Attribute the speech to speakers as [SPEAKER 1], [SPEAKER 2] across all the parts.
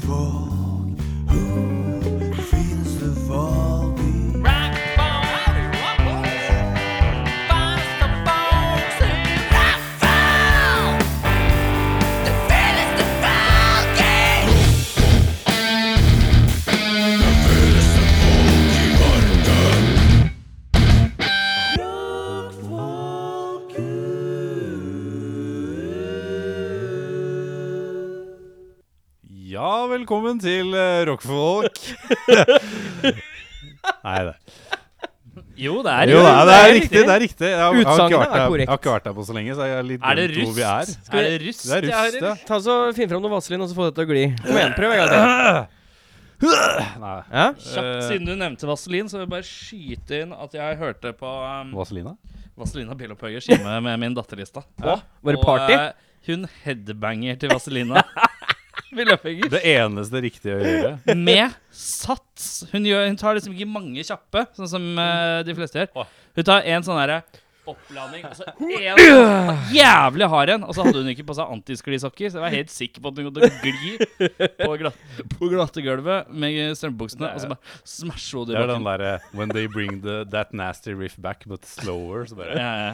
[SPEAKER 1] folk? Who feels the fall beat?
[SPEAKER 2] Ja, velkommen til eh, rockfolk. Nei, det
[SPEAKER 3] Jo, det er
[SPEAKER 2] Jo, det er, det er riktig. Det er riktig. Jeg, har- jeg, har ikke
[SPEAKER 4] Utsagnet
[SPEAKER 2] vært
[SPEAKER 4] er
[SPEAKER 2] der,
[SPEAKER 4] korrekt.
[SPEAKER 2] jeg har ikke vært der på så lenge, så jeg er litt
[SPEAKER 3] Er det
[SPEAKER 2] glemt hvor
[SPEAKER 3] rust?
[SPEAKER 2] vi er.
[SPEAKER 3] Er det rust?
[SPEAKER 2] Det er
[SPEAKER 3] jeg har i-
[SPEAKER 2] rust, ja.
[SPEAKER 4] Ta så Finn fram noe vaselin og så få det til å gli. Kom igjen, prøv en gang til.
[SPEAKER 2] Nei,
[SPEAKER 4] Ja?
[SPEAKER 3] Kjapt,
[SPEAKER 2] Eh.
[SPEAKER 3] siden du nevnte Vaselin, så vil jeg bare skyte inn at jeg hørte på um,
[SPEAKER 2] Vaselina?
[SPEAKER 3] Vaselina Billopphøggers hjemme med min datter i stad.
[SPEAKER 4] Hva? Var det
[SPEAKER 3] Og,
[SPEAKER 4] party?
[SPEAKER 3] eh, hun headbanger til Vaselina Billopphøggers.
[SPEAKER 2] Det eneste riktige å gjøre.
[SPEAKER 3] Med sats. Hun, gjør, hun tar liksom ikke mange kjappe, sånn som eh, de fleste gjør. Hun tar en sånn derre oppladning, og så en sånn jævlig hard en. Og så hadde hun ikke på seg antisklisokker, så jeg var helt sikker på at hun kom til å gli på, glatt, på glatte gulvet med strømpebuksene, og så bare smashe
[SPEAKER 2] Det
[SPEAKER 3] hodet i
[SPEAKER 2] er den
[SPEAKER 3] bakken.
[SPEAKER 2] derre When they bring the, that nasty riff back, but slower. Så bare,
[SPEAKER 3] Ja, ja.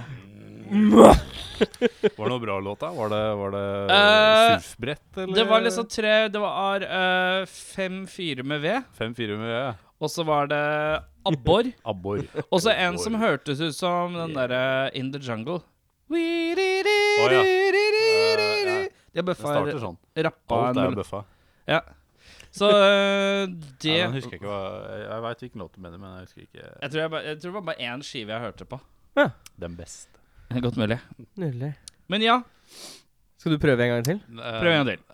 [SPEAKER 2] Var det noe bra låt, da? Var det, var det
[SPEAKER 3] Eh,
[SPEAKER 2] surfbrett, eller?
[SPEAKER 3] Det var liksom tre Det var eh, fem fyrer med ved,
[SPEAKER 2] 5-4 med ja.
[SPEAKER 3] og så var det abbor.
[SPEAKER 2] abbor.
[SPEAKER 3] Og så en som hørtes ut som den derre In the Jungle.
[SPEAKER 2] Å, ja.
[SPEAKER 3] De
[SPEAKER 2] Eh, ja.
[SPEAKER 3] har
[SPEAKER 2] Det
[SPEAKER 3] bøffa
[SPEAKER 2] starter sånn.
[SPEAKER 3] rappa
[SPEAKER 2] Alt er
[SPEAKER 3] en
[SPEAKER 2] bøffa.
[SPEAKER 3] ja. Så eh, det
[SPEAKER 2] Nei, men
[SPEAKER 3] jeg,
[SPEAKER 2] husker jeg ikke hva Jeg veit hvilken låt du mener, men jeg husker ikke
[SPEAKER 3] tror jeg, bare- jeg tror det var bare én skive jeg hørte på.
[SPEAKER 2] den best.
[SPEAKER 3] Godt mulig.
[SPEAKER 4] Nydelig.
[SPEAKER 3] Men ja,
[SPEAKER 4] Skal du prøve en gang til?
[SPEAKER 3] prøv en gang til.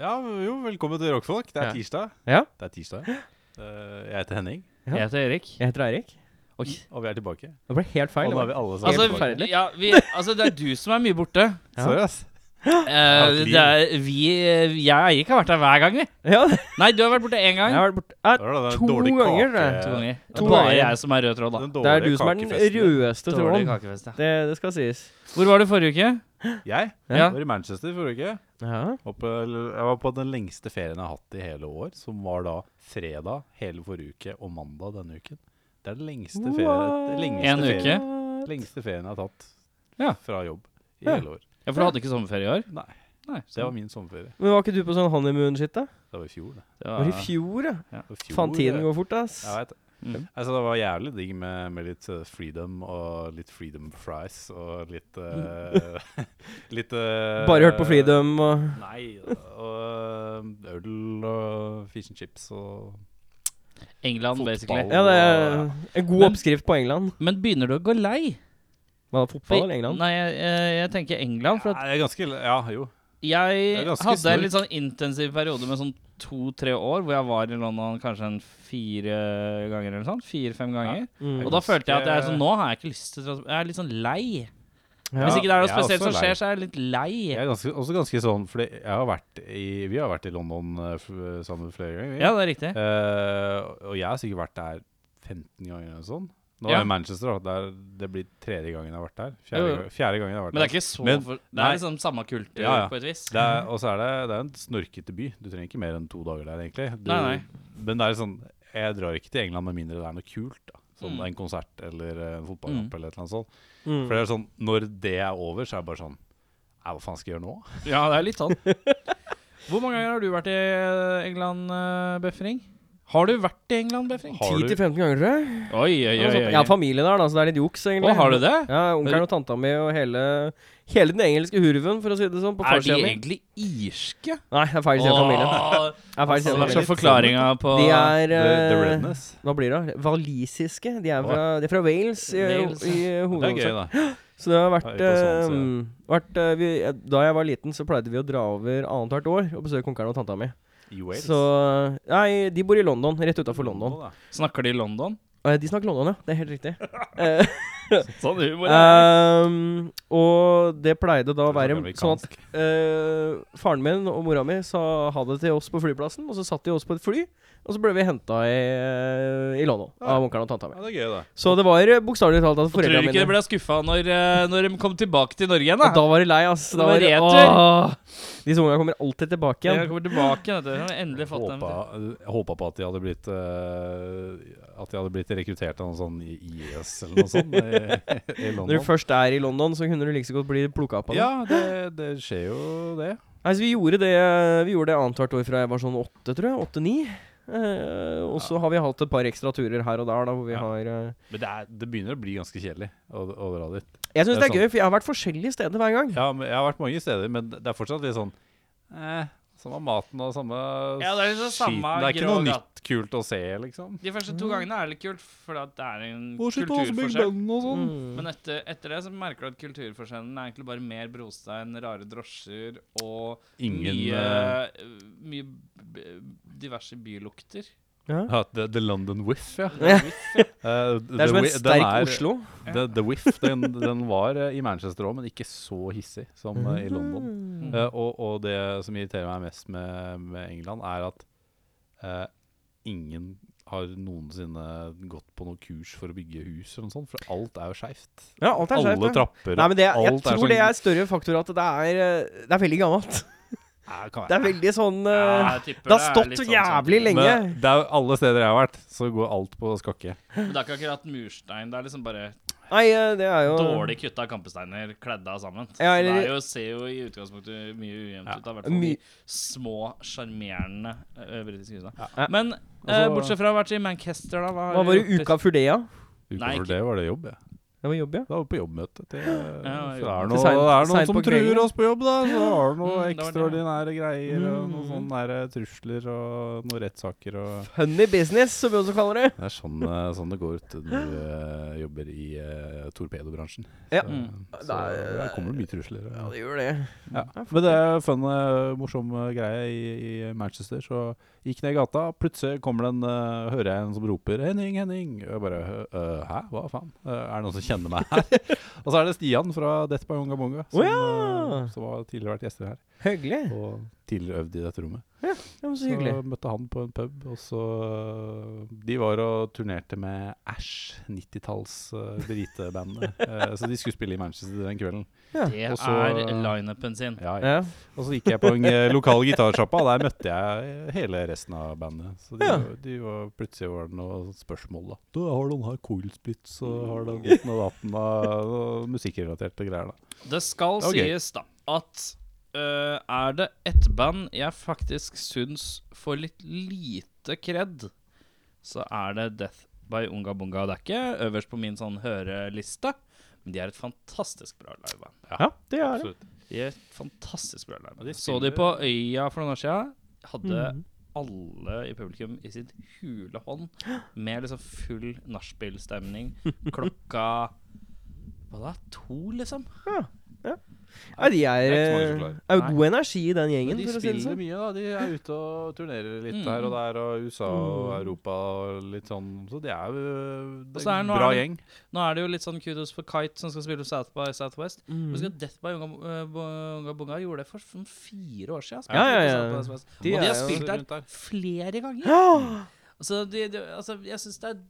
[SPEAKER 2] Ja, jo, velkommen til Rockfolk. Det er
[SPEAKER 3] Ja.
[SPEAKER 2] tirsdag.
[SPEAKER 4] Ja.
[SPEAKER 2] Det er tirsdag. Eh, jeg heter Henning,
[SPEAKER 4] Ja.
[SPEAKER 3] Jeg heter Erik.
[SPEAKER 4] Jeg heter Eirik.
[SPEAKER 3] Oi.
[SPEAKER 2] og vi er tilbake.
[SPEAKER 4] Det ble helt feil.
[SPEAKER 2] Og nå
[SPEAKER 4] det var-
[SPEAKER 2] er vi alle sammen
[SPEAKER 3] Altså,
[SPEAKER 2] tilbake.
[SPEAKER 4] forferdelig.
[SPEAKER 3] ja, vi, altså, det er du som er mye borte.
[SPEAKER 4] Ja.
[SPEAKER 2] Sorry, ass.
[SPEAKER 3] Eh,
[SPEAKER 2] et liv.
[SPEAKER 3] det er, vi, eh, jeg og Eirik har vært her hver gang, vi.
[SPEAKER 4] Ja, det-
[SPEAKER 3] Nei, du har vært borte én
[SPEAKER 4] jeg
[SPEAKER 3] gang.
[SPEAKER 4] har vært borte ah,
[SPEAKER 2] Det var da den
[SPEAKER 4] To
[SPEAKER 2] dårlige
[SPEAKER 4] ganger,
[SPEAKER 2] kake-
[SPEAKER 4] det.
[SPEAKER 3] To ganger. Det
[SPEAKER 4] To
[SPEAKER 3] er bare
[SPEAKER 4] ganger.
[SPEAKER 3] jeg som er rød tråd, da.
[SPEAKER 2] den
[SPEAKER 4] Det er
[SPEAKER 2] dårlige
[SPEAKER 4] du som er den
[SPEAKER 2] kakefesten.
[SPEAKER 4] rødeste
[SPEAKER 3] Dårlig
[SPEAKER 4] tråden.
[SPEAKER 3] kakefest, ja.
[SPEAKER 4] Det, det skal sies.
[SPEAKER 3] Hvor var du forrige uke?
[SPEAKER 2] Jeg
[SPEAKER 3] Ja.
[SPEAKER 2] var i Manchester forrige uke.
[SPEAKER 4] Ja.
[SPEAKER 2] Var på- Jeg var på den lengste ferien jeg har hatt i hele år, som var da fredag hele forrige uke og mandag denne uken. Det er den lengste ferien,
[SPEAKER 4] What?
[SPEAKER 2] lengste
[SPEAKER 3] En uke?
[SPEAKER 2] ferien, lengste ferien jeg har tatt
[SPEAKER 3] Ja.
[SPEAKER 2] fra jobb i
[SPEAKER 4] Ja.
[SPEAKER 2] hele år.
[SPEAKER 3] Ja, For du hadde ikke sommerferie i år?
[SPEAKER 2] Nei,
[SPEAKER 3] Nei,
[SPEAKER 2] det var min sommerferie.
[SPEAKER 4] Men var ikke du på sånn honeymoon-shit, da?
[SPEAKER 2] Det var i fjor. Det,
[SPEAKER 3] det
[SPEAKER 4] Var det i fjor, ja?
[SPEAKER 2] det var i fjor,
[SPEAKER 4] Faen, tiden
[SPEAKER 2] det.
[SPEAKER 4] går fort, ass.
[SPEAKER 2] Jeg vet det.
[SPEAKER 3] Mm.
[SPEAKER 2] Altså, det var jævlig digg med, med litt eh, freedom og litt freedom fries og litt eh, Litt eh,
[SPEAKER 4] Bare hørt på Freedom og
[SPEAKER 2] Nei. Og eh, øl og fish and chips og
[SPEAKER 3] England,
[SPEAKER 2] Fotball.
[SPEAKER 3] basically.
[SPEAKER 4] Ja, det er en god
[SPEAKER 3] Men-
[SPEAKER 4] oppskrift på England.
[SPEAKER 3] Men begynner du å gå lei?
[SPEAKER 4] Hva, fotball eller England?
[SPEAKER 3] Nei, jeg, jeg, jeg tenker England. For
[SPEAKER 2] Ja,
[SPEAKER 3] at
[SPEAKER 2] det er ganske Ja, jo. er
[SPEAKER 3] jeg
[SPEAKER 2] ganske
[SPEAKER 3] hadde en
[SPEAKER 2] snurt.
[SPEAKER 3] litt sånn intensiv periode med sånn to-tre år hvor jeg var i London kanskje en fire ganger eller sånn. Fire-fem ganger.
[SPEAKER 4] Mm.
[SPEAKER 3] Og da
[SPEAKER 2] Ganske-
[SPEAKER 3] følte jeg at jeg, sånn, nå har jeg ikke lyst til å dra- Jeg er litt sånn lei.
[SPEAKER 4] Ja.
[SPEAKER 3] Hvis ikke det er noe
[SPEAKER 2] jeg er
[SPEAKER 3] spesielt
[SPEAKER 2] også
[SPEAKER 3] som
[SPEAKER 2] lei.
[SPEAKER 3] skjer, så er jeg litt lei.
[SPEAKER 2] Jeg er ganske, også ganske sånn Fordi jeg har vært i Vi har vært i London eh, f sammen flere ganger. vi.
[SPEAKER 3] Ja, det er riktig.
[SPEAKER 2] Eh, og jeg har sikkert vært der 15 ganger eller sånn. Nå er jeg
[SPEAKER 3] Ja.
[SPEAKER 2] i Manchester, da. Der, det blir tredje gangen jeg har vært der.
[SPEAKER 3] Jo,
[SPEAKER 2] Fjerde,
[SPEAKER 3] jo.
[SPEAKER 2] gang- fjerde gangen jeg har vært
[SPEAKER 3] Men det er
[SPEAKER 2] der.
[SPEAKER 3] ikke så
[SPEAKER 2] Men-
[SPEAKER 3] for, Det
[SPEAKER 2] nei.
[SPEAKER 3] er liksom samme kultur
[SPEAKER 2] Ja, ja.
[SPEAKER 3] på et vis.
[SPEAKER 2] Det
[SPEAKER 4] Mm.
[SPEAKER 2] er, og så er det, det er en snorkete by. Du trenger ikke mer enn to dager der, egentlig. Du,
[SPEAKER 3] Nei, nei.
[SPEAKER 2] Men det er sånn Jeg drar ikke til England med mindre det er noe kult. da Sånn
[SPEAKER 3] Mm.
[SPEAKER 2] en konsert eller eh, en fotballkamp
[SPEAKER 3] Mm.
[SPEAKER 2] eller et eller annet sånt.
[SPEAKER 4] Mm.
[SPEAKER 2] For det er sånn, når det er over, så er det bare sånn Nei, hva faen skal jeg gjøre nå?
[SPEAKER 3] Ja, det er litt sånn. Hvor mange ganger har du vært i eh, England, eh, Befring? Har du vært i England, Befring? Altså,
[SPEAKER 2] Har du-
[SPEAKER 4] 10-15 ganger, tror jeg.
[SPEAKER 3] Oi, oi, oi.
[SPEAKER 4] Noe sånt.
[SPEAKER 3] oi.
[SPEAKER 4] Jeg har familie der, da, så det er litt juks,
[SPEAKER 3] Å,
[SPEAKER 4] egentlig.
[SPEAKER 3] har du det?
[SPEAKER 4] Ja, Onkelen og tanta mi og hele, hele den engelske hurven, for å si det sånn. På
[SPEAKER 3] Er de
[SPEAKER 4] farssida mi.
[SPEAKER 3] egentlig irske?
[SPEAKER 4] Nei, det er feil side av familien. Det er feil
[SPEAKER 3] Så
[SPEAKER 4] side
[SPEAKER 2] det er
[SPEAKER 3] hva slags
[SPEAKER 4] av familien.
[SPEAKER 2] litt
[SPEAKER 3] forklaringa på
[SPEAKER 4] De er
[SPEAKER 2] The, the
[SPEAKER 4] eh,
[SPEAKER 2] redness.
[SPEAKER 4] Hva blir det? Walisiske. De er fra, de er fra Wales i,
[SPEAKER 3] Wales,
[SPEAKER 4] i
[SPEAKER 2] Det er gøy,
[SPEAKER 4] hovedsak.
[SPEAKER 2] da.
[SPEAKER 4] Så det har vært,
[SPEAKER 2] Ja, ikke på sånn
[SPEAKER 4] eh, vært eh, vi, Da jeg var liten, så pleide vi å dra over annethvert år og besøke onkelen og tanta mi.
[SPEAKER 2] I Wales.
[SPEAKER 4] Så eh, Nei, de bor i London. Rett utafor London.
[SPEAKER 2] da.
[SPEAKER 3] Snakker de i London?
[SPEAKER 4] Eh, De snakker London, ja. Det er helt riktig. Eh,
[SPEAKER 3] Sånn humor er det.
[SPEAKER 4] Ehm, og det pleide da å være
[SPEAKER 2] Sånn
[SPEAKER 4] sånn at eh, faren min og mora mi sa ha det til oss på flyplassen, og så satt de oss på et fly, og så ble vi henta i, eh, i Lånå av onkelen og tanta mi.
[SPEAKER 2] Ja, det er gøy, det.
[SPEAKER 4] Så det var eh, bokstavelig talt at
[SPEAKER 3] Tror du
[SPEAKER 4] foreldra
[SPEAKER 3] ikke de
[SPEAKER 4] mine
[SPEAKER 3] ble skuffa når, eh, når de kom tilbake til Norge igjen?
[SPEAKER 4] og
[SPEAKER 3] da?
[SPEAKER 4] Da var de lei, ass. Da var
[SPEAKER 3] Det
[SPEAKER 4] det,
[SPEAKER 3] var
[SPEAKER 4] åh, disse ungene kommer alltid tilbake
[SPEAKER 3] Jeg
[SPEAKER 4] igjen.
[SPEAKER 3] kommer tilbake. Vet du. Jeg har Endelig fått dem
[SPEAKER 2] Håpa,
[SPEAKER 3] til.
[SPEAKER 2] jeg håpa på at de hadde blitt eh, At de hadde blitt rekruttert av noe sånn i- IS eller noe sånt i, i
[SPEAKER 4] Når du
[SPEAKER 2] London.
[SPEAKER 4] først er i London, så kunne du like så godt bli plukka opp av det.
[SPEAKER 2] Ja, det, det skjer jo det.
[SPEAKER 4] Nei, så vi gjorde det eh, Vi gjorde det annethvert år fra jeg var sånn åtte, tror jeg. Åtte-ni. Eh, og så har vi hatt et par ekstra turer her og der, da, hvor vi
[SPEAKER 2] Ja.
[SPEAKER 4] har eh,
[SPEAKER 2] Men det, er, det begynner å bli ganske kjedelig å, å dra dit.
[SPEAKER 4] Jeg syns
[SPEAKER 2] Det
[SPEAKER 4] det
[SPEAKER 2] er
[SPEAKER 4] er gøy, for jeg har vært forskjellige steder hver gang.
[SPEAKER 2] Ja, men jeg har vært mange steder, men det er fortsatt litt sånn eh, Samme maten og samme
[SPEAKER 3] Ja, det er liksom
[SPEAKER 2] skiten.
[SPEAKER 3] samme
[SPEAKER 2] Det er ikke noe
[SPEAKER 3] grå gat-
[SPEAKER 2] nytt kult å se, liksom.
[SPEAKER 3] De første to gangene er det litt kult, for at det er en
[SPEAKER 2] Å, shit, å, så mye
[SPEAKER 3] kulturforskjell.
[SPEAKER 2] bønn og sånn.
[SPEAKER 4] Mm.
[SPEAKER 3] Men etter, etter det så merker du at kulturforskjellen er egentlig bare mer brostein, rare drosjer og
[SPEAKER 2] Ingen
[SPEAKER 3] mye,
[SPEAKER 2] eh,
[SPEAKER 3] mye b- diverse bylukter.
[SPEAKER 2] ja, the, the London Whiff, ja. Eh,
[SPEAKER 4] Det er som
[SPEAKER 2] the
[SPEAKER 4] en
[SPEAKER 2] Whi- den
[SPEAKER 4] sterk
[SPEAKER 2] er-
[SPEAKER 4] Oslo.
[SPEAKER 2] The, the Whiff den, den var eh, i Manchester òg, men ikke så hissig som eh, i London.
[SPEAKER 4] Mm.
[SPEAKER 2] Eh, og, og det som irriterer meg mest med, med England, er at eh, ingen har noensinne gått på noe kurs for å bygge hus eller noe sånt, for alt er jo skeivt.
[SPEAKER 4] Ja, alt er
[SPEAKER 2] Alle
[SPEAKER 4] skjevt. ja.
[SPEAKER 2] trapper
[SPEAKER 4] Nei, men det, jeg
[SPEAKER 2] alt
[SPEAKER 4] tror
[SPEAKER 2] sånn-
[SPEAKER 4] det er større faktor at det er, eh, det er veldig gammelt.
[SPEAKER 2] Ja, det kan
[SPEAKER 4] Det
[SPEAKER 2] være.
[SPEAKER 4] er veldig sånn eh,
[SPEAKER 3] jeg tipper
[SPEAKER 4] Det har
[SPEAKER 3] er
[SPEAKER 4] stått
[SPEAKER 3] litt sånn
[SPEAKER 4] jævlig
[SPEAKER 3] samtidig.
[SPEAKER 4] lenge.
[SPEAKER 2] Men det er jo alle steder jeg har vært, så går alt på skakke.
[SPEAKER 3] Men det er ikke akkurat murstein. Det er liksom bare
[SPEAKER 4] Nei, eh, det er jo
[SPEAKER 3] dårlig kutta kampesteiner kledd av sammen.
[SPEAKER 4] Ja,
[SPEAKER 3] Så det
[SPEAKER 4] eller-
[SPEAKER 3] er jo, ser jo i utgangspunktet mye ujevnt
[SPEAKER 2] Ja.
[SPEAKER 3] ut. da, I hvert fall de
[SPEAKER 4] My-
[SPEAKER 3] små, sjarmerende eh, britiske husene.
[SPEAKER 4] Ja.
[SPEAKER 3] Men eh,
[SPEAKER 2] Altså-
[SPEAKER 3] bortsett fra å ha vært i Manchester, da hva har
[SPEAKER 4] Hva var
[SPEAKER 3] vi
[SPEAKER 4] det
[SPEAKER 3] gjort
[SPEAKER 4] uka før det, ja?
[SPEAKER 2] Utenfor
[SPEAKER 3] Nei, ikke-
[SPEAKER 2] det var det jobb, jeg.
[SPEAKER 4] Det var jobb, ja.
[SPEAKER 2] Da var vi på jobbmøte. Til,
[SPEAKER 3] Ja,
[SPEAKER 2] så det er
[SPEAKER 4] jobb.
[SPEAKER 2] noe-
[SPEAKER 4] Til sein-
[SPEAKER 2] det er noen
[SPEAKER 4] sein
[SPEAKER 2] som
[SPEAKER 4] på kvelden.
[SPEAKER 2] truer oss på jobb, da. Så har du noen
[SPEAKER 3] Mm, det var det, ja.
[SPEAKER 2] ekstraordinære greier og noen
[SPEAKER 4] Mm.
[SPEAKER 2] sånne nære trusler og noen rettssaker og
[SPEAKER 4] Honey business, som vi også kaller det.
[SPEAKER 2] Det er sånn, eh, sånn det går ut når du eh, jobber i eh, torpedobransjen.
[SPEAKER 4] Ja.
[SPEAKER 2] Så,
[SPEAKER 3] Mm.
[SPEAKER 2] så
[SPEAKER 4] Det er-
[SPEAKER 2] der kommer det mye trusler. eh.
[SPEAKER 4] Ja,
[SPEAKER 2] og-
[SPEAKER 4] det gjør det.
[SPEAKER 2] Ja. Men det er fun, eh, morsom eh, greie i, i Manchester. Så gikk ned i gata, plutselig kommer det en, eh, hører jeg en som roper 'Henning, Henning'. Og jeg bare «Øh, 'Hæ, hva faen? Eh, er det noen som kjenner meg her?' og så er det Stian fra Death by Onga Bonga, som,
[SPEAKER 4] Å ja!
[SPEAKER 2] eh, som har tidligere vært gjester her.
[SPEAKER 4] Hyggelig.
[SPEAKER 2] Og tidligere øvd i dette rommet.
[SPEAKER 4] Det var så
[SPEAKER 2] Så
[SPEAKER 4] hyggelig.
[SPEAKER 2] møtte han på en pub, og eh, så De var og turnerte med Ash, 90-talls eh, britebandet. Eh, så de skulle spille i Manchester den kvelden.
[SPEAKER 3] Det
[SPEAKER 2] Og så-
[SPEAKER 3] er lineupen sin.
[SPEAKER 2] Ja, ja.
[SPEAKER 4] Ja.
[SPEAKER 2] Og så gikk jeg på en eh, lokal gitarsjappa, og der møtte jeg hele resten av bandet. Så de,
[SPEAKER 4] Ja.
[SPEAKER 2] var- de var plutselig var det noen spørsmål, da. Mm. Du, har den her Coilsplits, og har den ditten og datten og og musikkrelaterte greier, da.
[SPEAKER 3] Det skal
[SPEAKER 2] Ok.
[SPEAKER 3] sies, da, at øh, er det ett band jeg faktisk syns får litt lite kred, så er det Death by Unga Bunga. Det er ikke øverst på min sånn høreliste, men de er et fantastisk bra liveband.
[SPEAKER 4] ja, det er det.
[SPEAKER 2] Absolutt.
[SPEAKER 3] De er et fantastisk bra liveband.
[SPEAKER 2] Ja, de
[SPEAKER 3] Så
[SPEAKER 2] spiller-
[SPEAKER 3] de på Øya for noen år siden. Hadde
[SPEAKER 4] Mhm.
[SPEAKER 3] alle i publikum i sin hule hånd med liksom full nachspiel-stemning klokka Hva da? To, liksom?
[SPEAKER 4] Nei, de er,
[SPEAKER 2] Det er ikke så mange som
[SPEAKER 4] eh,
[SPEAKER 2] klarer.
[SPEAKER 4] er jo
[SPEAKER 3] Nei.
[SPEAKER 4] god energi i den gjengen,
[SPEAKER 2] Men de
[SPEAKER 4] for å si det
[SPEAKER 2] spiller
[SPEAKER 4] sånn.
[SPEAKER 2] mye, da. De er ute og turnerer litt
[SPEAKER 3] Mm.
[SPEAKER 2] her og der, og USA og
[SPEAKER 4] Mm.
[SPEAKER 2] Europa og litt sånn. Så de er jo det er
[SPEAKER 3] så er det
[SPEAKER 2] en
[SPEAKER 3] noe
[SPEAKER 2] bra
[SPEAKER 3] annet.
[SPEAKER 2] gjeng.
[SPEAKER 3] Nå er det jo litt sånn kudos for Kite som skal spille South by Southwest.
[SPEAKER 4] Mm.
[SPEAKER 3] Husk at Death by Unga, eh, Bunga Bunga gjorde det for sånn fire år siden. altså.
[SPEAKER 4] Ja, ja, ja.
[SPEAKER 3] South by Southwest.
[SPEAKER 4] De
[SPEAKER 3] og de har
[SPEAKER 4] er jo
[SPEAKER 3] spilt
[SPEAKER 2] rundt der.
[SPEAKER 3] der flere ganger.
[SPEAKER 4] Ja.
[SPEAKER 3] Altså, de, de, altså, jeg syns det er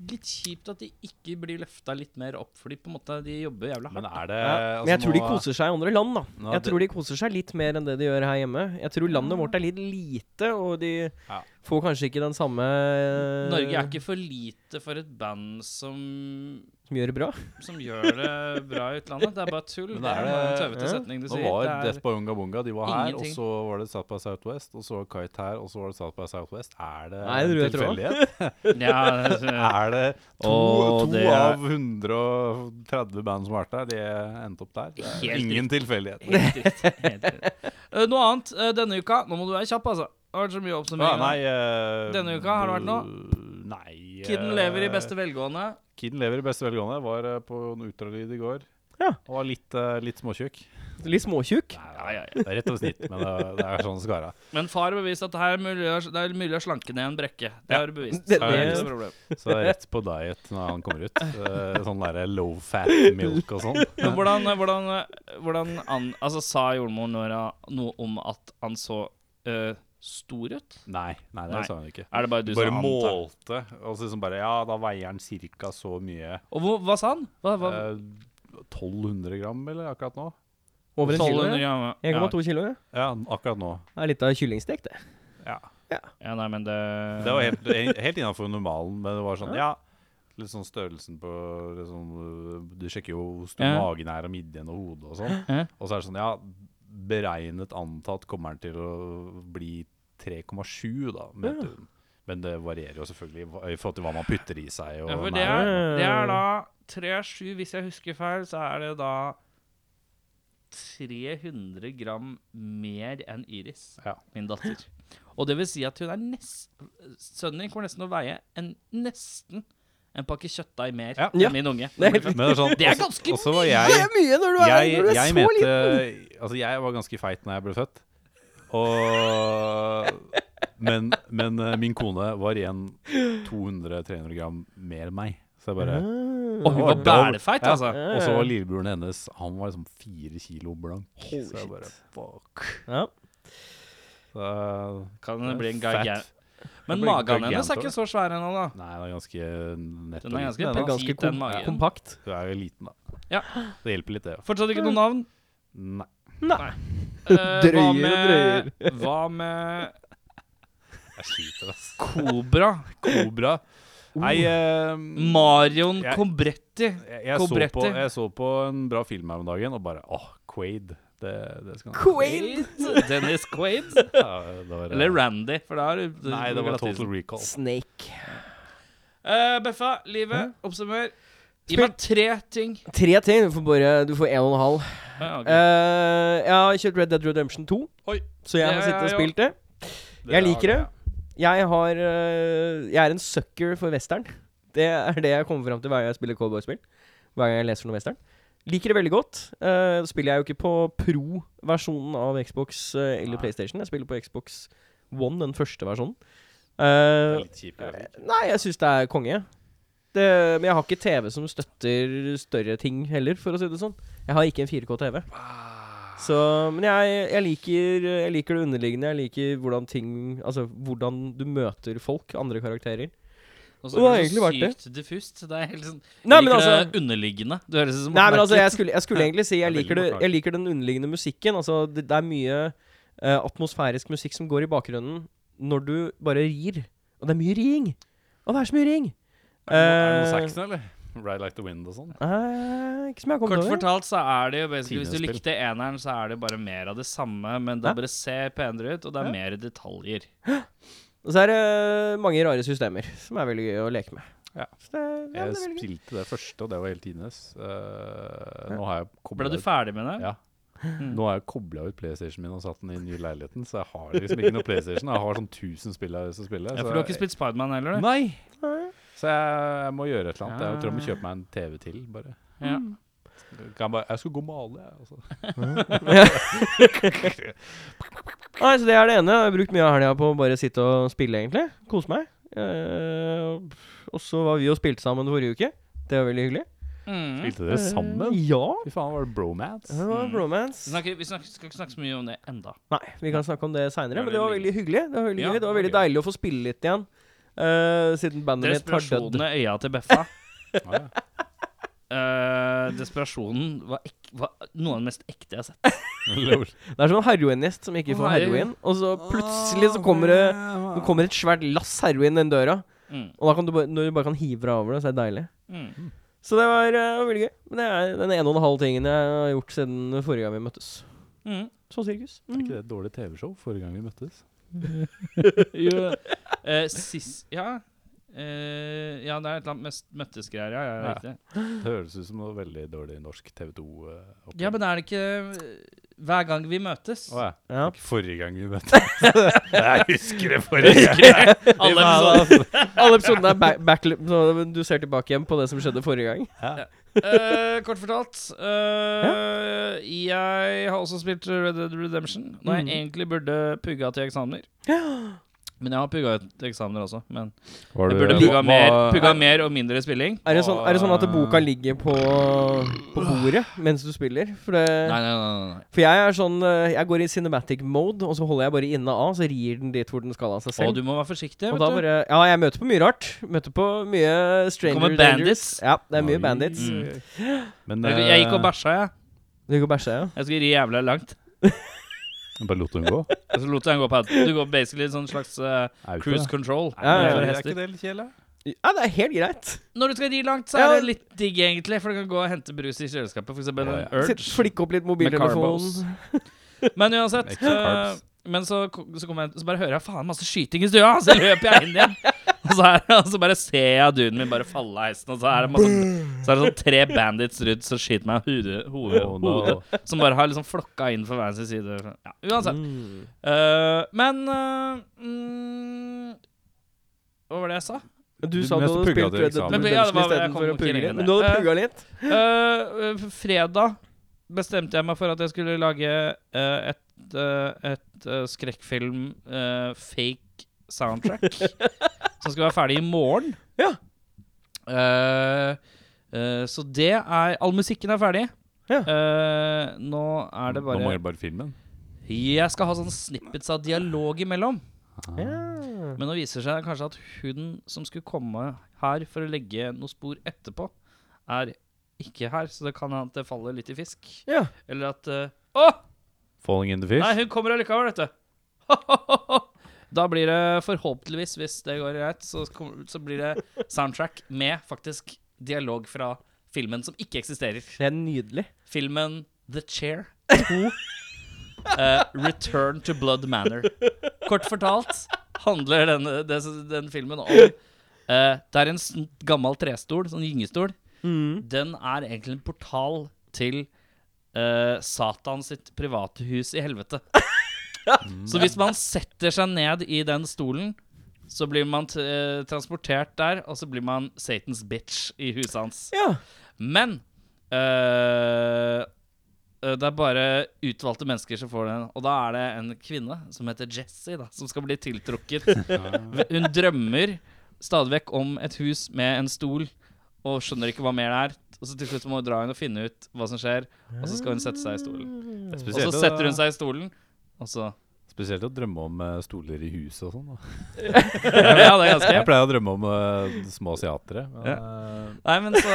[SPEAKER 3] litt kjipt at de ikke blir løfta litt mer opp, fordi på en måte de jobber jævla
[SPEAKER 2] Men
[SPEAKER 3] hardt.
[SPEAKER 2] er det altså,
[SPEAKER 4] Men jeg tror de koser seg i andre land, da.
[SPEAKER 2] Eh, Nå,
[SPEAKER 4] Jeg
[SPEAKER 2] det-
[SPEAKER 4] tror de koser seg litt mer enn det de gjør her hjemme. Jeg tror landet vårt er litt lite, og de
[SPEAKER 2] Ja.
[SPEAKER 4] får kanskje ikke den samme eh,
[SPEAKER 3] Norge
[SPEAKER 2] eh,
[SPEAKER 3] er ikke for lite for et band som,
[SPEAKER 4] Som gjør det bra.
[SPEAKER 3] som gjør det bra i utlandet. Det er bare tull.
[SPEAKER 2] Men er
[SPEAKER 3] Det er
[SPEAKER 2] det-
[SPEAKER 3] bare en tøvete
[SPEAKER 4] ja.
[SPEAKER 3] setning du
[SPEAKER 2] Nå
[SPEAKER 3] sier.
[SPEAKER 2] var
[SPEAKER 3] Det er-
[SPEAKER 2] Death by Unga Bunga, de var her, og
[SPEAKER 3] Ingenting.
[SPEAKER 2] så var det South by Southwest, og så var Kite her, og så var det South by Southwest. Er det
[SPEAKER 4] Nei, det
[SPEAKER 2] en
[SPEAKER 4] tror jeg tror.
[SPEAKER 2] tilfeldighet?
[SPEAKER 3] Ja,
[SPEAKER 2] Er det to,
[SPEAKER 3] Åh,
[SPEAKER 2] to
[SPEAKER 3] det er-
[SPEAKER 2] av 130 band som har vært der, de endte opp der? Det
[SPEAKER 3] Helt
[SPEAKER 2] er ingen tilfeldighet.
[SPEAKER 3] Helt riktig. Helt riktig. Eh, Noe annet eh, denne uka Nå må du være kjapp, altså. Det har vært så mye
[SPEAKER 2] Ja,
[SPEAKER 3] oppsummering.
[SPEAKER 2] nei,
[SPEAKER 3] nå.
[SPEAKER 2] eh,
[SPEAKER 3] Denne uka har det vært
[SPEAKER 2] Nei eh,
[SPEAKER 3] Kidden lever i beste velgående.
[SPEAKER 2] Kidden lever i beste velgående. Var eh, på en ultralyd i går.
[SPEAKER 4] Ja.
[SPEAKER 2] Og var litt, eh, litt småtjukk.
[SPEAKER 4] Litt småtjukk.
[SPEAKER 3] Ja, ja, ja.
[SPEAKER 2] Det er Rett over snitt, men det er, det er sånn skara.
[SPEAKER 3] Men far har bevist at det her er mulig, å- det er mulig å slanke ned en brekke. Det
[SPEAKER 2] Ja.
[SPEAKER 3] har du bevist.
[SPEAKER 4] Det-
[SPEAKER 3] Så er det
[SPEAKER 2] det-
[SPEAKER 3] ikke noe problem.
[SPEAKER 2] Så rett på diet når han kommer ut. Eh, Sånn derre low fat milk og sånn.
[SPEAKER 3] Men hvordan, eh, hvordan, hvordan an, altså, sa jordmoren Nora noe om at han så eh, stor ut?
[SPEAKER 2] Nei, nei, det
[SPEAKER 3] Nei.
[SPEAKER 2] sa hun ikke.
[SPEAKER 3] Er det bare du
[SPEAKER 2] Bare
[SPEAKER 3] som antar?
[SPEAKER 2] målte, og så liksom bare Ja, da veier han cirka så mye.
[SPEAKER 3] Og hvor, hva sa han? Hva, hva,
[SPEAKER 2] Eh, 1200 gram, eller akkurat nå?
[SPEAKER 4] Over en kilo.
[SPEAKER 3] 1200
[SPEAKER 4] ja.
[SPEAKER 3] gram?
[SPEAKER 4] 1,2 kilo. ja.
[SPEAKER 2] Ja, akkurat nå.
[SPEAKER 4] Det er litt av kyllingstek, det.
[SPEAKER 2] Ja.
[SPEAKER 3] Ja, nei, men det
[SPEAKER 2] Det var helt, helt innafor normalen, men det var sånn Ja. Litt sånn størrelsen på litt sånn, Du sjekker jo hvor stor
[SPEAKER 3] Ja.
[SPEAKER 2] magen er, og midjen og hodet og sånn.
[SPEAKER 3] Ja.
[SPEAKER 2] Og så er det sånn, ja Beregnet antatt kommer den til å bli 3,7, da, mente hun. Men det varierer jo selvfølgelig i hva- i forhold til hva man putter i seg. Og
[SPEAKER 3] Ja, for det
[SPEAKER 2] næring.
[SPEAKER 3] er, det er da 3-7, hvis jeg husker feil, så er det da 300 gram mer enn Iris,
[SPEAKER 2] Ja.
[SPEAKER 3] min datter. Og det vil si at hun er nesten Sønnen din kommer nesten å veie en, nesten en pakke kjøttdeig mer
[SPEAKER 2] Ja.
[SPEAKER 3] enn
[SPEAKER 4] Ja.
[SPEAKER 3] min unge.
[SPEAKER 4] Det er helt-
[SPEAKER 2] Men det er, sånn,
[SPEAKER 3] Det er
[SPEAKER 2] også-
[SPEAKER 3] ganske
[SPEAKER 2] også var
[SPEAKER 4] Det
[SPEAKER 2] jeg,
[SPEAKER 4] er mye når du er,
[SPEAKER 2] jeg,
[SPEAKER 4] når du er
[SPEAKER 2] jeg
[SPEAKER 4] så
[SPEAKER 2] mente,
[SPEAKER 4] liten!
[SPEAKER 2] Altså, jeg var ganske feit når jeg ble født. Og, men, men eh, min kone var igjen 200-300 gram mer enn meg. Så jeg bare
[SPEAKER 3] Og hun var bælefeit,
[SPEAKER 2] ja.
[SPEAKER 3] altså.
[SPEAKER 4] Ah.
[SPEAKER 2] Og så var lillebroren hennes Han var liksom fire kilo blank. så jeg bare fuck.
[SPEAKER 4] Ja.
[SPEAKER 2] Så,
[SPEAKER 3] Kan det bli en
[SPEAKER 2] Fat.
[SPEAKER 3] gargan... Men
[SPEAKER 2] Det blir
[SPEAKER 3] magen hennes
[SPEAKER 2] gargantor.
[SPEAKER 3] er ikke så svær ennå, da.
[SPEAKER 2] Nei, den er ganske nett
[SPEAKER 3] Den er
[SPEAKER 2] liten,
[SPEAKER 3] ganske
[SPEAKER 2] den,
[SPEAKER 4] Det er
[SPEAKER 2] da.
[SPEAKER 4] ganske
[SPEAKER 3] Petit, den
[SPEAKER 4] kom
[SPEAKER 3] magen.
[SPEAKER 4] kompakt.
[SPEAKER 2] Du er jo liten, da.
[SPEAKER 3] Ja.
[SPEAKER 2] Det hjelper litt, det. Ja.
[SPEAKER 3] Fortsatt ikke noe navn.
[SPEAKER 2] Nei.
[SPEAKER 3] Eh,
[SPEAKER 4] Drøyer
[SPEAKER 3] hva
[SPEAKER 4] og
[SPEAKER 3] med- Hva med
[SPEAKER 2] Jeg sliter, ass.
[SPEAKER 3] Kobra?
[SPEAKER 2] Kobra.
[SPEAKER 4] Uh.
[SPEAKER 2] Nei eh,
[SPEAKER 3] Marion
[SPEAKER 2] Jeg-
[SPEAKER 3] Cobretti.
[SPEAKER 2] jeg, jeg, så
[SPEAKER 3] Kobretti.
[SPEAKER 2] på, jeg så på en bra film her om dagen og bare åh, Quaid. Det, det skal han
[SPEAKER 4] Quail!
[SPEAKER 3] Dennis Quaid.
[SPEAKER 2] Ja, det var, eh,
[SPEAKER 3] Eller Randy, for da er du
[SPEAKER 2] Nei, det var Total Recall.
[SPEAKER 4] Snake.
[SPEAKER 3] Eh, Beffa, livet, oppsummer. Gi meg tre ting.
[SPEAKER 4] Tre ting. Du får bare Du får en og en halv.
[SPEAKER 3] Ja, ok.
[SPEAKER 4] Eh, jeg har kjøpt Red Dead Redemption 2,
[SPEAKER 2] Oi.
[SPEAKER 4] så jeg har
[SPEAKER 3] Ja,
[SPEAKER 4] sittet og
[SPEAKER 3] ja, ja.
[SPEAKER 4] spilt det. Jeg liker det. Jeg har øh, Jeg er en sucker for western. Det er det jeg kommer fram til hver gang jeg spiller cowboyspill. Hver gang jeg leser noe western. Liker det veldig godt. Eh, spiller jeg jo ikke på pro-versjonen av Xbox eh, eller
[SPEAKER 2] Nei.
[SPEAKER 4] PlayStation. Jeg spiller på Xbox One, den første versjonen. Eh,
[SPEAKER 2] Det er litt kjipt. jeg vet.
[SPEAKER 4] nei, jeg syns det er konge. jeg. Det, men jeg har ikke TV som støtter større ting heller, for å si det sånn. Jeg har ikke en 4K-TV. Så, men jeg, jeg, liker, jeg liker det underliggende. Jeg liker hvordan ting Altså hvordan du møter folk, andre karakterer.
[SPEAKER 3] Og
[SPEAKER 4] Det
[SPEAKER 3] så
[SPEAKER 4] har
[SPEAKER 3] er det
[SPEAKER 4] egentlig
[SPEAKER 3] så
[SPEAKER 4] vært det.
[SPEAKER 3] sykt diffust. Det er helt sånn
[SPEAKER 4] Nei,
[SPEAKER 3] Jeg
[SPEAKER 4] men
[SPEAKER 3] liker
[SPEAKER 4] altså
[SPEAKER 3] det underliggende. Du høres ut som
[SPEAKER 4] Nei, men altså,
[SPEAKER 3] Martin.
[SPEAKER 4] jeg skulle, jeg skulle egentlig si jeg
[SPEAKER 2] Det er
[SPEAKER 4] liker, det,
[SPEAKER 2] veldig
[SPEAKER 4] jeg liker den underliggende musikken. Altså, det, det er mye eh, atmosfærisk musikk som går i bakgrunnen når du bare rir. Og det er mye riing! Og det er så mye riing!
[SPEAKER 2] Er det noe- er det noe
[SPEAKER 4] Eh,
[SPEAKER 2] Saxon, eller? Ride Like The Wind og sånn?
[SPEAKER 4] eh, ikke som jeg har kommet
[SPEAKER 3] Kort
[SPEAKER 4] over.
[SPEAKER 3] fortalt så er det jo basically Hvis du
[SPEAKER 2] Tidenes
[SPEAKER 3] likte eneren, så er det bare mer av det samme, men det
[SPEAKER 4] Ja.
[SPEAKER 3] bare ser penere ut, og det
[SPEAKER 4] Ja.
[SPEAKER 3] er mer detaljer.
[SPEAKER 4] Og så er det eh, mange rare systemer som er veldig gøy å leke med.
[SPEAKER 2] Ja.
[SPEAKER 4] Så det, ja,
[SPEAKER 2] Jeg
[SPEAKER 4] det er veldig gøy.
[SPEAKER 2] spilte det første, og det var helt tidenes. Eh, nå har jeg
[SPEAKER 3] Ble
[SPEAKER 2] koblet
[SPEAKER 3] du ferdig med det?
[SPEAKER 2] Ja. Nå har jeg kobla ut PlayStation min og satt den i den nye leiligheten, så jeg har liksom ikke noe PlayStation. Jeg har sånn 1000 spill jeg har lyst til å spille. så
[SPEAKER 3] Ja,
[SPEAKER 4] altså,
[SPEAKER 3] for du har ikke
[SPEAKER 2] jeg-
[SPEAKER 3] spilt Spiderman heller, du?
[SPEAKER 2] Nei! Så jeg, jeg må gjøre et eller annet. Jeg tror jeg må
[SPEAKER 3] Ja.
[SPEAKER 2] kjøpe meg en TV til, bare.
[SPEAKER 3] Ja.
[SPEAKER 4] Mm.
[SPEAKER 2] Kan jeg, bare, jeg skulle gå og male, jeg. Altså.
[SPEAKER 4] Nei, så Det er det ene. Jeg har brukt mye av helga på å bare sitte og spille, egentlig. Kose meg. Eh, og så var vi og spilte sammen forrige uke. Det var veldig hyggelig.
[SPEAKER 3] Mm.
[SPEAKER 2] Spilte dere sammen?
[SPEAKER 4] Eh, ja.
[SPEAKER 2] Fy faen, var det bromance?
[SPEAKER 4] Det var
[SPEAKER 3] Mm.
[SPEAKER 4] bromance.
[SPEAKER 3] Vi, snakker, vi snakker, skal ikke snakke så mye om det enda
[SPEAKER 4] Nei, vi kan snakke om det seinere,
[SPEAKER 3] Ja,
[SPEAKER 4] men
[SPEAKER 3] det
[SPEAKER 4] det var
[SPEAKER 3] blir-
[SPEAKER 4] veldig hyggelig. Det var veldig,
[SPEAKER 3] Ja,
[SPEAKER 4] gøy. Det var
[SPEAKER 2] det
[SPEAKER 4] veldig
[SPEAKER 2] var
[SPEAKER 4] deilig å få spille litt igjen. eh, siden bandet mitt har dødd.
[SPEAKER 3] Desperasjonen i øya til Beffa.
[SPEAKER 2] Ja, ja.
[SPEAKER 3] Eh, desperasjonen var, ek var noe av det mest ekte jeg har sett.
[SPEAKER 2] Lol.
[SPEAKER 4] Det er som en heroinist som ikke
[SPEAKER 3] Å,
[SPEAKER 4] får
[SPEAKER 3] herregud.
[SPEAKER 4] heroin, og så plutselig så kommer det
[SPEAKER 3] Ah,
[SPEAKER 4] det kommer et svært lass heroin den døra.
[SPEAKER 3] Mm.
[SPEAKER 4] Og da kan du bare, når du bare kan hive deg over det, så er det deilig.
[SPEAKER 3] Mm.
[SPEAKER 4] Så det var eh, veldig gøy. Men det er den ene og en halv tingen jeg har gjort siden forrige gang vi møttes.
[SPEAKER 3] Mm.
[SPEAKER 4] Så sirkus.
[SPEAKER 2] Er ikke det et dårlig Mm. TV-show forrige gang vi møttes?
[SPEAKER 3] Jo, eh, sist Ja, Eh, ja, det er et eller annet mest møttesgreier, ja. ja, ja.
[SPEAKER 2] Ja.
[SPEAKER 3] riktig.
[SPEAKER 2] Det høres ut som noe veldig dårlig norsk TV 2.
[SPEAKER 3] ja, men er det ikke eh, hver gang vi møtes?
[SPEAKER 2] Å ja.
[SPEAKER 4] Ja.
[SPEAKER 2] Ikke Forrige gang vi møttes. Jeg husker det forrige gang.
[SPEAKER 3] Alle episoder.
[SPEAKER 4] Alle episodene alle episodene er back, back, så du ser tilbake igjen på det som skjedde forrige gang.
[SPEAKER 3] Eh, kort fortalt. eh, Jeg har også spilt Red Dead Redemption. Når jeg
[SPEAKER 4] Mhm.
[SPEAKER 3] egentlig burde pugga til eksamener. Men jeg har pugga til eksamener også. Men
[SPEAKER 2] Var
[SPEAKER 3] jeg burde pugga mer, pugga mer og mindre spilling.
[SPEAKER 4] Er det, sånn, er det sånn at boka ligger på, på bordet mens du spiller? For,
[SPEAKER 3] Nei,
[SPEAKER 4] det,
[SPEAKER 3] nei, nei. nei, nei.
[SPEAKER 4] for jeg er sånn eh, Jeg går i cinematic mode, og så holder jeg bare inne av, så rir den dit hvor den skal av seg
[SPEAKER 3] Og
[SPEAKER 4] selv.
[SPEAKER 3] du må være forsiktig.
[SPEAKER 4] Og
[SPEAKER 3] Vet
[SPEAKER 4] da
[SPEAKER 3] du.
[SPEAKER 4] bare Ja, jeg møter på mye rart. Møter på mye stranger
[SPEAKER 3] Kommer bandits.
[SPEAKER 4] dangers. Ja, det er mye bandits.
[SPEAKER 2] Men
[SPEAKER 3] Jeg,
[SPEAKER 2] eh,
[SPEAKER 3] Mm. jeg gikk og bæsja, jeg.
[SPEAKER 4] Du går og bæsjer, ja?
[SPEAKER 3] Jeg skulle ri jævla langt.
[SPEAKER 2] Bare lot hun gå?
[SPEAKER 3] Og så lot jeg den gå på head. Du går basically en sånn slags eh,
[SPEAKER 2] Er vi på
[SPEAKER 3] cruise
[SPEAKER 2] det?
[SPEAKER 3] control.
[SPEAKER 4] Ja, ja, ja.
[SPEAKER 3] for
[SPEAKER 2] Er
[SPEAKER 3] hester.
[SPEAKER 2] ikke det litt kjedelig?
[SPEAKER 4] Ja, det er helt greit.
[SPEAKER 3] Når du skal ri langt, så er
[SPEAKER 4] Ja.
[SPEAKER 3] det litt digg, egentlig. For du kan gå og hente brus i kjøleskapet, f.eks. en
[SPEAKER 2] Ja, ja.
[SPEAKER 3] Urge.
[SPEAKER 4] Sitt- Flikke opp litt
[SPEAKER 3] Med
[SPEAKER 4] mobiltelefon.
[SPEAKER 3] carbos. Men uansett
[SPEAKER 2] Extra carbs.
[SPEAKER 3] eh, Men så, ko- så, kommer jeg, så bare hører jeg faen masse skyting i stua, så løper jeg inn igjen. Og så, er, og så bare ser jeg duden min bare falle av heisen, og så er det, masse, så er det sånn tre bandits rundt som skyter meg i hodet, hodet,
[SPEAKER 2] Oh, no.
[SPEAKER 3] hodet. Som bare har liksom flokka inn for hver sin side. Ja, uansett.
[SPEAKER 4] Mm.
[SPEAKER 3] Eh, men eh, mm, Hva var det jeg sa?
[SPEAKER 4] Du
[SPEAKER 2] Du
[SPEAKER 4] sa du
[SPEAKER 2] mest
[SPEAKER 4] hadde
[SPEAKER 2] pugga
[SPEAKER 4] spilt
[SPEAKER 2] til
[SPEAKER 4] Red Dead
[SPEAKER 2] eksamen.
[SPEAKER 3] Men, ja, det
[SPEAKER 4] Redemption
[SPEAKER 3] var- jeg kom
[SPEAKER 4] istedenfor å
[SPEAKER 3] ikke lenger
[SPEAKER 4] pugge
[SPEAKER 3] ned.
[SPEAKER 4] litt. Men du hadde
[SPEAKER 3] Eh,
[SPEAKER 4] pugga litt.
[SPEAKER 3] Eh, fredag bestemte jeg meg for at jeg skulle lage eh, et, eh, et eh, skrekkfilm eh, fake soundtrack. som skal være ferdig i morgen.
[SPEAKER 4] Ja.
[SPEAKER 3] Eh, eh, så det er All musikken er ferdig.
[SPEAKER 4] Ja.
[SPEAKER 3] Eh, nå er det
[SPEAKER 2] Nå
[SPEAKER 3] bare
[SPEAKER 2] må jeg bare filmen.
[SPEAKER 3] Jeg skal ha sånne snippets av dialog imellom.
[SPEAKER 4] Ja.
[SPEAKER 3] Men nå viser det seg kanskje at hun som skulle komme her for å legge noe spor etterpå, er ikke her, så det kan hende at det faller litt i fisk.
[SPEAKER 4] Ja.
[SPEAKER 3] Eller at eh, Å!
[SPEAKER 2] Falling in the fish.
[SPEAKER 3] Nei, hun kommer allikevel, vet du. Da blir det forhåpentligvis, hvis det går greit, så, kom- så blir det soundtrack med faktisk dialog fra filmen som ikke eksisterer.
[SPEAKER 4] Det er nydelig.
[SPEAKER 3] Filmen The Chair 2 eh, Return to Blood Manor. Kort fortalt handler denne, det, den filmen om eh, Det er en sånn gammel trestol, sånn gyngestol. Den er egentlig en portal til eh, Satan sitt private hus i helvete. Så hvis man setter seg ned i den stolen, så blir man t eh, transportert der, og så blir man Satans bitch i huset hans.
[SPEAKER 4] Ja.
[SPEAKER 3] Men øh, øh, det er bare utvalgte mennesker som får den. Og da er det en kvinne som heter Jessie, da, som skal bli tiltrukket. Hun drømmer stadig vekk om et hus med en stol, og skjønner ikke hva mer det er. Og så til slutt må hun dra inn og finne ut hva som skjer, og så skal hun sette seg i stolen. Og så
[SPEAKER 2] Spesielt å-
[SPEAKER 3] setter hun seg i stolen, og så
[SPEAKER 2] Spesielt å drømme om eh, stoler i huset og sånn. da.
[SPEAKER 3] Ja, det er ganske
[SPEAKER 2] Jeg pleier å drømme om eh, små asiatere. Men,
[SPEAKER 3] Nei, men så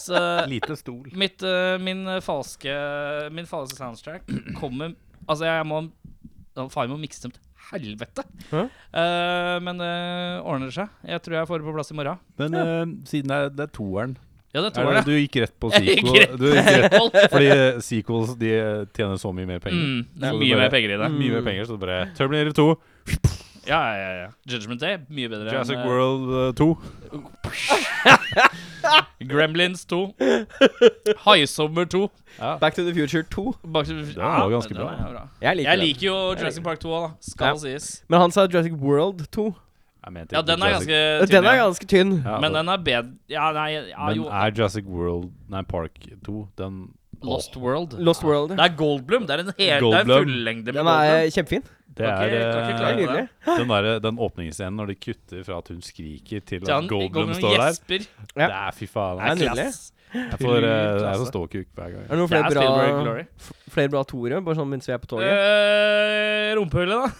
[SPEAKER 3] Så
[SPEAKER 2] eh, lite stol.
[SPEAKER 3] Mitt, eh, min, eh, falske, min falske soundtrack kommer Altså, jeg må ja, Faen, jeg må mikse dem til helvete.
[SPEAKER 4] Hæ?
[SPEAKER 3] Eh, men det ordner seg. Jeg tror jeg får det på plass i morgen.
[SPEAKER 2] Men eh, siden det er, det er toeren
[SPEAKER 3] Ja, det
[SPEAKER 2] er
[SPEAKER 3] tror
[SPEAKER 2] det,
[SPEAKER 3] jeg.
[SPEAKER 2] Du gikk rett på
[SPEAKER 3] Jeg gikk
[SPEAKER 2] sequel.
[SPEAKER 3] rett-
[SPEAKER 2] Du gikk rett,
[SPEAKER 3] Hold-
[SPEAKER 2] fordi eh, sequels de eh, tjener så mye mer penger.
[SPEAKER 3] Mm, det
[SPEAKER 2] Så du
[SPEAKER 3] er
[SPEAKER 2] bare- Mm.
[SPEAKER 3] mye mer penger i det.
[SPEAKER 2] Mye mer penger, så det bare Terminator 2,
[SPEAKER 3] Ja, ja, ja, ja. Judgment Day, mye bedre
[SPEAKER 2] Jurassic
[SPEAKER 3] enn eh,
[SPEAKER 2] World eh, 2.
[SPEAKER 3] Gremlins 2. Highsummer 2.
[SPEAKER 4] Back to the Future 2.
[SPEAKER 3] Bak til-
[SPEAKER 2] Den var ganske
[SPEAKER 3] den
[SPEAKER 2] bra.
[SPEAKER 3] er bra.
[SPEAKER 4] Jeg liker
[SPEAKER 3] Jeg
[SPEAKER 4] den.
[SPEAKER 3] liker jo Jurassic Park 2 òg, da. Skal sies.
[SPEAKER 4] Men han sa Jurassic World 2.
[SPEAKER 2] Jeg mente
[SPEAKER 3] Ja,
[SPEAKER 2] ikke
[SPEAKER 3] den er
[SPEAKER 2] Jurassic-
[SPEAKER 3] ganske
[SPEAKER 4] Den er
[SPEAKER 3] tydelig.
[SPEAKER 4] ganske tynn.
[SPEAKER 2] Ja,
[SPEAKER 3] Men
[SPEAKER 2] og-
[SPEAKER 3] den er bedre Ja, nei, ja,
[SPEAKER 2] men
[SPEAKER 3] jo.
[SPEAKER 2] er Jurassic World Nei, Park 2 Den
[SPEAKER 3] Lost World.
[SPEAKER 4] Lost World.
[SPEAKER 3] Det er Goldblum. Det er en, hel, det er en
[SPEAKER 2] Goldblum.
[SPEAKER 3] fullengde med
[SPEAKER 4] Den er
[SPEAKER 3] Goldblum.
[SPEAKER 4] kjempefin.
[SPEAKER 2] Det
[SPEAKER 3] Ok,
[SPEAKER 2] er
[SPEAKER 3] kan ikke
[SPEAKER 2] eh,
[SPEAKER 4] Det er
[SPEAKER 3] klare
[SPEAKER 4] nydelig.
[SPEAKER 2] den, der, den åpningsscenen når de kutter fra at hun skriker til
[SPEAKER 3] Til
[SPEAKER 2] at
[SPEAKER 3] han
[SPEAKER 2] Goldblum
[SPEAKER 3] Goldblum
[SPEAKER 2] står der.
[SPEAKER 3] gjesper.
[SPEAKER 4] Ja.
[SPEAKER 2] Det er fy faen.
[SPEAKER 4] Det er
[SPEAKER 2] Jeg,
[SPEAKER 4] nydelig.
[SPEAKER 2] jeg får, eh, jeg
[SPEAKER 3] klasse.
[SPEAKER 2] får ståkuk hver gang.
[SPEAKER 4] Er det noen
[SPEAKER 3] Det
[SPEAKER 4] flere
[SPEAKER 3] er Spielberg
[SPEAKER 4] bra,
[SPEAKER 3] Glory. Eh.
[SPEAKER 4] flere bra toere, bare sånn mens vi er på toget?
[SPEAKER 3] Uh, Rumpehullet, da.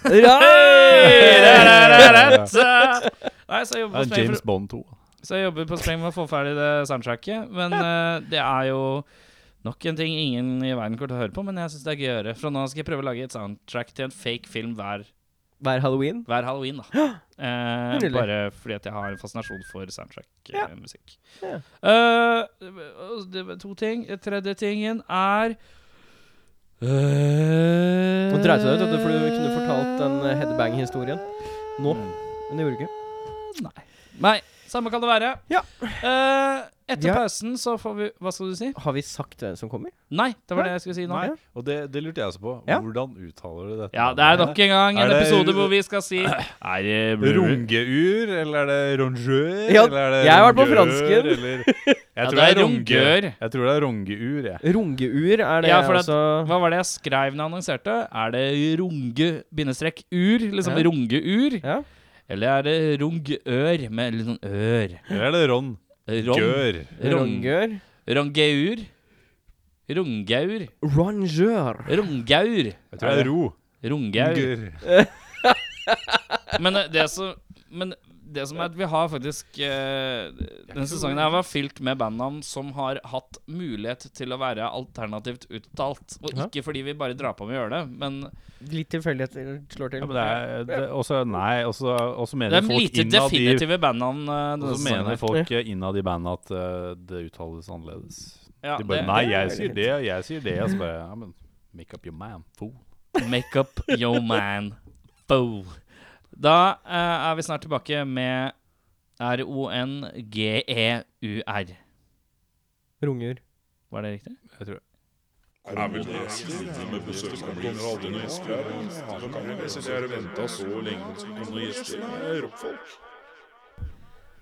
[SPEAKER 4] Right!
[SPEAKER 3] Nei, så jeg jobber
[SPEAKER 2] Det er
[SPEAKER 3] på spreng
[SPEAKER 2] James
[SPEAKER 3] for,
[SPEAKER 2] Bond 2.
[SPEAKER 3] så jeg jobber på spreng med å få ferdig det soundtracket. Men eh, det er jo nok en ting ingen i verden kommer til å høre på, men jeg syns det er gøy å gjøre. Fra nå av skal jeg prøve å lage et soundtrack til en fake film hver,
[SPEAKER 4] Hver halloween.
[SPEAKER 3] hver halloween, da. Eh,
[SPEAKER 4] Nydelig.
[SPEAKER 3] bare fordi at jeg har en fascinasjon for
[SPEAKER 4] Ja.
[SPEAKER 3] soundtrack-musikk.
[SPEAKER 4] Ja.
[SPEAKER 3] Eh, og det var to ting. Eh, Tredje tingen er Mm.
[SPEAKER 4] Nå dreit du deg ut, vet du, for du kunne fortalt den eh, headbang-historien. Nå. Men det gjorde du ikke.
[SPEAKER 3] Nei. Nei. Samme kan det være.
[SPEAKER 4] Ja.
[SPEAKER 3] Eh, etter
[SPEAKER 4] Ja.
[SPEAKER 3] pausen så får vi Hva skal du si?
[SPEAKER 4] Har vi sagt hvem som kommer?
[SPEAKER 3] Nei, det var
[SPEAKER 4] Nei.
[SPEAKER 3] det jeg skulle si nå.
[SPEAKER 2] Nei, og det, det lurte jeg også på.
[SPEAKER 4] Ja.
[SPEAKER 2] Hvordan uttaler du dette?
[SPEAKER 3] Ja, det er nok en gang
[SPEAKER 2] Er
[SPEAKER 3] en
[SPEAKER 2] det-
[SPEAKER 3] episode hvor vi skal si Er det
[SPEAKER 2] Rungeur, eller er det rongeur?
[SPEAKER 4] Ja,
[SPEAKER 2] eller er det
[SPEAKER 4] jeg har vært på
[SPEAKER 2] rongeur,
[SPEAKER 4] fransken.
[SPEAKER 2] Eller... Jeg
[SPEAKER 3] Ja,
[SPEAKER 2] tror
[SPEAKER 3] det
[SPEAKER 2] det
[SPEAKER 3] er
[SPEAKER 2] er rongeur.
[SPEAKER 3] rongeur.
[SPEAKER 2] Jeg tror det er rongeur, jeg.
[SPEAKER 4] Rungeur er det
[SPEAKER 3] Ja, for at-
[SPEAKER 4] altså
[SPEAKER 3] Hva var det jeg skrev når jeg annonserte? Er det runge-ur? Liksom
[SPEAKER 4] Ja.
[SPEAKER 3] rungeur?
[SPEAKER 4] Ja.
[SPEAKER 3] Eller er det rungør med litt sånn ør?
[SPEAKER 2] Eller er det ron? Gør.
[SPEAKER 3] Ron, rong,
[SPEAKER 4] Rongeur.
[SPEAKER 3] rongeur? Rungaur?
[SPEAKER 4] Rongeur.
[SPEAKER 3] Rungaur?
[SPEAKER 2] Jeg tror det er ro.
[SPEAKER 3] Rungaur.
[SPEAKER 2] Rongeur.
[SPEAKER 3] Men eh, det som, men det som er at vi har faktisk eh, Denne sesongen her var fylt med bandnavn som har hatt mulighet til å være alternativt uttalt. Og
[SPEAKER 4] Ja.
[SPEAKER 3] ikke fordi vi bare drar på med å gjøre det, men
[SPEAKER 4] Litt tilfeldigheter slår til.
[SPEAKER 2] Ja, men det er det, også, Nei, også, også
[SPEAKER 3] det
[SPEAKER 2] mener
[SPEAKER 3] er
[SPEAKER 2] folk
[SPEAKER 3] lite
[SPEAKER 2] innad i
[SPEAKER 3] definitive bandnavn. eh, denne
[SPEAKER 2] Og så
[SPEAKER 3] sesongen her.
[SPEAKER 2] mener folk eh, innad i bandet at eh, det uttales annerledes.
[SPEAKER 3] Ja,
[SPEAKER 2] De bare
[SPEAKER 3] det-
[SPEAKER 2] Nei,
[SPEAKER 4] det er
[SPEAKER 2] jeg
[SPEAKER 4] veldig
[SPEAKER 2] sier det, og jeg sier det. Og så bare ja, men Make up your man, fool.
[SPEAKER 3] Make up yo man. Bo. Da eh, er vi snart tilbake med R-O-N-G-E-U-R.
[SPEAKER 4] Runger.
[SPEAKER 3] E Var det riktig?
[SPEAKER 2] Jeg tror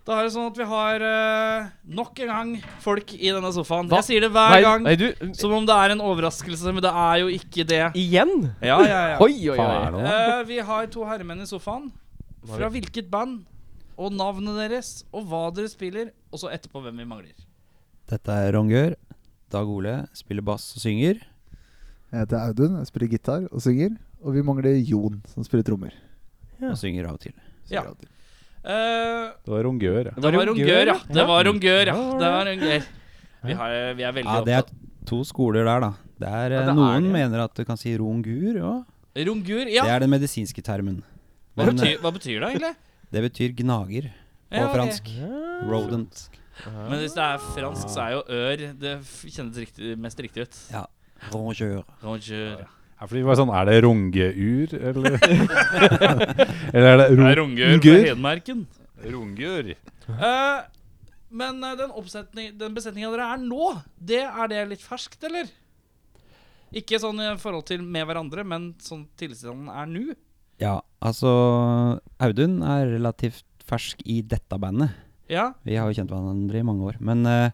[SPEAKER 3] Da er det sånn at vi har eh, nok en gang folk i denne sofaen.
[SPEAKER 4] Hva?
[SPEAKER 3] Jeg sier det hver gang
[SPEAKER 4] Nei, du
[SPEAKER 3] som om det er en overraskelse, men det er jo ikke det.
[SPEAKER 4] Igjen?
[SPEAKER 3] Ja, ja, ja.
[SPEAKER 4] Oi, oi,
[SPEAKER 2] Hva er
[SPEAKER 4] oi.
[SPEAKER 2] det nå?
[SPEAKER 3] Eh, vi har to herremenn i sofaen. Fra hvilket band? Og navnet deres, og hva dere spiller, og så etterpå hvem vi mangler.
[SPEAKER 5] Dette er Rongør. Dag Ole spiller bass og synger.
[SPEAKER 6] Jeg heter Audun, jeg spiller gitar og synger. Og vi mangler Jon, som spiller trommer.
[SPEAKER 5] Og synger av og til.
[SPEAKER 3] Ja. Eh,
[SPEAKER 2] Det var rongeur, ja.
[SPEAKER 3] det var rongør, ja. Det var rongør, ja.
[SPEAKER 4] Ja,
[SPEAKER 3] Det var rongør. Vi, har, eh, vi er veldig
[SPEAKER 5] Ja, det er
[SPEAKER 3] opptatt.
[SPEAKER 5] to skoler der, da. Det er,
[SPEAKER 4] Ja, det
[SPEAKER 5] eh,
[SPEAKER 4] er
[SPEAKER 5] noen
[SPEAKER 4] det.
[SPEAKER 5] mener at du kan si rongur òg.
[SPEAKER 3] Rongør, ja.
[SPEAKER 5] Det er den medisinske termen.
[SPEAKER 3] Hva
[SPEAKER 5] Men
[SPEAKER 3] betyr,
[SPEAKER 5] eh,
[SPEAKER 3] hva betyr det egentlig?
[SPEAKER 5] det betyr gnager på
[SPEAKER 3] Ja, ok.
[SPEAKER 5] fransk. Rodent.
[SPEAKER 3] Men hvis det er fransk, så er jo ør det f- kjennes riktig, mest riktig ut.
[SPEAKER 5] Ja. Rongeur.
[SPEAKER 3] Rongør.
[SPEAKER 2] Ja, fordi det var sånn Er det rongeur, eller Eller er det ro...
[SPEAKER 3] Det er rongør fra
[SPEAKER 2] Rongør?
[SPEAKER 3] Hedmarken.
[SPEAKER 2] Rongeur.
[SPEAKER 3] Eh, men eh, den, oppsetning- den besetninga dere er nå, det er det litt ferskt, eller? Ikke sånn i forhold til med hverandre, men sånn tilstanden er nå.
[SPEAKER 5] Ja, altså Audun er relativt fersk i dette bandet.
[SPEAKER 3] Ja.
[SPEAKER 5] Vi har jo kjent hverandre i mange år. Men eh,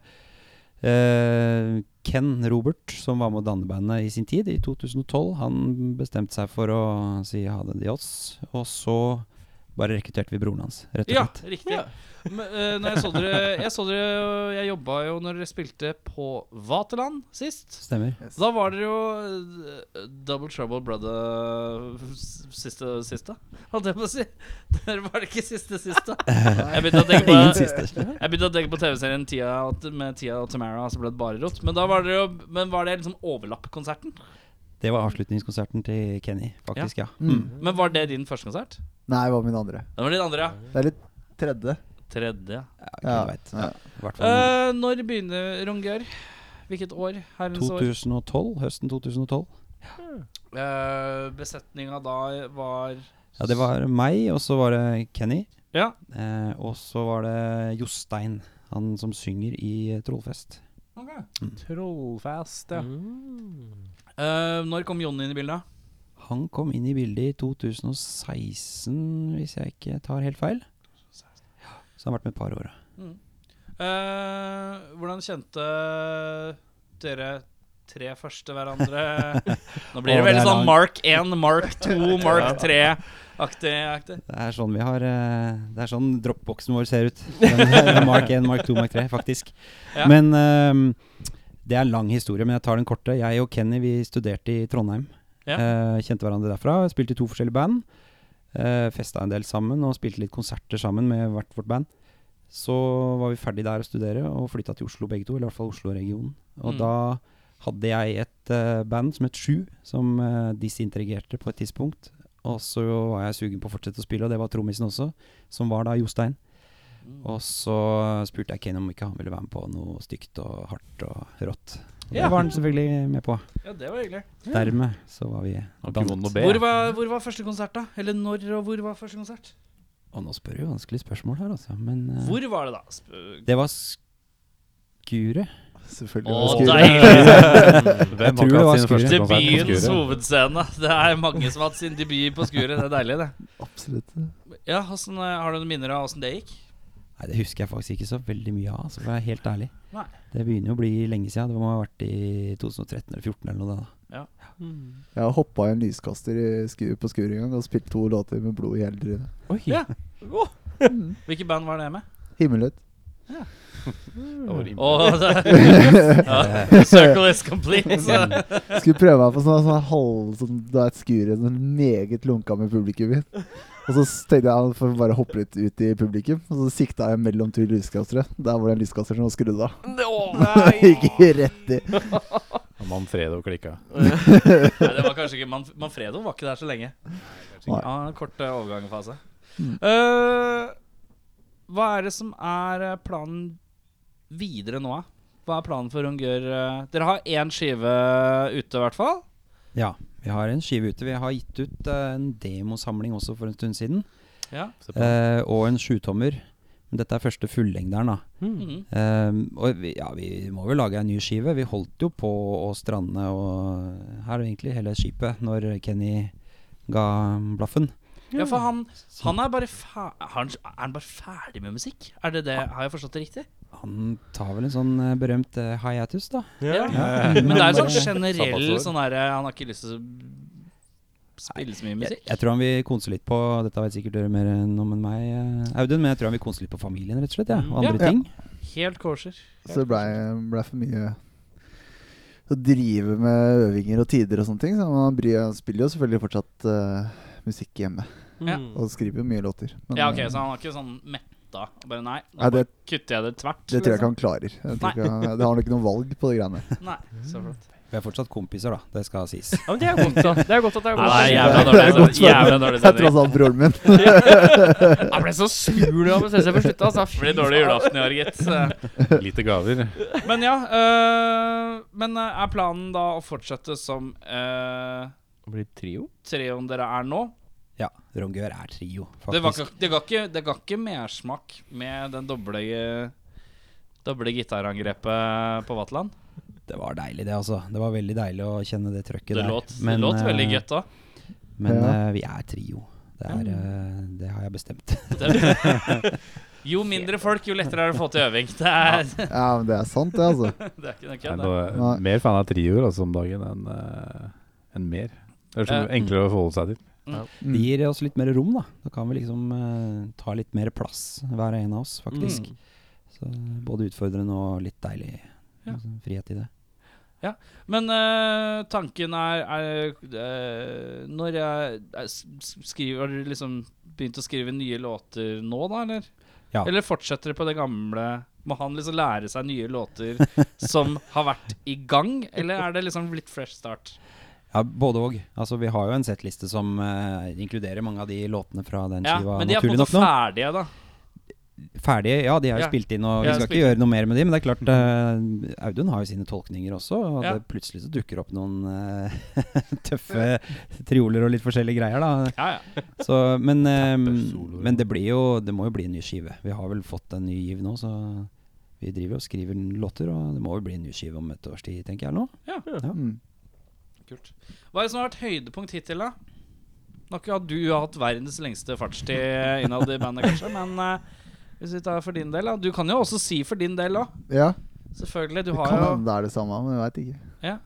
[SPEAKER 5] eh, Ken Robert, som var med å danne bandet i sin tid, i 2012, han bestemte seg for å si ha det til oss. Og så bare rekrutterte vi broren hans, rett og
[SPEAKER 3] ja,
[SPEAKER 5] slett.
[SPEAKER 3] riktig. Men, eh, når jeg så dere Jeg så dere jo- Jeg jobba jo når dere spilte på Vaterland sist.
[SPEAKER 5] Stemmer.
[SPEAKER 3] Da var dere jo eh, Double Trouble Brother s- siste siste, holdt jeg på å si. Dere var det ikke siste siste. Jeg begynte å tenke på
[SPEAKER 5] Ingen siste.
[SPEAKER 3] Jeg begynte å tenke på TV-serien Tia og- med Tia og Tamara, så ble det bare rått. Men, da var det jo, men var det liksom overlappkonserten?
[SPEAKER 5] Det var avslutningskonserten til Kenny, faktisk, ja.
[SPEAKER 6] Mm.
[SPEAKER 3] Men var det din første konsert?
[SPEAKER 6] Nei, hva med min andre?
[SPEAKER 3] Det var din andre, ja.
[SPEAKER 6] Det er litt tredje.
[SPEAKER 3] Tredje.
[SPEAKER 5] Ja, Gud vet.
[SPEAKER 6] ja.
[SPEAKER 5] I hvert fall
[SPEAKER 3] Eh, når begynner Rongør? Hvilket år? Herrens år?
[SPEAKER 5] 2012, høsten 2012.
[SPEAKER 3] Eh, besetninga da var
[SPEAKER 5] Ja, det var meg, og så var det Kenny.
[SPEAKER 3] Ja.
[SPEAKER 5] Eh, og så var det Jostein, han som synger i eh, Trollfest.
[SPEAKER 2] Trollfast, ja.
[SPEAKER 4] Mm.
[SPEAKER 3] Eh, når kom Jon inn i bildet?
[SPEAKER 5] Han kom inn i bildet i 2016, hvis jeg ikke tar helt feil. Ja, så han har vært med et par år.
[SPEAKER 3] Eh, hvordan kjente dere tre første hverandre? Nå blir det
[SPEAKER 5] Å, det
[SPEAKER 3] veldig
[SPEAKER 5] er
[SPEAKER 3] sånn
[SPEAKER 5] langt.
[SPEAKER 3] Mark 1, Mark 2, Mark 3-aktig.
[SPEAKER 5] Det er sånn vi har eh, Det er sånn dropboxen vår ser ut. Den er mark 1, Mark 2, Mark 3, faktisk.
[SPEAKER 3] Ja.
[SPEAKER 5] Men ehm, det er en lang historie, men jeg tar den korte. Jeg og Kenny vi studerte i Trondheim.
[SPEAKER 3] Ja.
[SPEAKER 5] Eh, kjente hverandre derfra. Spilte i to forskjellige band. Uh, festa en del sammen og spilte litt konserter sammen med hvert vårt band. Så var vi ferdig der å studere og flytta til Oslo begge to, eller i hvert fall Oslo-regionen. Og
[SPEAKER 3] Mm.
[SPEAKER 5] da hadde jeg et eh, band som het Sju, som eh, disintegrerte på et tidspunkt. Og så var jeg sugen på å fortsette å spille, og det var trommisen også, som var da Jostein.
[SPEAKER 3] Mm.
[SPEAKER 5] Og så spurte jeg Kane om ikke han ville være med på noe stygt og hardt og rått. Og
[SPEAKER 3] Ja.
[SPEAKER 5] Det var han selvfølgelig med på.
[SPEAKER 3] Ja, det var hyggelig.
[SPEAKER 5] Dermed så var vi
[SPEAKER 2] Har ikke
[SPEAKER 5] dannet.
[SPEAKER 2] vondt å be.
[SPEAKER 3] Hvor var, hvor var første konsert, da? Eller når og hvor var første konsert?
[SPEAKER 5] Og nå spør du vanskelige spørsmål her, altså. Men eh,
[SPEAKER 3] Hvor var det, da? Sp-
[SPEAKER 5] Det var Skuret.
[SPEAKER 6] Selvfølgelig.
[SPEAKER 3] Å,
[SPEAKER 6] var det Skure.
[SPEAKER 3] deilig!
[SPEAKER 2] Hvem
[SPEAKER 5] tror det
[SPEAKER 2] har
[SPEAKER 5] var
[SPEAKER 2] ikke hatt sin første
[SPEAKER 5] Skuret.
[SPEAKER 2] konsert på
[SPEAKER 3] Debutens
[SPEAKER 2] Skuret?
[SPEAKER 3] hovedscene. Det er mange som har hatt sin debut på Skuret. Det er deilig, det.
[SPEAKER 6] Absolutt.
[SPEAKER 3] Ja, hvordan, eh, Har du noen minner av åssen det gikk?
[SPEAKER 5] Nei, det husker jeg faktisk ikke så veldig mye av, altså, for å være helt ærlig.
[SPEAKER 3] Nei.
[SPEAKER 5] Det begynner jo å bli lenge siden. Det må ha vært i 2013 eller 2014 eller noe. da.
[SPEAKER 6] Jeg har hoppa i en lyskaster i sku, på skuret en gang og spilt to låter med blod i hele trynet. Mm.
[SPEAKER 4] Oi.
[SPEAKER 3] Ja.
[SPEAKER 4] Åh.
[SPEAKER 3] Hvilket band var det med?
[SPEAKER 6] Himmelhøyt.
[SPEAKER 3] Å, det- ja, the circle is complete. Så.
[SPEAKER 6] Skulle prøve meg på sånn, sånn halv sånn, Da et skure sånn meget lunka med publikum. i. Og så tenkte jeg at jeg får bare hoppe litt ut i publikum, og så sikta jeg mellom to lyskastere. Der var det en lyskaster som var skrudd av.
[SPEAKER 3] Å,
[SPEAKER 6] Gikk rett i.
[SPEAKER 2] Manfredo klikka.
[SPEAKER 3] Nei, det var kanskje ikke Manf Manfredo var ikke der så lenge.
[SPEAKER 6] Nei.
[SPEAKER 3] Ja, en kort eh, overgangsfase. Eh, hva er det som er eh, planen videre nå, da? Hva er planen for Ungør? eh? Dere har én skive eh, ute, i hvert fall.
[SPEAKER 5] Ja, vi har en skive ute. Vi har gitt ut eh, en demosamling også for en stund siden.
[SPEAKER 3] Ja.
[SPEAKER 5] eh, og en sjutommer. Men dette er første fullengderen, da.
[SPEAKER 3] Mhm.
[SPEAKER 5] Ehm, og vi, ja, vi må jo lage en ny skive. Vi holdt jo på å strande og her egentlig hele skipet når Kenny ga blaffen.
[SPEAKER 3] ja, for han, han er bare fer- han, Er han bare ferdig med musikk? Er det det? Har jeg forstått det riktig?
[SPEAKER 5] Han tar vel en sånn eh, berømt eh, hiatus, da.
[SPEAKER 3] Ja. Men det er jo sånn generell sånn derre Han har ikke lyst til å spille så mye
[SPEAKER 5] Jeg,
[SPEAKER 3] musikk.
[SPEAKER 5] jeg tror han vil konse litt på Dette vet sikkert dere mer enn om enn meg, eh, Audun, men jeg tror han vil konse litt på familien, rett og slett. Ja, og
[SPEAKER 3] Ja.
[SPEAKER 5] andre
[SPEAKER 6] Ja.
[SPEAKER 5] ting.
[SPEAKER 3] Helt kosher.
[SPEAKER 6] Så det blei ble for mye å drive med øvinger og tider og sånne ting. Så man bryr, han spiller jo selvfølgelig fortsatt eh, musikk hjemme,
[SPEAKER 3] Ja.
[SPEAKER 6] og skriver jo mye låter. Men,
[SPEAKER 3] Ja, ok,
[SPEAKER 6] eh,
[SPEAKER 3] Så han var ikke sånn metta? Bare nei, nå
[SPEAKER 6] Nei, det-
[SPEAKER 3] bare kutter jeg det tvert?
[SPEAKER 6] det tror jeg ikke han klarer. Jeg tror ikke han, det har han ikke noe valg på de greiene.
[SPEAKER 3] Nei, så flott.
[SPEAKER 5] Vi er fortsatt kompiser, da. Det skal sies.
[SPEAKER 4] Ja, men det er godt, da. Det er godt at det er
[SPEAKER 3] Nei,
[SPEAKER 4] godt.
[SPEAKER 3] nei,
[SPEAKER 6] jeg-
[SPEAKER 3] jævla
[SPEAKER 6] Det er
[SPEAKER 3] dårlig,
[SPEAKER 6] godt
[SPEAKER 3] altså. jævla dårlig
[SPEAKER 6] Det er
[SPEAKER 3] sending.
[SPEAKER 6] tross alt broren min.
[SPEAKER 4] Jeg ble så sur da med CC på slutten. Altså.
[SPEAKER 3] Det blir dårlig julaften i år, gitt.
[SPEAKER 2] Lite gaver.
[SPEAKER 3] Men ja. øh, men øh, er planen da å fortsette som øh,
[SPEAKER 4] Det blir trio.
[SPEAKER 3] trioen dere er nå?
[SPEAKER 5] Ja, Rongør er trio, faktisk.
[SPEAKER 3] Det, var, ikke- det, ga ikke, det ga ikke mersmak med den doble, øh, doble gitarangrepet på Vatland?
[SPEAKER 5] Det var deilig, det, altså. Det var veldig deilig å kjenne det trøkket
[SPEAKER 3] Det
[SPEAKER 5] der.
[SPEAKER 3] låt, det låt
[SPEAKER 5] eh,
[SPEAKER 3] veldig godt da.
[SPEAKER 5] Men
[SPEAKER 6] Ja.
[SPEAKER 5] eh, vi er trio. Det, er, eh, det har jeg bestemt.
[SPEAKER 3] Det- Jo mindre folk, jo lettere er det å få til øving. Det er,
[SPEAKER 6] Ja, men det er sant, det, altså.
[SPEAKER 3] det er ikke noe
[SPEAKER 2] Jeg er
[SPEAKER 3] kødd. det.
[SPEAKER 2] noe,
[SPEAKER 6] Nei.
[SPEAKER 2] mer fan av trioer altså, om dagen enn eh, enn mer. Det er så
[SPEAKER 3] Ja.
[SPEAKER 2] enklere å forholde seg til.
[SPEAKER 6] Mm.
[SPEAKER 5] Det gir oss litt mer rom, da. Da kan vi liksom eh, ta litt mer plass, hver en av oss,
[SPEAKER 4] Mm.
[SPEAKER 5] faktisk. Så både utfordrende og litt deilig
[SPEAKER 3] Mm. Ja.
[SPEAKER 5] altså, frihet i det.
[SPEAKER 3] Men øh, tanken er, er øh, Når jeg er s- s- skriver Har du liksom begynt å skrive nye låter nå, da, eller?
[SPEAKER 5] Ja.
[SPEAKER 3] Eller fortsetter det på det gamle? Må han liksom lære seg nye låter som har vært i gang, eller er det liksom litt fresh start?
[SPEAKER 5] Ja, både òg. Altså, vi har jo en settliste som eh, inkluderer mange av de låtene fra den
[SPEAKER 3] Ja,
[SPEAKER 5] skiva,
[SPEAKER 3] men de er på en
[SPEAKER 5] naturlig
[SPEAKER 3] måte
[SPEAKER 5] nok. nå
[SPEAKER 3] ferdige, da.
[SPEAKER 5] Ferdige, ja, de er jo
[SPEAKER 3] Ja.
[SPEAKER 5] spilt inn, og
[SPEAKER 3] Ja,
[SPEAKER 5] vi skal
[SPEAKER 3] spilt
[SPEAKER 5] ikke gjøre noe mer med de. Men det er klart, eh, Audun har jo sine tolkninger også, og
[SPEAKER 3] Ja.
[SPEAKER 5] det plutselig så dukker opp noen eh, tøffe trioler og litt forskjellige greier, da.
[SPEAKER 3] Ja, ja.
[SPEAKER 5] Så, men, eh,
[SPEAKER 2] Tappesoloer.
[SPEAKER 5] men det blir jo Det må jo bli en ny skive. Vi har vel fått en ny giv nå, så vi driver og skriver låter, og det må vel bli en ny skive om et års tid, tenker jeg nå.
[SPEAKER 6] Mm.
[SPEAKER 3] Kult. Hva er det som har vært høydepunkt hittil, da? Nå har ikke du hatt verdens lengste fartstid innad i bandet, kanskje, men eh, hvis vi tar for din del, da. Du kan jo også si for din del òg.
[SPEAKER 6] Ja,
[SPEAKER 3] Selvfølgelig. Du
[SPEAKER 6] det
[SPEAKER 3] har
[SPEAKER 6] kan
[SPEAKER 3] jo
[SPEAKER 6] hende det er det samme, men jeg veit ikke.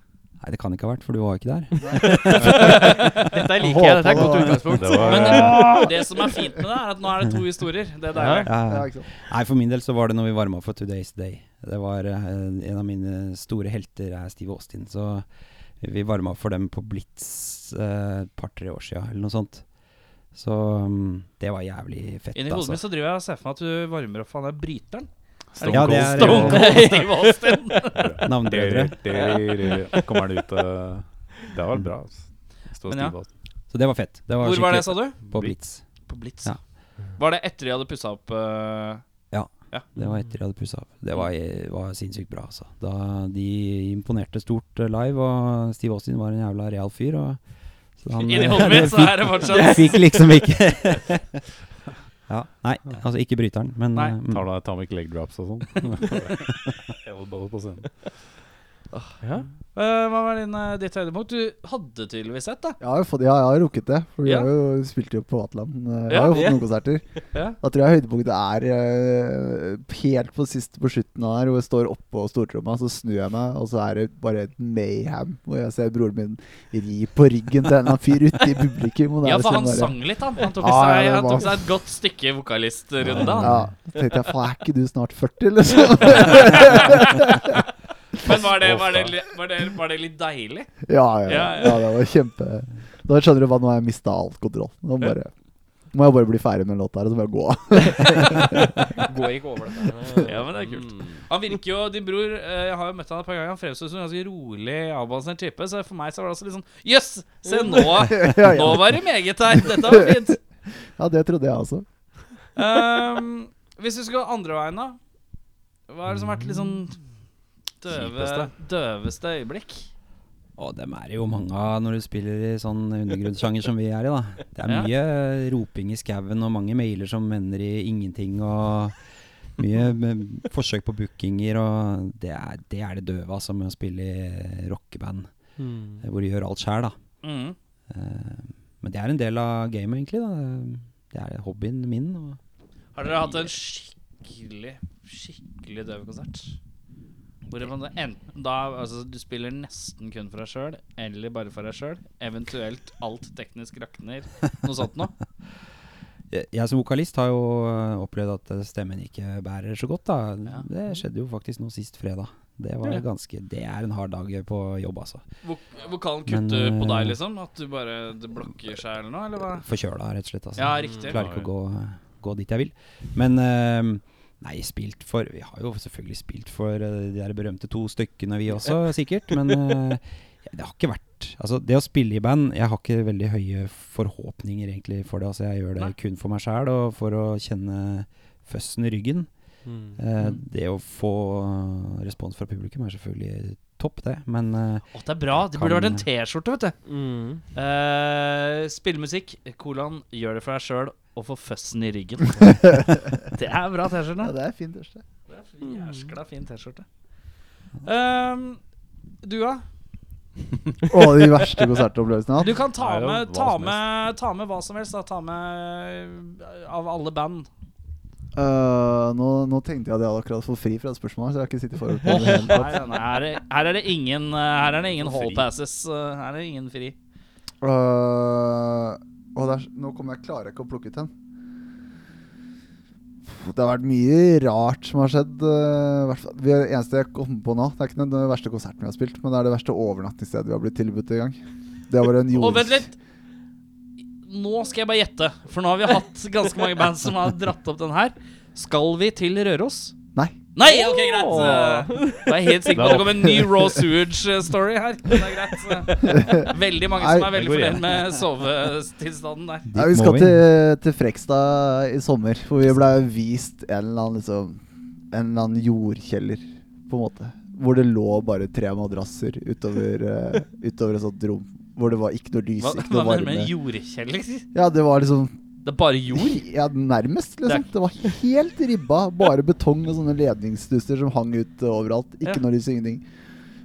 [SPEAKER 5] Nei, det kan ikke ha vært, for du var jo ikke der.
[SPEAKER 4] Dette liker jeg. Dette er et godt utgangspunkt.
[SPEAKER 2] Det var,
[SPEAKER 3] Men
[SPEAKER 2] eh,
[SPEAKER 3] eh, det som er fint med det, er at nå er det to historier. Det er deilig.
[SPEAKER 6] Ja,
[SPEAKER 5] Ja.
[SPEAKER 6] ikke sant?
[SPEAKER 5] Eh, Nei, for min del så var det når vi varma for Today's Day. Det var eh, En av mine store helter er Steve Austin. Så vi varma for dem på Blitz eh, et par-tre år sia, eller noe sånt. Så mm, det var jævlig fett,
[SPEAKER 3] Inni hodet
[SPEAKER 5] altså.
[SPEAKER 3] mitt så driver jeg og ser for meg at du varmer opp for han der bryteren.
[SPEAKER 2] Stone
[SPEAKER 5] Ja, det
[SPEAKER 2] Cold
[SPEAKER 5] er-
[SPEAKER 2] Stone
[SPEAKER 3] Stone
[SPEAKER 2] Cold.
[SPEAKER 3] Cold Steve Austin.
[SPEAKER 5] Navnbrødre.
[SPEAKER 2] Kommer han ut og Det var bra. Altså. Stå
[SPEAKER 3] Men ja.
[SPEAKER 2] stiv, altså.
[SPEAKER 5] Så det var fett. Det var
[SPEAKER 3] Hvor var det,
[SPEAKER 5] skikkelig
[SPEAKER 3] sa du?
[SPEAKER 5] På Blitz.
[SPEAKER 3] På Blitz.
[SPEAKER 5] Ja.
[SPEAKER 3] Var det etter de hadde pussa opp eh,
[SPEAKER 5] Det var etter de hadde pussa opp. Det var, var sinnssykt bra, altså. Da de imponerte stort eh, live, og Steve Austin var en jævla real fyr. Og, så han, eh,
[SPEAKER 3] Inni hodet mitt, så er det fortsatt
[SPEAKER 5] Jeg fikk liksom ikke Ja. Nei, altså ikke bryteren, men
[SPEAKER 3] Nei,
[SPEAKER 5] eh, mm.
[SPEAKER 2] Tar da Atomic Leg Drops og sånn. Elbow på scenen.
[SPEAKER 4] Ja.
[SPEAKER 3] Eh, hva var din, eh, ditt høydepunkt? Du hadde tydeligvis et, da.
[SPEAKER 6] Jeg har jo fått, ja, jeg har rukket det. For vi
[SPEAKER 3] Ja.
[SPEAKER 6] har jo spilt jo på Vatland. Jeg
[SPEAKER 3] Ja,
[SPEAKER 6] har jo fått
[SPEAKER 4] ja.
[SPEAKER 6] noen konserter.
[SPEAKER 3] Ja.
[SPEAKER 6] Da tror jeg høydepunktet er eh, helt på sist på slutten av her, hvor jeg står oppå stortromma, så snur jeg meg, og så er det bare et mayhem, hvor jeg ser broren min ri på ryggen til en eller annen fyr ute i publikum. Og det er
[SPEAKER 3] Ja,
[SPEAKER 6] liksom
[SPEAKER 3] for han
[SPEAKER 6] bare-
[SPEAKER 3] sang litt, han. Han tok
[SPEAKER 6] Ja, ja,
[SPEAKER 3] seg,
[SPEAKER 6] det
[SPEAKER 3] han
[SPEAKER 6] var-
[SPEAKER 3] tok seg et godt stykke vokalistrunde.
[SPEAKER 6] Ja, da
[SPEAKER 3] han.
[SPEAKER 6] tenkte jeg, faen, er ikke du snart 40, liksom?
[SPEAKER 3] Men var det, var, det, li- var, det, var det litt deilig?
[SPEAKER 6] ja, ja, ja,
[SPEAKER 3] Ja, ja.
[SPEAKER 6] ja, det var kjempe Da skjønner du hva, nå har jeg mista all kontroll. Nå bare må jeg bare bli ferdig med den låta her, og så må jeg gå av.
[SPEAKER 4] Gå ikke over dette.
[SPEAKER 3] Ja, men det er kult. Han virker jo, din bror, eh, jeg har jo møtt han et par ganger, han fremstår som en ganske rolig, avbalansert type, så for meg så var det også litt sånn Jøss! se nå!
[SPEAKER 6] Ja,
[SPEAKER 3] Nå
[SPEAKER 6] ja.
[SPEAKER 3] var det meget her! Dette var fint!
[SPEAKER 6] ja, det trodde jeg også.
[SPEAKER 3] Ehm, hvis vi skal gå andre veien, da? Hva er det som har vært litt sånn
[SPEAKER 6] Mm.
[SPEAKER 3] døve, døveste øyeblikk?
[SPEAKER 5] Og dem er jo mange av når du spiller i sånn undergrunnssjanger som vi er i, da. Det er
[SPEAKER 3] Ja.
[SPEAKER 5] mye roping i skauen og mange mailer som ender i ingenting og mye eh, forsøk på bookinger og det er det, er det døve altså med å spille i rockeband
[SPEAKER 4] Mm.
[SPEAKER 5] eh, hvor du gjør alt sjæl, da.
[SPEAKER 3] Mm.
[SPEAKER 5] Eh, Men det er en del av gamet, egentlig. da Det er hobbyen min. Og
[SPEAKER 3] Har dere hatt en skikkelig, skikkelig døv konsert? Hvor det var da- enten da altså, du spiller nesten kun for deg sjøl, eller bare for deg sjøl. Eventuelt alt teknisk rakner. Noe sånt noe.
[SPEAKER 5] jeg jeg som vokalist har jo eh, opplevd at eh, stemmen ikke bærer så godt, da.
[SPEAKER 3] Ja.
[SPEAKER 5] Det skjedde jo faktisk nå sist fredag. Det var
[SPEAKER 3] Ja.
[SPEAKER 5] ganske Det er en hard dag på jobb, altså.
[SPEAKER 3] Vok vokalen
[SPEAKER 5] Men,
[SPEAKER 3] kutter på deg,
[SPEAKER 5] eh,
[SPEAKER 3] liksom? At du bare det blokker seg eller noe? Eller hva?
[SPEAKER 5] Forkjøla, rett og slett. Altså.
[SPEAKER 3] Ja, riktig.
[SPEAKER 5] Klarer ikke å gå, gå dit jeg vil. Men eh, nei, spilt for Vi har jo selvfølgelig spilt for eh, de der berømte to stykkene, vi også, sikkert. Men eh, det har ikke vært Altså, det å spille i band Jeg har ikke veldig høye forhåpninger egentlig for det. Altså, jeg gjør det
[SPEAKER 3] Nei.
[SPEAKER 5] kun for meg sjæl og for å kjenne føssen i ryggen. Eh,
[SPEAKER 3] Mm.
[SPEAKER 5] Det å få eh, respons fra publikum er selvfølgelig topp, det. Men eh,
[SPEAKER 3] Å, det er bra. Det burde
[SPEAKER 5] Kan-
[SPEAKER 3] vært en T-skjorte, vet du. Eh, Spillemusikk. Kolan gjør det for deg sjøl og for føssen i ryggen. det er bra T-skjorte.
[SPEAKER 6] Ja, det er fint, Ørste.
[SPEAKER 3] Det er en Jæskla fin T-skjorte. Ehm, du, da?
[SPEAKER 6] Å, de verste konsertopplevelsene jeg har hatt.
[SPEAKER 3] Du kan ta
[SPEAKER 2] Det er jo
[SPEAKER 3] med,
[SPEAKER 2] hva
[SPEAKER 3] ta,
[SPEAKER 2] som helst.
[SPEAKER 3] med, ta med hva som helst. Da. Ta med eh, av alle band.
[SPEAKER 6] Øh, nå, nå tenkte jeg at jeg hadde akkurat fått fri fra et spørsmål, så jeg har ikke sittet forut på
[SPEAKER 3] Åh,
[SPEAKER 6] det. hele tatt.
[SPEAKER 3] nei, nei, her, er- her er det ingen eh, Her er det ingen hall
[SPEAKER 2] Fri.
[SPEAKER 3] passes. eh, Her er det ingen fri.
[SPEAKER 6] Øh, og det er s- nå kommer jeg klarer jeg ikke å plukke ut den. Det har vært mye rart som har skjedd. øh, hvert fall- vi er det eneste jeg kom på nå. Det er ikke den den verste konserten vi har spilt, men det er det verste overnattingsstedet vi har blitt tilbudt i gang. Det var en
[SPEAKER 3] Og
[SPEAKER 6] jords...
[SPEAKER 3] vent litt! Nå skal jeg bare gjette, for nå har vi hatt ganske mange band som har dratt opp den her. Skal vi til Røros?
[SPEAKER 6] Nei.
[SPEAKER 3] Nei, ok, greit. eh, Da er jeg helt sikker på at det kommer en ny Raw Sewage-story her. Det er greit. eh. Veldig mange som
[SPEAKER 6] Nei,
[SPEAKER 3] er
[SPEAKER 2] det
[SPEAKER 3] veldig
[SPEAKER 2] går
[SPEAKER 3] fornøyd med sovetilstanden der.
[SPEAKER 5] dit
[SPEAKER 6] Nei, vi
[SPEAKER 5] må
[SPEAKER 6] skal
[SPEAKER 5] vi.
[SPEAKER 6] til, til Frekstad i sommer, hvor vi ble vist en eller annen, liksom, en eller annen jordkjeller, på en måte. Hvor det lå bare tre madrasser utover, eh, utover et sånt rom. Hvor det var ikke noe lys,
[SPEAKER 3] Hva,
[SPEAKER 6] ikke
[SPEAKER 3] hva
[SPEAKER 6] noe
[SPEAKER 3] mener du med
[SPEAKER 6] varme.
[SPEAKER 3] jordkjeller?
[SPEAKER 6] Ja, det var liksom
[SPEAKER 3] Det er bare jord?
[SPEAKER 6] Ja, nærmest,
[SPEAKER 3] Det
[SPEAKER 6] liksom.
[SPEAKER 3] er-
[SPEAKER 6] Det var helt ribba. Bare betong og sånne ledningsstusser som hang ut eh, overalt. Ikke
[SPEAKER 3] Ja.
[SPEAKER 6] noe lys, ingenting.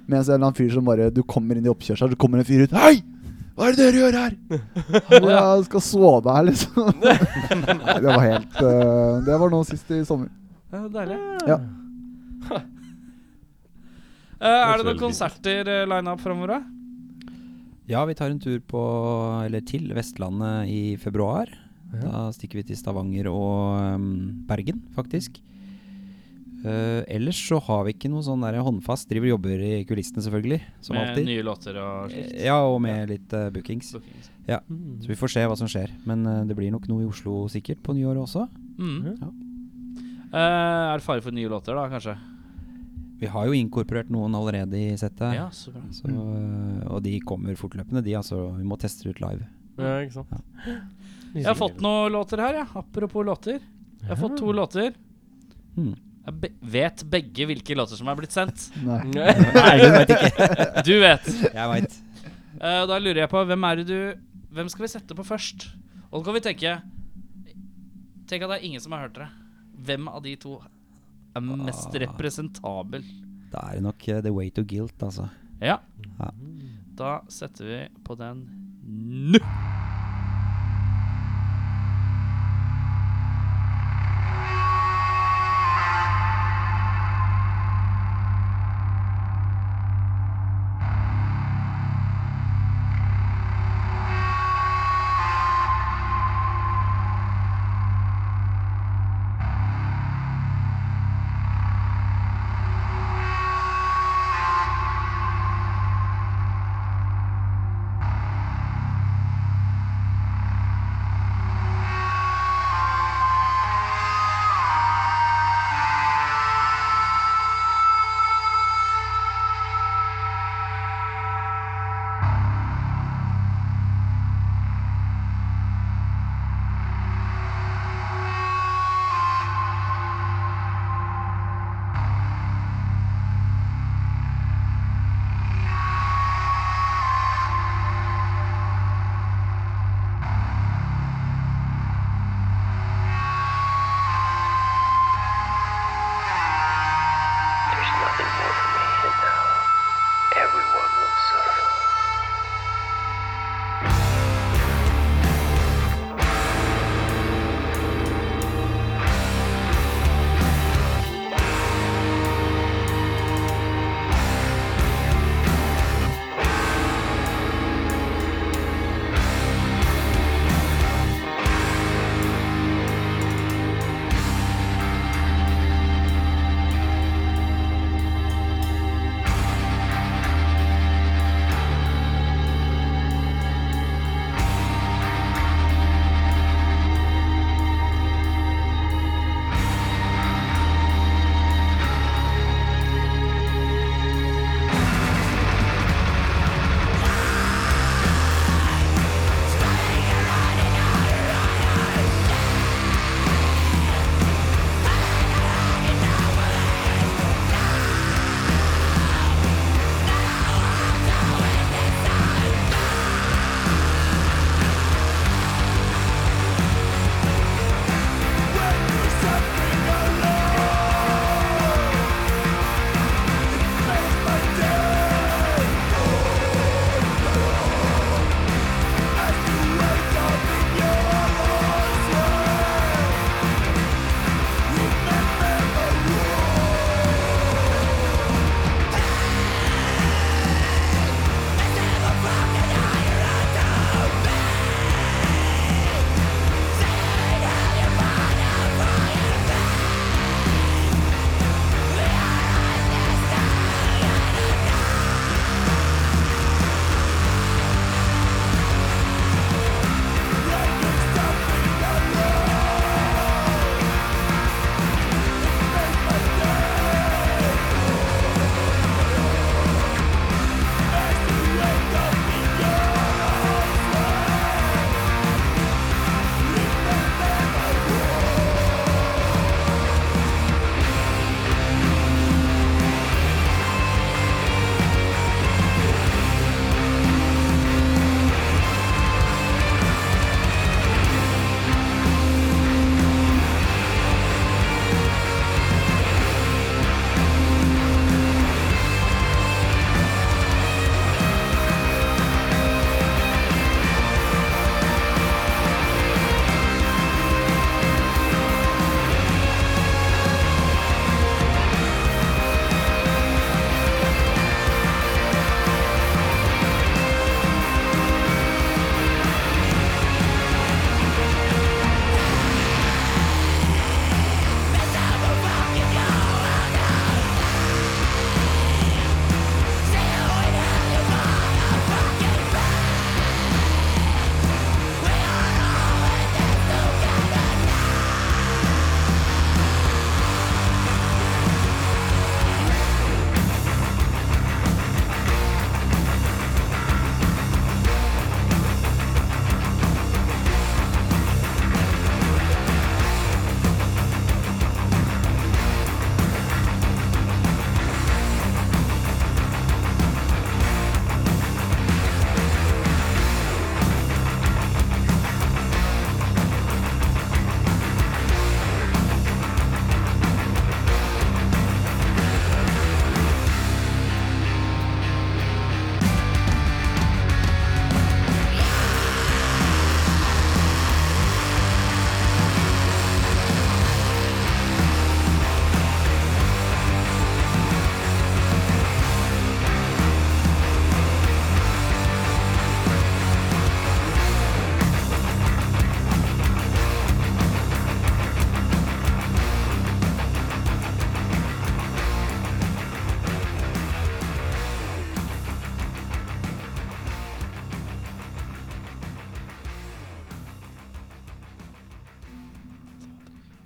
[SPEAKER 6] Mens en eller annen fyr som bare Du kommer inn i oppkjørselen, så kommer en fyr ut. Hei! Hva er det dere gjør her? Og jeg skal sove her, liksom. Nei, det var helt eh, Det var nå sist i sommer.
[SPEAKER 3] Ja, Deilig.
[SPEAKER 6] Ja.
[SPEAKER 3] Eh, er det
[SPEAKER 2] Hørtes
[SPEAKER 3] noen
[SPEAKER 2] veldig
[SPEAKER 3] konserter uh, lina opp framover, da?
[SPEAKER 5] Ja, vi tar en tur på, eller til Vestlandet i februar. Da stikker vi til Stavanger og um, Bergen, faktisk. Eh, ellers så har vi ikke noe sånn der håndfast. Driver og jobber i kulissene, selvfølgelig. Som
[SPEAKER 3] Med
[SPEAKER 5] alltid.
[SPEAKER 3] nye låter og slikt.
[SPEAKER 5] Eh, Ja, og med litt eh, bookings.
[SPEAKER 4] Mm.
[SPEAKER 5] Så vi får se hva som skjer. Men eh, det blir nok noe i Oslo sikkert på nyåret også.
[SPEAKER 3] Mm.
[SPEAKER 5] Ja.
[SPEAKER 3] Eh, er det fare for nye låter, da, kanskje?
[SPEAKER 5] Vi har jo inkorporert noen allerede i settet.
[SPEAKER 3] Ja, så bra.
[SPEAKER 5] Så, eh, og de kommer fortløpende, de. Altså, vi må teste det ut live.
[SPEAKER 4] Ja, ikke sant.
[SPEAKER 3] Jeg har fått noen låter her, ja. Apropos låter. Jeg har fått to låter.
[SPEAKER 5] Hmm.
[SPEAKER 3] Jeg be vet begge hvilke låter som er blitt sendt.
[SPEAKER 6] Nei.
[SPEAKER 3] Du vet.
[SPEAKER 5] Jeg veit.
[SPEAKER 3] Eh, da lurer jeg på hvem er det du Hvem skal vi sette på først? Og da kan vi tenke Tenk at det er ingen som har hørt dere. Hvem av de to er mest
[SPEAKER 5] Ah.
[SPEAKER 3] representabel?
[SPEAKER 5] Da er det nok eh, The Way to Guilt, altså.
[SPEAKER 3] Ja.
[SPEAKER 5] Ja.
[SPEAKER 3] Da setter vi på den nå.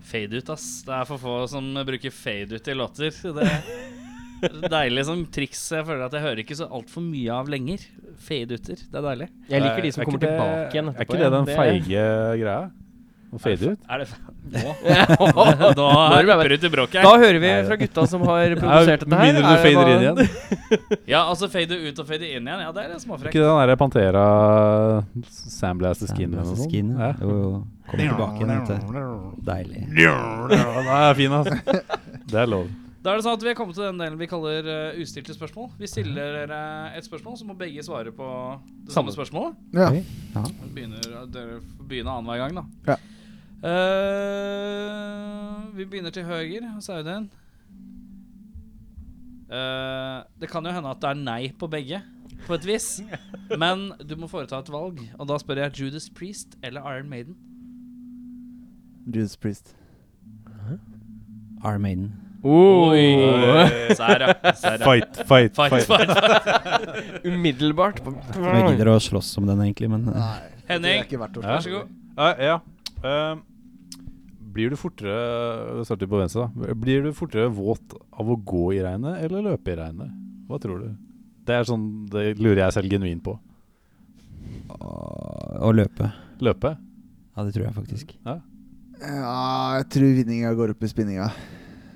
[SPEAKER 3] fade ut, ass. Det er for få som bruker fade ut i låter. Det er deilig som triks. Jeg føler at jeg hører ikke så altfor mye av lenger. Fade uter. Det er deilig.
[SPEAKER 4] Jeg liker de som
[SPEAKER 2] Er
[SPEAKER 4] kommer
[SPEAKER 2] ikke det-
[SPEAKER 4] tilbake igjen
[SPEAKER 2] Er
[SPEAKER 4] etterpå.
[SPEAKER 2] ikke det
[SPEAKER 4] ja.
[SPEAKER 2] den feige greia? Å fade ut?
[SPEAKER 3] Er det Nå? Nå er det bare ut i bråket.
[SPEAKER 4] Da hører vi fra gutta som har produsert dette
[SPEAKER 2] Med
[SPEAKER 4] her.
[SPEAKER 2] mindre du
[SPEAKER 4] er det
[SPEAKER 2] fader
[SPEAKER 4] da-
[SPEAKER 2] inn igjen.
[SPEAKER 3] Ja, altså fade ut og fade inn igjen. Ja, det er litt
[SPEAKER 2] Er
[SPEAKER 3] småfrekt.
[SPEAKER 2] ikke det den derre Pantera Sandblaster Skin eller noe sånt?
[SPEAKER 5] Skinnet.
[SPEAKER 2] Ja.
[SPEAKER 5] Jo, jo. Kommer tilbake igjen, vet du. Deilig.
[SPEAKER 2] Ja, den er fin, altså. Det er lov.
[SPEAKER 3] Da er det sånn at vi er kommet til den delen vi kaller eh, ustilte spørsmål. Vi stiller dere et spørsmål, så må begge svare på det Mhm. samme spørsmålet.
[SPEAKER 6] Ja.
[SPEAKER 5] Oi. Ja.
[SPEAKER 3] Vi Begynner, dere får begynne annenhver gang, da.
[SPEAKER 6] Ja.
[SPEAKER 3] Eh, vi begynner til høyre hos Audun. Eh, det kan jo hende at det er nei på begge, på et vis. Men du må foreta et valg, og da spør jeg Judas Priest eller Iron Maiden.
[SPEAKER 6] Judas Priest.
[SPEAKER 5] Iron Maiden.
[SPEAKER 3] Oi! Serr, ja. Serr, ja.
[SPEAKER 2] Fight, fight,
[SPEAKER 3] Fight,
[SPEAKER 2] fight.
[SPEAKER 3] fight.
[SPEAKER 4] Umiddelbart.
[SPEAKER 5] Som jeg gidder å slåss om den, egentlig, men eh,
[SPEAKER 6] Det er
[SPEAKER 3] Henning,
[SPEAKER 6] ikke verdt å
[SPEAKER 2] Ja.
[SPEAKER 3] vær så god.
[SPEAKER 2] Ja, ja. Ehm, blir du fortere Vi starter på venstre, da. Blir du fortere våt av å gå i regnet eller løpe i regnet? Hva tror du? Det er sånn Det lurer jeg selv genuint på.
[SPEAKER 5] å løpe.
[SPEAKER 2] Løpe?
[SPEAKER 5] Ja, det tror jeg faktisk.
[SPEAKER 6] Ja, jeg tror vinninga går opp i spinninga.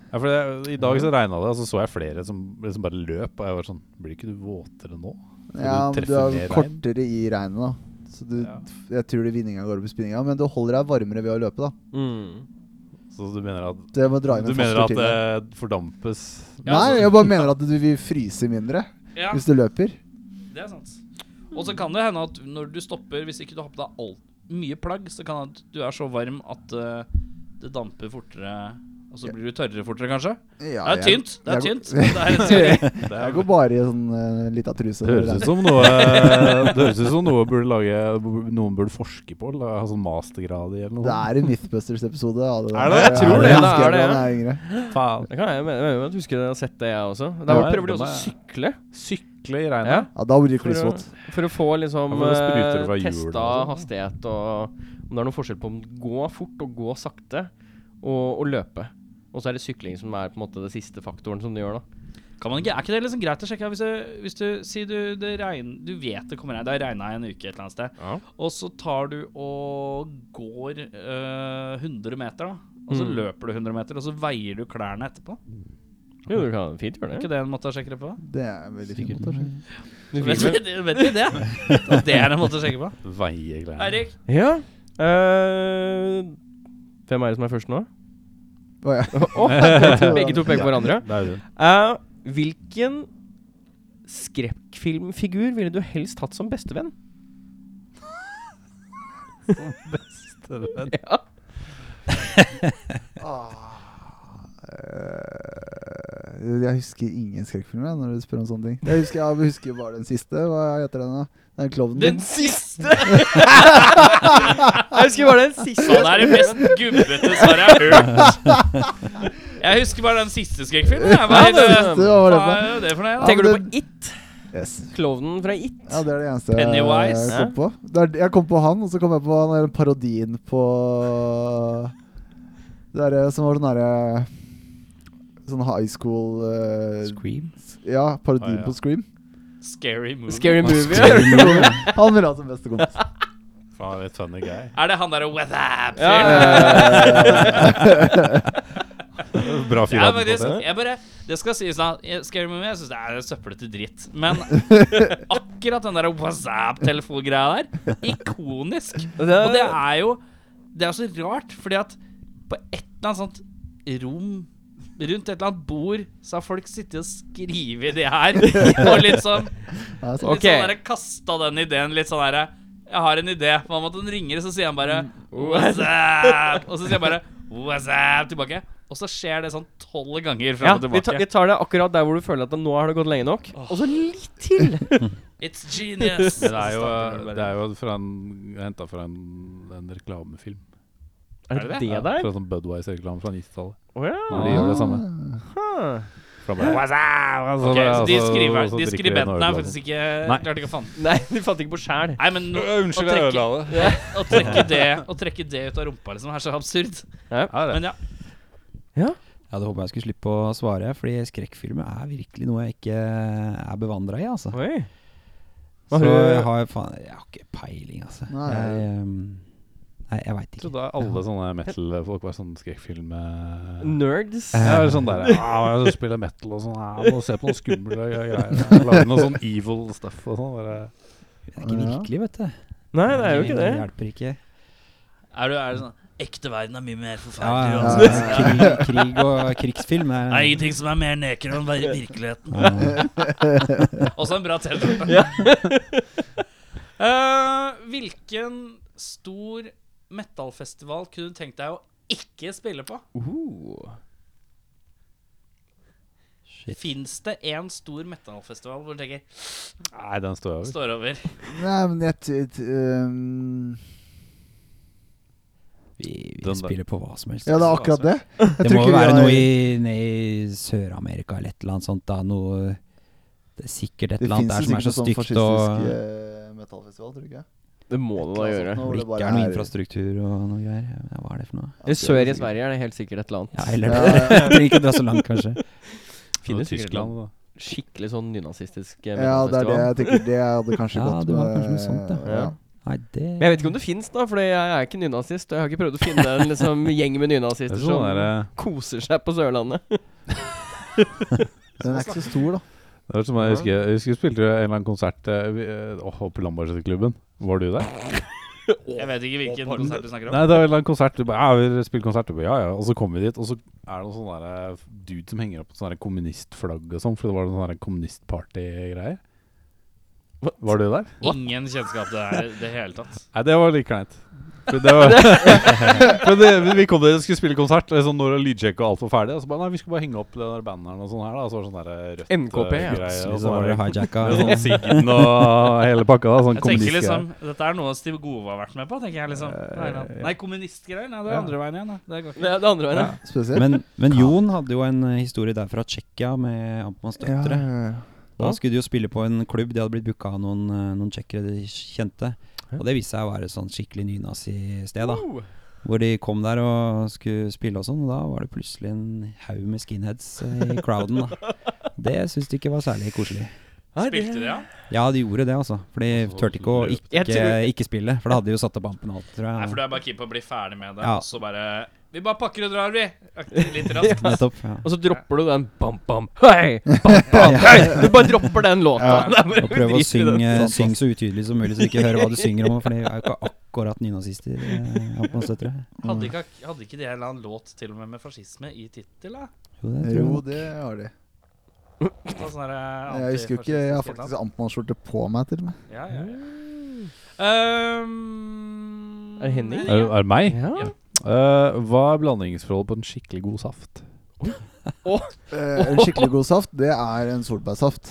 [SPEAKER 2] Ja, for det, I dag så regna det, og så så jeg flere som liksom bare løp. Og jeg var sånn Blir ikke du våtere nå? For
[SPEAKER 6] Ja,
[SPEAKER 2] du
[SPEAKER 6] men du
[SPEAKER 2] treffer
[SPEAKER 6] er
[SPEAKER 2] mer regn.
[SPEAKER 6] kortere i regnet, da. Så du,
[SPEAKER 2] Ja.
[SPEAKER 6] jeg tror det vinninga går opp i spinninga. Men du holder deg varmere ved å løpe, da.
[SPEAKER 4] Mm.
[SPEAKER 2] Så du mener at
[SPEAKER 6] Så jeg må dra inn
[SPEAKER 2] Du
[SPEAKER 6] en
[SPEAKER 2] mener
[SPEAKER 6] forsker
[SPEAKER 2] at eh,
[SPEAKER 6] til. deg.
[SPEAKER 2] det fordampes
[SPEAKER 3] Ja,
[SPEAKER 6] Nei,
[SPEAKER 3] altså-
[SPEAKER 6] jeg bare mener at du vil fryse mindre
[SPEAKER 3] Ja.
[SPEAKER 6] hvis du løper.
[SPEAKER 3] Det er sant. Og så kan det hende at når du stopper, hvis ikke du har på deg alt mye plagg, så kan det hende at du er så varm at eh, det damper fortere, og så blir du tørrere fortere, kanskje.
[SPEAKER 6] Ja,
[SPEAKER 3] Det er
[SPEAKER 6] jeg-
[SPEAKER 3] tynt. Det er
[SPEAKER 6] jeg-
[SPEAKER 3] tynt. men Det er en teori.
[SPEAKER 2] Det er-
[SPEAKER 6] Jeg går bare i sånn uh, lita truse.
[SPEAKER 2] Det høres ut som noe Det høres ut som noe burde lage noen burde forske på. la- Ha sånn mastergrad i eller noe.
[SPEAKER 6] Det er en Mythbusters-episode. Ja,
[SPEAKER 2] Er det? Jeg tror
[SPEAKER 6] husker
[SPEAKER 4] det. Er
[SPEAKER 6] jeg
[SPEAKER 4] det,
[SPEAKER 6] da
[SPEAKER 4] ja.
[SPEAKER 6] jeg var yngre.
[SPEAKER 2] Faen.
[SPEAKER 4] Det kan jeg mene, mene at du husker jeg har sett det, jeg også.
[SPEAKER 2] Ja,
[SPEAKER 4] Der prøver de
[SPEAKER 2] de
[SPEAKER 4] også å
[SPEAKER 2] er-
[SPEAKER 4] sykle.
[SPEAKER 2] Sykle i
[SPEAKER 4] Ja.
[SPEAKER 2] regnet.
[SPEAKER 6] Ja, da blir det
[SPEAKER 4] For å,
[SPEAKER 6] klissvåt.
[SPEAKER 4] for å få liksom
[SPEAKER 2] Ja, for det spruter
[SPEAKER 4] eh,
[SPEAKER 2] fra hjul og
[SPEAKER 4] testa
[SPEAKER 2] sånn.
[SPEAKER 4] hastighet og om det er noen forskjell på om gå fort og gå sakte og, og løpe. Og så er det sykling som er på en måte det siste faktoren som du gjør, da.
[SPEAKER 3] Kan man ikke, er ikke det liksom greit å sjekke? Hvis du, hvis du sier du, det regn, du vet det kommer regn, det har regna en uke et eller annet sted,
[SPEAKER 4] Ja.
[SPEAKER 3] og så tar du og går eh, 100 meter, da. Og så
[SPEAKER 4] Mm.
[SPEAKER 3] løper du 100 meter, og så veier du klærne etterpå.
[SPEAKER 4] Jo, du kan fint gjøre
[SPEAKER 3] Er
[SPEAKER 4] det.
[SPEAKER 3] ikke det en måte å sjekke det på?
[SPEAKER 6] Det er en veldig fint.
[SPEAKER 4] Du
[SPEAKER 3] Vet
[SPEAKER 4] vil vel-
[SPEAKER 3] vi vet vi det? At det er en måte å sjekke på?
[SPEAKER 2] Veie greier.
[SPEAKER 3] Eirik?
[SPEAKER 4] Ja. eh, hvem er det som er først nå?
[SPEAKER 6] Å, ja.
[SPEAKER 4] Å, begge to peker på hverandre.
[SPEAKER 2] Det er det.
[SPEAKER 4] Eh, hvilken skrekkfilmfigur ville du helst hatt som bestevenn? Ja.
[SPEAKER 6] Ah. Eh, Jeg husker ingen skrekkfilmer jeg, når du spør om sånne ting. Jeg husker, jeg husker bare den siste. Hva heter den, da? Den klovnen.
[SPEAKER 3] Den siste!
[SPEAKER 4] Jeg husker bare den siste.
[SPEAKER 3] Sånn er det mest gubbete svaret jeg har hørt. Jeg husker bare den siste skrekkfilmen. Jeg var
[SPEAKER 4] Ja,
[SPEAKER 3] helt,
[SPEAKER 4] det-
[SPEAKER 3] øh,
[SPEAKER 6] Det var det
[SPEAKER 3] Hva
[SPEAKER 6] for.
[SPEAKER 3] er det for noe? da?
[SPEAKER 4] Tenker du på It?
[SPEAKER 6] Yes.
[SPEAKER 4] Klovnen fra It?
[SPEAKER 6] Ja, det er det eneste
[SPEAKER 3] Pennywise,
[SPEAKER 6] jeg kom på. Det er, jeg kom på han, og så kom jeg på han der parodien på Det derre som var sånn derre Sånn high school eh,
[SPEAKER 5] Scream.
[SPEAKER 6] Ja, parodien
[SPEAKER 2] Ah, ja.
[SPEAKER 6] på Scream.
[SPEAKER 3] Scary movie.
[SPEAKER 4] Scary Movie. ja.
[SPEAKER 6] han vil ha som beste kompis.
[SPEAKER 2] Faen, litt funny guy.
[SPEAKER 3] Er det han derre Wethap?
[SPEAKER 4] Ja, ja,
[SPEAKER 2] Bra fyr.
[SPEAKER 3] Ja,
[SPEAKER 2] hadde
[SPEAKER 3] faktisk,
[SPEAKER 2] på det.
[SPEAKER 3] jeg bare, det skal sies da jeg- Scary Movie jeg synes det er søppelete dritt. Men akkurat den der WhatsApp-telefongreia der, ikonisk. Og det er jo Det er så rart, fordi at på et eller annet sånt rom rundt et eller annet bord, så har folk sittet og skrevet det her. Og litt sånn
[SPEAKER 6] Ja, så-
[SPEAKER 4] Ok.
[SPEAKER 3] Litt sånn der, kasta den ideen litt sånn derre Jeg har en idé. Man måtte han ringer, så sier han bare What's up? Og så sier han bare What's up? tilbake. Og så skjer det sånn tolv ganger
[SPEAKER 4] Ja,
[SPEAKER 3] fram og
[SPEAKER 4] vi, ta,
[SPEAKER 3] tilbake.
[SPEAKER 4] vi tar det akkurat der hvor du føler at nå har det gått lenge nok. Og så litt til!
[SPEAKER 3] It's genius.
[SPEAKER 2] Men det er jo,
[SPEAKER 3] Starter
[SPEAKER 2] det
[SPEAKER 3] bare.
[SPEAKER 2] er jo fra en, henta fra en, en reklamefilm.
[SPEAKER 4] Er det det
[SPEAKER 2] Ja,
[SPEAKER 4] der?
[SPEAKER 6] Ah.
[SPEAKER 2] Fra sånn Budwise-reklame fra 90-tallet.
[SPEAKER 4] Å ja.
[SPEAKER 2] Når de gjør det samme.
[SPEAKER 4] Huh.
[SPEAKER 2] For han bare, «What's up?» Og så bare,
[SPEAKER 3] Ok, så de,
[SPEAKER 2] altså,
[SPEAKER 3] skriver,
[SPEAKER 2] og så
[SPEAKER 3] de
[SPEAKER 2] drikker en
[SPEAKER 3] skribentene er
[SPEAKER 2] øl.
[SPEAKER 3] faktisk ikke
[SPEAKER 2] Nei.
[SPEAKER 3] Klarte ikke å fant
[SPEAKER 4] Nei, du fant ikke på sjæl.
[SPEAKER 3] Nei, men nå-
[SPEAKER 2] Øh, Unnskyld, jeg
[SPEAKER 3] å trekke-
[SPEAKER 2] ødela det.
[SPEAKER 3] å trekke, det, å trekke det ut av rumpa liksom, er så absurd.
[SPEAKER 2] Ja, det.
[SPEAKER 3] Men ja,
[SPEAKER 5] Jeg hadde håpa jeg skulle slippe å svare, Fordi skrekkfilmer er virkelig noe jeg ikke er bevandra i, altså.
[SPEAKER 4] Oi. Hva
[SPEAKER 5] Så
[SPEAKER 4] har du-
[SPEAKER 5] jeg har faen Jeg har ikke peiling, altså.
[SPEAKER 6] Nei.
[SPEAKER 5] Jeg, ehm, nei, jeg veit
[SPEAKER 2] Jeg
[SPEAKER 5] ikke.
[SPEAKER 2] trodde alle sånne metal-folk var sånn skrekkfilm eh,
[SPEAKER 4] Nerds.
[SPEAKER 5] Eh.
[SPEAKER 2] Ja, eller sånn der ja, jeg Spiller metal og sånn. Ja, må se på noen skumle greier. ja, Lage noe sånn evil stuff og sånn. bare.
[SPEAKER 5] Det er ikke
[SPEAKER 6] Ja.
[SPEAKER 5] virkelig, vet du.
[SPEAKER 4] Nei, det er jo ikke
[SPEAKER 5] Det
[SPEAKER 4] det.
[SPEAKER 5] hjelper ikke.
[SPEAKER 3] er, du, er det sånn Ekte verden er mye mer
[SPEAKER 5] Ja,
[SPEAKER 3] forferdelig.
[SPEAKER 5] ja,
[SPEAKER 3] altså.
[SPEAKER 5] ja. Krig, krig og krigsfilm er
[SPEAKER 3] Det er ingenting som er mer neker enn vir- virkeligheten.
[SPEAKER 5] Ja.
[SPEAKER 3] Også en bra T-skjorte. Eh, hvilken stor metallfestival kunne du tenkt deg å ikke spille på?
[SPEAKER 4] Uh.
[SPEAKER 3] Fins det én stor metallfestival hvor du tenker
[SPEAKER 2] Nei, den står jeg over.
[SPEAKER 3] står over?
[SPEAKER 6] Nei, men jeg t t ehm,
[SPEAKER 5] Vi, vi
[SPEAKER 2] Den der.
[SPEAKER 5] spiller på hva som helst.
[SPEAKER 6] Ja, det er akkurat det. Jeg
[SPEAKER 5] Det
[SPEAKER 6] tror
[SPEAKER 5] må
[SPEAKER 6] ikke vi
[SPEAKER 5] være
[SPEAKER 6] har-
[SPEAKER 5] noe i, ned i Sør-Amerika eller et eller annet sånt. Da, noe, det er sikkert et
[SPEAKER 6] Det
[SPEAKER 5] eller annet
[SPEAKER 6] finnes
[SPEAKER 5] der som er
[SPEAKER 6] sikkert noe
[SPEAKER 5] så
[SPEAKER 6] sånn
[SPEAKER 5] stygt og
[SPEAKER 6] fascistisk eh, metallfestival, tror du ikke? Altså,
[SPEAKER 4] Det må du da gjøre.
[SPEAKER 5] hvor det ikke er noe infrastruktur og noe greier. Ja, hva er det for noe?
[SPEAKER 6] sånn-
[SPEAKER 4] I Sør i Sverige er det helt sikkert et eller annet.
[SPEAKER 5] Ja, eller
[SPEAKER 6] Ja,
[SPEAKER 5] det.
[SPEAKER 6] ja, ja.
[SPEAKER 5] Trenger ikke dra så langt, kanskje.
[SPEAKER 2] Det
[SPEAKER 4] Finnes
[SPEAKER 2] er Tyskland. Da.
[SPEAKER 4] Skikkelig sånn nynazistisk eh,
[SPEAKER 6] Ja, det er det
[SPEAKER 4] metallfestival.
[SPEAKER 6] jeg tenker. Det hadde kanskje
[SPEAKER 5] Ja,
[SPEAKER 6] gått
[SPEAKER 5] det var
[SPEAKER 6] med-
[SPEAKER 5] kanskje noe sånt, ja.
[SPEAKER 6] ja.
[SPEAKER 5] Nei, det
[SPEAKER 4] Men jeg vet ikke om det fins, da, for jeg er ikke nynazist. Og jeg har ikke prøvd å finne en liksom, gjeng med
[SPEAKER 2] Det
[SPEAKER 4] nynazister
[SPEAKER 2] er sånn
[SPEAKER 4] som
[SPEAKER 2] der,
[SPEAKER 4] koser seg på Sørlandet.
[SPEAKER 6] Den er ikke så stor, da.
[SPEAKER 2] Det var som jeg husker Jeg husker vi spilte en eller annen konsert eh, vi, eh, åh, på Lambertseterklubben. Var du der?
[SPEAKER 3] Jeg vet ikke hvilken konsert du snakker om.
[SPEAKER 2] Nei, det var en eller annen konsert. Du bare, ja, vi spiller konsert. Du bare, ja, ja. Og så kom vi dit, og så er det noen sånne der dude som henger opp sånne der kommunistflagg og sånn, for det var noen sånne der kommunistparty-greier. Var du der?
[SPEAKER 3] Ingen kjennskap til det her i det hele tatt.
[SPEAKER 2] Nei, det var like kleint. For det var Men det, vi- vi kom dit og skulle spille konsert, og sånn når lydsjekk og alt var ferdig, og så bare nei, vi skulle bare henge opp den der banneren og sånn her, da. Og så var det sånn der rødt
[SPEAKER 4] NKP,
[SPEAKER 2] eh, greie,
[SPEAKER 4] ja.
[SPEAKER 2] og
[SPEAKER 5] Plutselig
[SPEAKER 2] så
[SPEAKER 5] så var det
[SPEAKER 2] var det
[SPEAKER 5] hijacka.
[SPEAKER 2] sånn Siggen og hele pakka, da. Sånn
[SPEAKER 3] Jeg tenker
[SPEAKER 2] kommunistgreier.
[SPEAKER 3] liksom Dette er noe Steve Gove har vært med på, tenker jeg liksom. Nei,
[SPEAKER 2] Eh,
[SPEAKER 3] nei.
[SPEAKER 2] ja.
[SPEAKER 3] nei kommunistgreier? Nei, det er
[SPEAKER 2] Ja.
[SPEAKER 3] andre veien igjen. da. Det går ikke.
[SPEAKER 4] Det er det andre veien, ja.
[SPEAKER 6] Spesielt.
[SPEAKER 5] Men, men Jon hadde jo en eh, historie der fra Tsjekkia med Amtmanns
[SPEAKER 6] ja,
[SPEAKER 5] døtre.
[SPEAKER 6] ja, ja.
[SPEAKER 5] Da skulle de jo spille på en klubb. De hadde blitt booka av noen, eh, noen tsjekkere de kjente. Og det viste seg å være et sånn skikkelig nynazisted, da.
[SPEAKER 4] Oh.
[SPEAKER 5] Hvor de kom der og skulle spille og sånn. Og da var det plutselig en haug med skinheads eh, i crowden, da. Det syns de ikke var særlig koselig.
[SPEAKER 4] Nei, det-
[SPEAKER 3] Spilte de, ja?
[SPEAKER 5] Ja, de gjorde det, altså. For de turte ikke å
[SPEAKER 4] Jeg
[SPEAKER 5] ikke,
[SPEAKER 4] tror-
[SPEAKER 5] ikke spille. For da hadde de jo satt opp ampen og alt, tror
[SPEAKER 3] Nei, for
[SPEAKER 5] jeg.
[SPEAKER 3] du er bare keen på å bli ferdig med det,
[SPEAKER 5] Ja.
[SPEAKER 3] og så bare Vi bare pakker og drar, vi! Aktig Litt raskt.
[SPEAKER 5] Nettopp. Ja.
[SPEAKER 4] Og så dropper du den bam, bam, hei, bam, bam, hei. Du bare dropper den låta. Det er bare
[SPEAKER 5] Og prøve å
[SPEAKER 4] drit i den.
[SPEAKER 5] synge syng så utydelig som mulig, så de ikke hører hva du synger om. For de er jo ikke akkurat nynazister. eh, Amtmanns døtre.
[SPEAKER 3] Hadde ikke, hadde ikke de en eller annen låt til og med med fascisme i tittel, da?
[SPEAKER 5] Jo, det tror jeg.
[SPEAKER 6] Jo, det har de.
[SPEAKER 3] Det var sånn der, eh,
[SPEAKER 6] Jeg husker jo ikke Jeg har
[SPEAKER 3] antifascistisk
[SPEAKER 6] faktisk Mm. Amtmann-skjorte på meg, til og med.
[SPEAKER 3] tittel. ja, ja, ja. Um,
[SPEAKER 4] Er det Henning?
[SPEAKER 2] Er, er det meg?
[SPEAKER 4] Ja.
[SPEAKER 2] Eh, hva er blandingsforholdet på en skikkelig god saft?
[SPEAKER 6] Eh, en skikkelig god saft, det er en solbærsaft.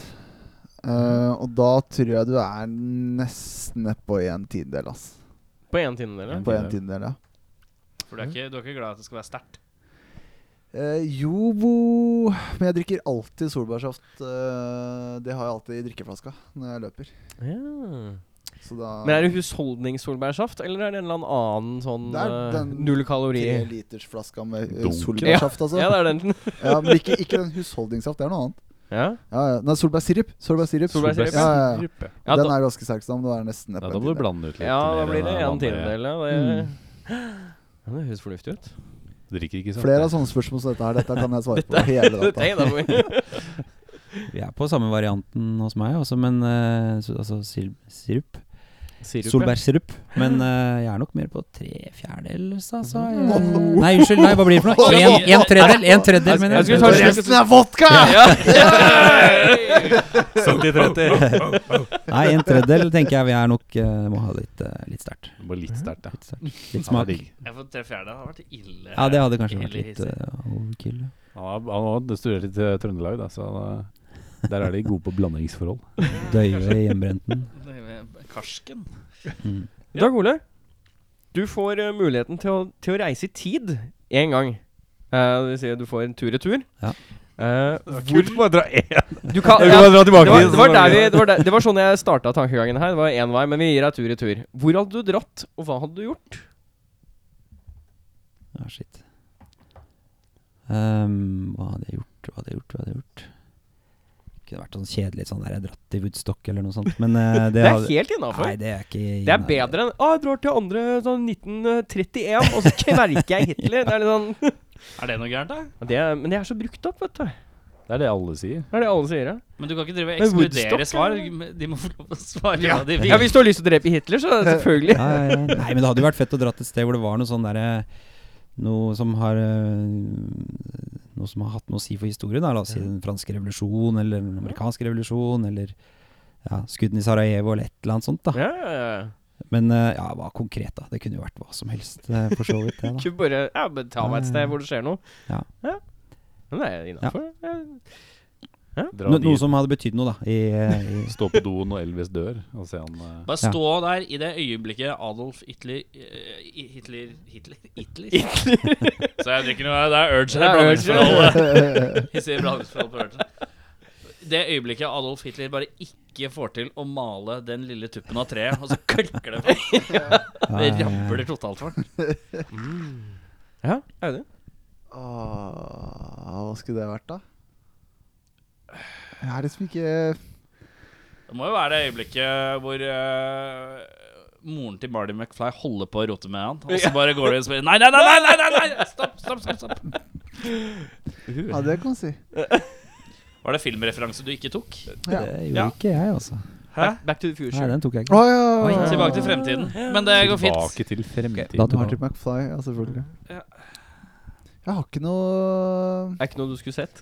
[SPEAKER 6] Eh, og da tror jeg du er nesten nedpå en tiendedel, ass.
[SPEAKER 4] På én time, eller?
[SPEAKER 6] På en tiendedel, ja.
[SPEAKER 3] For du er, ikke, du er ikke glad i at det skal være sterkt?
[SPEAKER 6] Eh, Jobo Men jeg drikker alltid solbærsaft. eh, det har jeg alltid i drikkeflaska når jeg løper.
[SPEAKER 4] Ja.
[SPEAKER 6] Så da
[SPEAKER 4] Men er det husholdningssolbærsaft, eller er det en eller annen sånn
[SPEAKER 6] Det er
[SPEAKER 4] eh,
[SPEAKER 6] den-
[SPEAKER 4] null kalori?
[SPEAKER 6] Trelitersflaska med eh,
[SPEAKER 2] Dunk.
[SPEAKER 6] solbærsaft, altså.
[SPEAKER 4] Ja,
[SPEAKER 6] Ja,
[SPEAKER 4] det er den.
[SPEAKER 6] men ikke, ikke den husholdningssaft, det er noe annet.
[SPEAKER 4] Ja,
[SPEAKER 6] Ja, ja. Nei, solbærsirup. Solbærsirup.
[SPEAKER 4] Solbærsirup,
[SPEAKER 6] Ja, ja, ja.
[SPEAKER 2] Ruppe.
[SPEAKER 4] ja,
[SPEAKER 6] Den
[SPEAKER 4] da,
[SPEAKER 6] er ganske sterk, så da må det være nesten
[SPEAKER 2] Ja,
[SPEAKER 6] nedpå
[SPEAKER 2] da
[SPEAKER 6] en
[SPEAKER 2] må du
[SPEAKER 6] tiendedel.
[SPEAKER 2] blande ut litt.
[SPEAKER 4] ja,
[SPEAKER 2] mer
[SPEAKER 4] da blir det
[SPEAKER 2] enn
[SPEAKER 4] en
[SPEAKER 2] vanlig.
[SPEAKER 4] tiendedel, ja. Det,
[SPEAKER 6] Mm.
[SPEAKER 4] ja, det høres fornuftig ut.
[SPEAKER 2] Drikker ikke saft.
[SPEAKER 6] Flere altså. av sånne spørsmål som dette her, dette kan jeg svare på hele data.
[SPEAKER 4] Nei, da må vi-
[SPEAKER 5] Vi er på samme varianten hos meg også, men eh, så- altså sil- sirup.
[SPEAKER 4] Sirup, ja.
[SPEAKER 5] Solbærsirup. Men eh, jeg er nok mer på tre fjerdedels, altså. Jeg, nei, unnskyld. Nei, hva blir det for noe? En, en tredjedel, en tredjedel, mener
[SPEAKER 4] Jeg
[SPEAKER 5] jeg.
[SPEAKER 4] skulle ta en slurk.
[SPEAKER 6] Resten er vodka!
[SPEAKER 5] Nei, en tredjedel tenker jeg vi er nok eh, Må ha litt, eh, litt sterkt.
[SPEAKER 2] Det var litt sterkt, ja.
[SPEAKER 5] Litt, sterkt. litt
[SPEAKER 2] Han var
[SPEAKER 5] smak.
[SPEAKER 2] digg.
[SPEAKER 3] Jeg får tre fjerde. Det hadde vært ille.
[SPEAKER 5] Ja, det hadde kanskje
[SPEAKER 3] ille
[SPEAKER 5] vært litt
[SPEAKER 3] hissig.
[SPEAKER 5] eh, overkill.
[SPEAKER 2] Han har- han har studert litt eh, Trøndelag, da, så han, eh, der er de gode på blandingsforhold.
[SPEAKER 5] Døyve hjemmebrenten.
[SPEAKER 3] Karsken.
[SPEAKER 5] Mm.
[SPEAKER 4] Dag Ole, du får eh, muligheten til å, til å reise i tid én gang. Eh, det vil si, du får en tur i tur.
[SPEAKER 5] Ja.
[SPEAKER 4] Eh,
[SPEAKER 2] Kult å bare dra én.
[SPEAKER 4] du kan,
[SPEAKER 2] Jeg vil bare dra tilbake
[SPEAKER 4] det, var,
[SPEAKER 2] til-
[SPEAKER 4] det, var der vi, det, var der, det var sånn jeg starta tankegangen her. Det var én vei, men vi gir deg tur i tur. Hvor hadde du dratt, og hva hadde du gjort?
[SPEAKER 5] Ah, shit. Ehm, hva hadde jeg gjort, hva hadde jeg gjort, hva hadde jeg gjort? Kunne vært sånn kjedelig sånn der jeg dratt til Woodstock eller noe sånt, men eh, det
[SPEAKER 4] Det er
[SPEAKER 5] hadde-
[SPEAKER 4] helt innafor.
[SPEAKER 5] Nei, det er ikke
[SPEAKER 4] Det er bedre enn Å, jeg drar til andre sånn 1931, og så kverker jeg Hitler. Det er litt sånn
[SPEAKER 3] Er det noe gærent, da?
[SPEAKER 4] Men det er, Men det er så brukt opp, vet du.
[SPEAKER 2] Det er det alle sier.
[SPEAKER 4] Det er det alle sier. Ja.
[SPEAKER 3] Men du kan ikke drive og
[SPEAKER 4] Men
[SPEAKER 3] ekskludere
[SPEAKER 4] Woodstock,
[SPEAKER 3] svar.
[SPEAKER 4] eller?
[SPEAKER 3] De må få lov til å svare
[SPEAKER 4] Ja.
[SPEAKER 3] hva de vil.
[SPEAKER 4] ja, hvis du har lyst til å drepe Hitler, så selvfølgelig.
[SPEAKER 5] Ja, ja, ja. Nei, men det hadde jo vært fett å dra til et sted hvor det var noe sånn derre Noe som har eh, Noe som har hatt noe å si for historien. Da. La oss si den franske revolusjon eller den amerikanske revolusjon eller ja, skuddene i Sarajevo eller et eller annet sånt. da
[SPEAKER 4] Ja, ja, ja.
[SPEAKER 5] Men eh, ja, hva konkret, da? Det kunne jo vært hva som helst, eh, for så vidt. Det, da.
[SPEAKER 4] Ikke bare ja, men ta meg et sted hvor det skjer noe.
[SPEAKER 5] Ja.
[SPEAKER 4] Men det er innafor. Ja.
[SPEAKER 2] Dra
[SPEAKER 5] No, noe
[SPEAKER 2] dit,
[SPEAKER 5] som hadde betydd noe, da. I, eh, i
[SPEAKER 2] stå på doen når Elvis dør, og se han eh,
[SPEAKER 3] Bare
[SPEAKER 5] Ja.
[SPEAKER 3] stå der i det øyeblikket Adolf Hitler eh, i- Hitler Hitler? Hitler? Så jeg drikker noe Det er urge
[SPEAKER 4] Det
[SPEAKER 3] her.
[SPEAKER 4] er urge.
[SPEAKER 3] blandingsforhold. Hissig blandingsforhold på urgen. Det øyeblikket Adolf Hitler bare ikke får til å male den lille tuppen av treet, og så klikker det på. Det
[SPEAKER 5] ja, ja.
[SPEAKER 3] ramler totalt for den.
[SPEAKER 4] Ja, er det?
[SPEAKER 6] Åh, hva skulle det vært, da? Jeg er liksom ikke
[SPEAKER 3] Det må jo være det øyeblikket hvor eh, moren til Marty McFly holder på å rote med han, og så bare går du inn og spør Nei, nei, nei! nei, nei, nei, nei! Stopp, stopp, stopp, stopp!
[SPEAKER 6] Ja, det kan du si.
[SPEAKER 3] Var det filmreferanse du ikke tok?
[SPEAKER 6] Ja.
[SPEAKER 5] det gjorde
[SPEAKER 3] Ja.
[SPEAKER 5] ikke jeg, altså.
[SPEAKER 4] Back, back to the future.
[SPEAKER 5] Nei, den tok jeg
[SPEAKER 6] Å
[SPEAKER 5] ikke.
[SPEAKER 6] ja!
[SPEAKER 5] Oi,
[SPEAKER 3] Tilbake til fremtiden. Men det går fint.
[SPEAKER 2] tilbake til fremtiden.
[SPEAKER 5] Da tok
[SPEAKER 6] Marty
[SPEAKER 5] jeg.
[SPEAKER 6] McFly, ja, selvfølgelig.
[SPEAKER 3] Ja.
[SPEAKER 6] Jeg har ikke noe
[SPEAKER 4] Er ikke noe du skulle sett?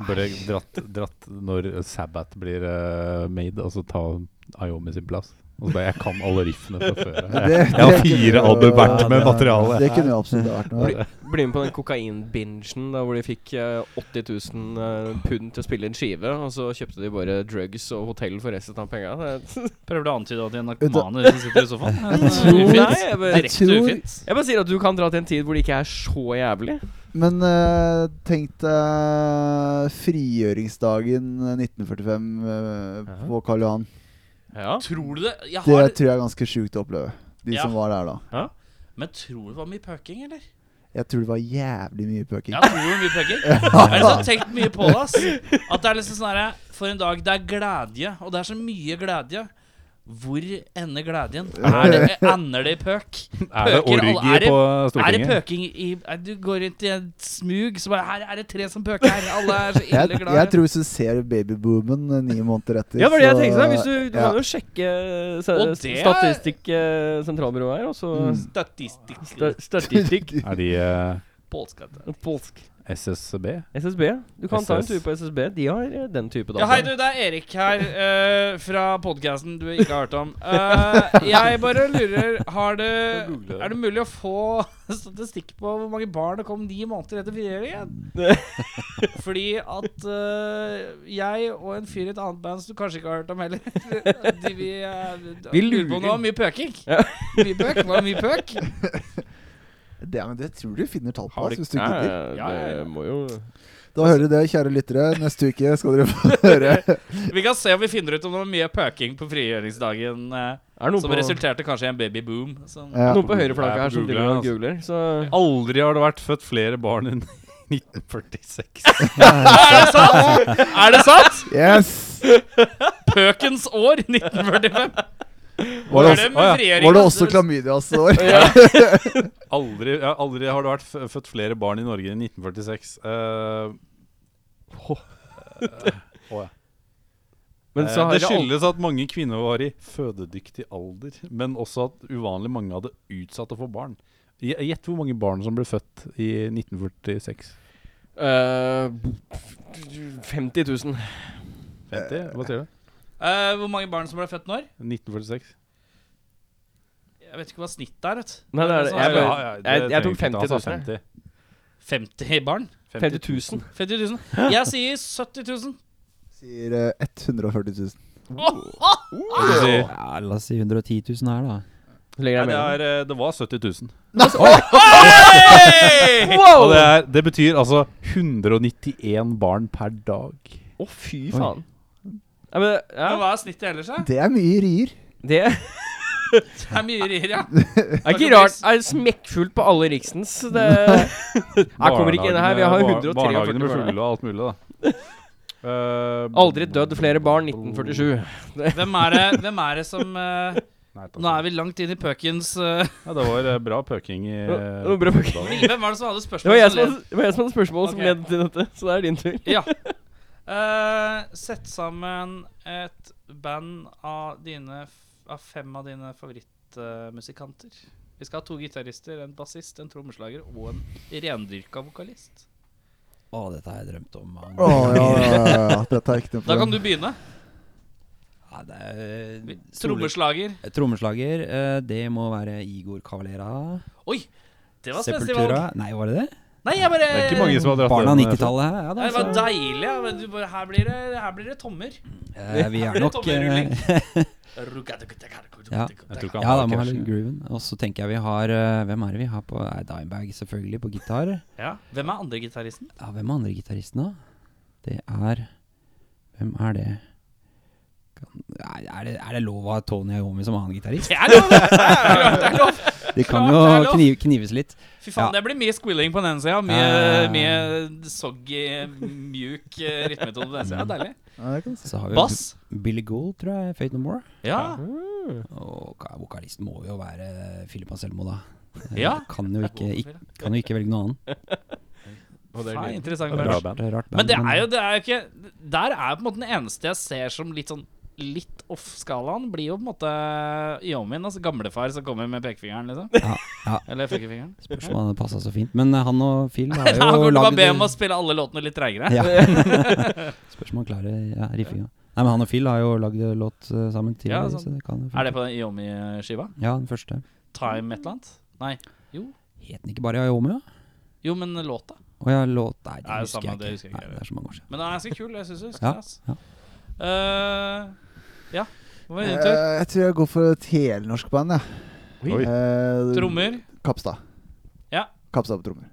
[SPEAKER 2] Bare dratt, dratt når Sabbath blir eh, made, altså ta Iomi sin plass. Og så bare, Jeg kan alle riffene fra før.
[SPEAKER 6] Ja,
[SPEAKER 2] Jeg, jeg har fire
[SPEAKER 5] Ja,
[SPEAKER 2] albert
[SPEAKER 5] det
[SPEAKER 2] med
[SPEAKER 5] er-
[SPEAKER 2] materiale.
[SPEAKER 6] Det kunne jo absolutt vært noe.
[SPEAKER 4] Bli, bli med på den kokainbingen da, hvor de fikk eh, 80 000 eh, pund til å spille en skive, og så kjøpte de bare drugs og hotell for resten av penga.
[SPEAKER 3] Prøver du å antyde at de er narkomane som sitter i sofaen?
[SPEAKER 6] Jeg tror-
[SPEAKER 3] Ufint.
[SPEAKER 4] Nei, jeg bare-
[SPEAKER 3] Direkte
[SPEAKER 6] jeg tror-
[SPEAKER 3] ufint.
[SPEAKER 4] Jeg bare sier at du kan dra til en tid hvor det ikke er så jævlig.
[SPEAKER 6] Men eh, tenk deg frigjøringsdagen 1945 eh, på Karl Johan.
[SPEAKER 4] Ja.
[SPEAKER 3] Tror du det? Jeg
[SPEAKER 6] Det
[SPEAKER 3] har,
[SPEAKER 6] tror jeg er ganske sjukt å oppleve. De
[SPEAKER 3] Ja.
[SPEAKER 6] som var der da.
[SPEAKER 3] men tror du det var mye pøking, eller?
[SPEAKER 6] Jeg tror det var jævlig mye pøking.
[SPEAKER 3] Ja, tror du det var mye pøking? Jeg har liksom tenkt mye på det, ass. At det er liksom sånn herre For en dag. Det er gledje, og det er så mye gledje. Hvor ender gledjen? Er det, ender det i pøk?
[SPEAKER 2] Er det
[SPEAKER 3] Pøker, alle-
[SPEAKER 2] orgie
[SPEAKER 3] er det-
[SPEAKER 2] på
[SPEAKER 3] Er det
[SPEAKER 2] Stortinget?
[SPEAKER 3] pøking i er, Du går rundt i et smug, så bare Her er det tre som pøker her. Alle er så ille
[SPEAKER 6] Jeg,
[SPEAKER 3] glade.
[SPEAKER 6] jeg tror hvis du ser babyboomen eh, ni måneder etter
[SPEAKER 4] Ja, det var det jeg
[SPEAKER 6] så-
[SPEAKER 4] tenkte. da. Hvis du, du
[SPEAKER 6] ja.
[SPEAKER 4] kan jo sjekke eh, sa-
[SPEAKER 3] Og det-
[SPEAKER 4] Statistikk eh, sentralbyrået her, og så
[SPEAKER 6] Mm.
[SPEAKER 3] Statistikk
[SPEAKER 4] sta- Statistikk
[SPEAKER 2] Er de eh,
[SPEAKER 3] Polskatt.
[SPEAKER 4] Polsk.
[SPEAKER 2] SSB?
[SPEAKER 4] SSB. Du kan ta en
[SPEAKER 2] SS.
[SPEAKER 4] tur på SSB. De har eh, den type data.
[SPEAKER 3] Ja, hei du, det er Erik her eh, fra podkasten du ikke har hørt om. Eh, jeg bare lurer har det, Er det mulig å få statistikk på hvor mange barn det kom ni måneder etter frigjøringen? Fordi at eh, jeg og en fyr i et annet band som du kanskje ikke har hørt om heller de, vi, eh,
[SPEAKER 4] Vi
[SPEAKER 3] på om
[SPEAKER 4] lurer.
[SPEAKER 3] det var mye pøking.
[SPEAKER 4] Ja.
[SPEAKER 3] Mye pøk, var det mye pøk?
[SPEAKER 6] det, men det tror du finner tall på
[SPEAKER 4] Har
[SPEAKER 6] ass,
[SPEAKER 4] du-
[SPEAKER 6] hvis du
[SPEAKER 4] Ja,
[SPEAKER 6] gidder.
[SPEAKER 4] ja,
[SPEAKER 3] Ja, ja, ja.
[SPEAKER 4] det må jo
[SPEAKER 6] Da hører du det, kjære lyttere. Neste uke skal dere få høre.
[SPEAKER 3] Vi kan se om vi finner ut om det var mye pøking på frigjøringsdagen eh,
[SPEAKER 4] Er det noen
[SPEAKER 3] som
[SPEAKER 4] på,
[SPEAKER 3] resulterte kanskje i en babyboom. Som
[SPEAKER 6] Ja.
[SPEAKER 4] noen på høyre
[SPEAKER 2] Jeg
[SPEAKER 4] flagget
[SPEAKER 2] er
[SPEAKER 4] her
[SPEAKER 2] på
[SPEAKER 4] som
[SPEAKER 2] Google,
[SPEAKER 4] driver og
[SPEAKER 2] altså.
[SPEAKER 4] googler, så
[SPEAKER 2] Aldri har det vært født flere barn enn 1946.
[SPEAKER 3] Er det sant? Er det sant?
[SPEAKER 6] Yes!
[SPEAKER 3] Pøkens år 1945.
[SPEAKER 2] Var det
[SPEAKER 3] Er
[SPEAKER 2] også-
[SPEAKER 3] med
[SPEAKER 2] Å, ja.
[SPEAKER 3] frigjøringen?
[SPEAKER 6] Var det også klamydias år?
[SPEAKER 2] Aldri, ja, aldri har det vært fø- født flere barn i Norge enn 1946. Eh, hå-
[SPEAKER 4] Men
[SPEAKER 2] eh,
[SPEAKER 4] så har
[SPEAKER 2] det
[SPEAKER 4] det aldri
[SPEAKER 2] skyldes at mange kvinner var i fødedyktig alder, men også at uvanlig mange hadde utsatt å få barn. Gj- Gjett hvor mange barn som ble født i 1946.
[SPEAKER 4] Eh, 50
[SPEAKER 2] 50?
[SPEAKER 4] 000.
[SPEAKER 2] Hva sier du?
[SPEAKER 3] Eh, hvor mange barn som ble født når?
[SPEAKER 2] 1946?
[SPEAKER 3] Jeg vet ikke hva snittet er. vet du.
[SPEAKER 4] Nei, det er det.
[SPEAKER 3] sånn-
[SPEAKER 4] Jeg, bare,
[SPEAKER 2] Ja, ja, det
[SPEAKER 4] jeg,
[SPEAKER 2] trenger
[SPEAKER 4] jeg tok
[SPEAKER 2] ikke ta, altså,
[SPEAKER 4] 50 000.
[SPEAKER 2] 50.
[SPEAKER 3] 50 barn?
[SPEAKER 4] 50 000.
[SPEAKER 3] 50 000? Jeg sier 70 000.
[SPEAKER 6] Sier eh, 140 000.
[SPEAKER 3] Åh, åh!
[SPEAKER 2] Hva skal du si?
[SPEAKER 5] Ja, la oss si 110 000 her, da.
[SPEAKER 4] Så legger jeg
[SPEAKER 2] det,
[SPEAKER 4] mellom.
[SPEAKER 2] er, eh, det var 70 000.
[SPEAKER 3] Hey!
[SPEAKER 2] Og det, er, det betyr altså 191 barn per dag.
[SPEAKER 4] Å, fy faen. Ja, men,
[SPEAKER 3] Men
[SPEAKER 4] ja,
[SPEAKER 3] Hva er snittet ellers, da?
[SPEAKER 6] Det er mye rier.
[SPEAKER 4] det
[SPEAKER 3] Det er mye rier, ja.
[SPEAKER 4] er ikke rart. Det er smekkfullt på alle riksens. Det Jeg kommer ikke inn her. Vi har
[SPEAKER 2] Barnehagene- bar-
[SPEAKER 4] 143
[SPEAKER 2] Barnehagene blir
[SPEAKER 4] barn.
[SPEAKER 2] fulle og alt mulig, da. Eh,
[SPEAKER 4] Aldri dødd flere barn 1947.
[SPEAKER 3] Hvem er det, hvem er det som eh,
[SPEAKER 2] Nei, takk.
[SPEAKER 3] Nå er vi langt inn i pøkens eh,
[SPEAKER 2] ja, det var eh, bra pøking i eh,
[SPEAKER 4] Det var bra pøking.
[SPEAKER 2] Oppdal.
[SPEAKER 3] Hvem var det som hadde
[SPEAKER 4] Det var
[SPEAKER 3] spørsmål?
[SPEAKER 4] jeg som hadde, det var jeg som hadde spørsmål
[SPEAKER 3] Ok.
[SPEAKER 4] som led til dette, så det er din tur.
[SPEAKER 3] Ja. Eh, sett sammen et band av, dine, f- av fem av dine favorittmusikanter. Vi skal ha to gitarister, en bassist, en trommeslager og en rendyrka vokalist.
[SPEAKER 5] Å, dette har jeg drømt om. mange
[SPEAKER 6] Å,
[SPEAKER 5] ganger.
[SPEAKER 6] ja, ja, ja, ja. Dette er ikke noe
[SPEAKER 3] Da kan
[SPEAKER 6] problem.
[SPEAKER 3] du begynne.
[SPEAKER 5] Ja, det er,
[SPEAKER 3] Vi-
[SPEAKER 5] Sole-
[SPEAKER 3] Trommeslager.
[SPEAKER 5] Trommeslager, eh, det må være Igor Cavalera.
[SPEAKER 3] Oi! Det var spenstig valg.
[SPEAKER 5] Sepultura. Nei, var det det?
[SPEAKER 3] Nei, jeg bare
[SPEAKER 2] Det er ikke mange som har dratt
[SPEAKER 5] Barna
[SPEAKER 2] den, eh,
[SPEAKER 5] 90-tallet her. Ja,
[SPEAKER 3] Nei,
[SPEAKER 5] da,
[SPEAKER 3] det var
[SPEAKER 5] så-
[SPEAKER 3] deilig. ja, Men du bare, her, blir det, her blir det tommer.
[SPEAKER 5] Eh, vi er nok
[SPEAKER 3] Tommerulling.
[SPEAKER 5] eh, Ja.
[SPEAKER 2] Jeg tror ikke han
[SPEAKER 5] Ja, da
[SPEAKER 2] har
[SPEAKER 5] må ha
[SPEAKER 2] cash.
[SPEAKER 5] litt grooven. Og så tenker jeg vi har eh, Hvem er det vi har på eh, Dimebag, selvfølgelig, på gitar.
[SPEAKER 3] Ja. Hvem er andre gitaristen?
[SPEAKER 5] Ja, hvem er andre gitaristen, da? Det er Hvem er det? Kan, nei, er det, er det lov å ha Tony Iommi som annen gitarist?
[SPEAKER 3] Det er lov! Det er lov, det er lov.
[SPEAKER 5] Det kan
[SPEAKER 3] klart
[SPEAKER 5] jo
[SPEAKER 3] det er lov.
[SPEAKER 5] kniv, knives litt.
[SPEAKER 3] Fy faen,
[SPEAKER 5] Ja.
[SPEAKER 3] det blir mye squilling på den ene sida. Mye,
[SPEAKER 5] Ja.
[SPEAKER 3] mye soggy, mjuk eh, rytmemetode på den sida. Deilig.
[SPEAKER 6] Ja, det kan du si.
[SPEAKER 5] Så har vi jo
[SPEAKER 3] Bass.
[SPEAKER 5] B- Billy Gould, tror jeg. Fate No More.
[SPEAKER 3] Ja.
[SPEAKER 5] Og ka- vokalisten må jo være Philip Anselmo, da. Eh,
[SPEAKER 3] Ja.
[SPEAKER 5] Kan jo ikke, ikk- kan jo ikke velge noen annen.
[SPEAKER 3] Faen, interessant
[SPEAKER 2] Bra
[SPEAKER 3] band.
[SPEAKER 2] band.
[SPEAKER 5] Det er rart
[SPEAKER 3] Men
[SPEAKER 5] band,
[SPEAKER 3] det er jo det er jo ikke Der er på en måte den eneste jeg ser som litt sånn litt off-skalaen, blir jo på en måte Yomin, altså gamlefar som kommer med pekefingeren, liksom.
[SPEAKER 5] ja, ja,
[SPEAKER 3] Eller fuckefingeren.
[SPEAKER 5] Spørs om han passa så fint. Men eh, han og Phil har
[SPEAKER 3] Han
[SPEAKER 5] jo
[SPEAKER 3] kommer til å
[SPEAKER 5] lagd
[SPEAKER 3] be om å spille alle låtene litt treigere.
[SPEAKER 5] Ja. Spørs om han klarer ja, riffinga. Nei, men han og Phil har jo lagd låt eh, sammen tidligere.
[SPEAKER 3] sant.
[SPEAKER 5] så det kan jo
[SPEAKER 3] sånn. Er det på den Yomi-skiva?
[SPEAKER 5] Ja, den første.
[SPEAKER 3] Time et eller annet? Nei. Jo.
[SPEAKER 5] Het den ikke bare Iomio?
[SPEAKER 3] Jo, men låta.
[SPEAKER 5] Å ja, låt Nei, det,
[SPEAKER 3] Nei, det
[SPEAKER 5] husker
[SPEAKER 3] samme,
[SPEAKER 5] jeg ikke.
[SPEAKER 3] det husker jeg ikke.
[SPEAKER 5] Nei, det er så mange år siden.
[SPEAKER 3] Men den er ganske kul. Jeg syns jeg husker
[SPEAKER 5] Ja,
[SPEAKER 3] det. ass. Eh, ja. Hva var din tur?
[SPEAKER 6] Eh, Jeg tror jeg går for et helnorsk band, jeg.
[SPEAKER 2] Oi.
[SPEAKER 6] Eh,
[SPEAKER 3] Trommer.
[SPEAKER 6] Kapstad.
[SPEAKER 3] Ja.
[SPEAKER 6] Kapstad på trommer.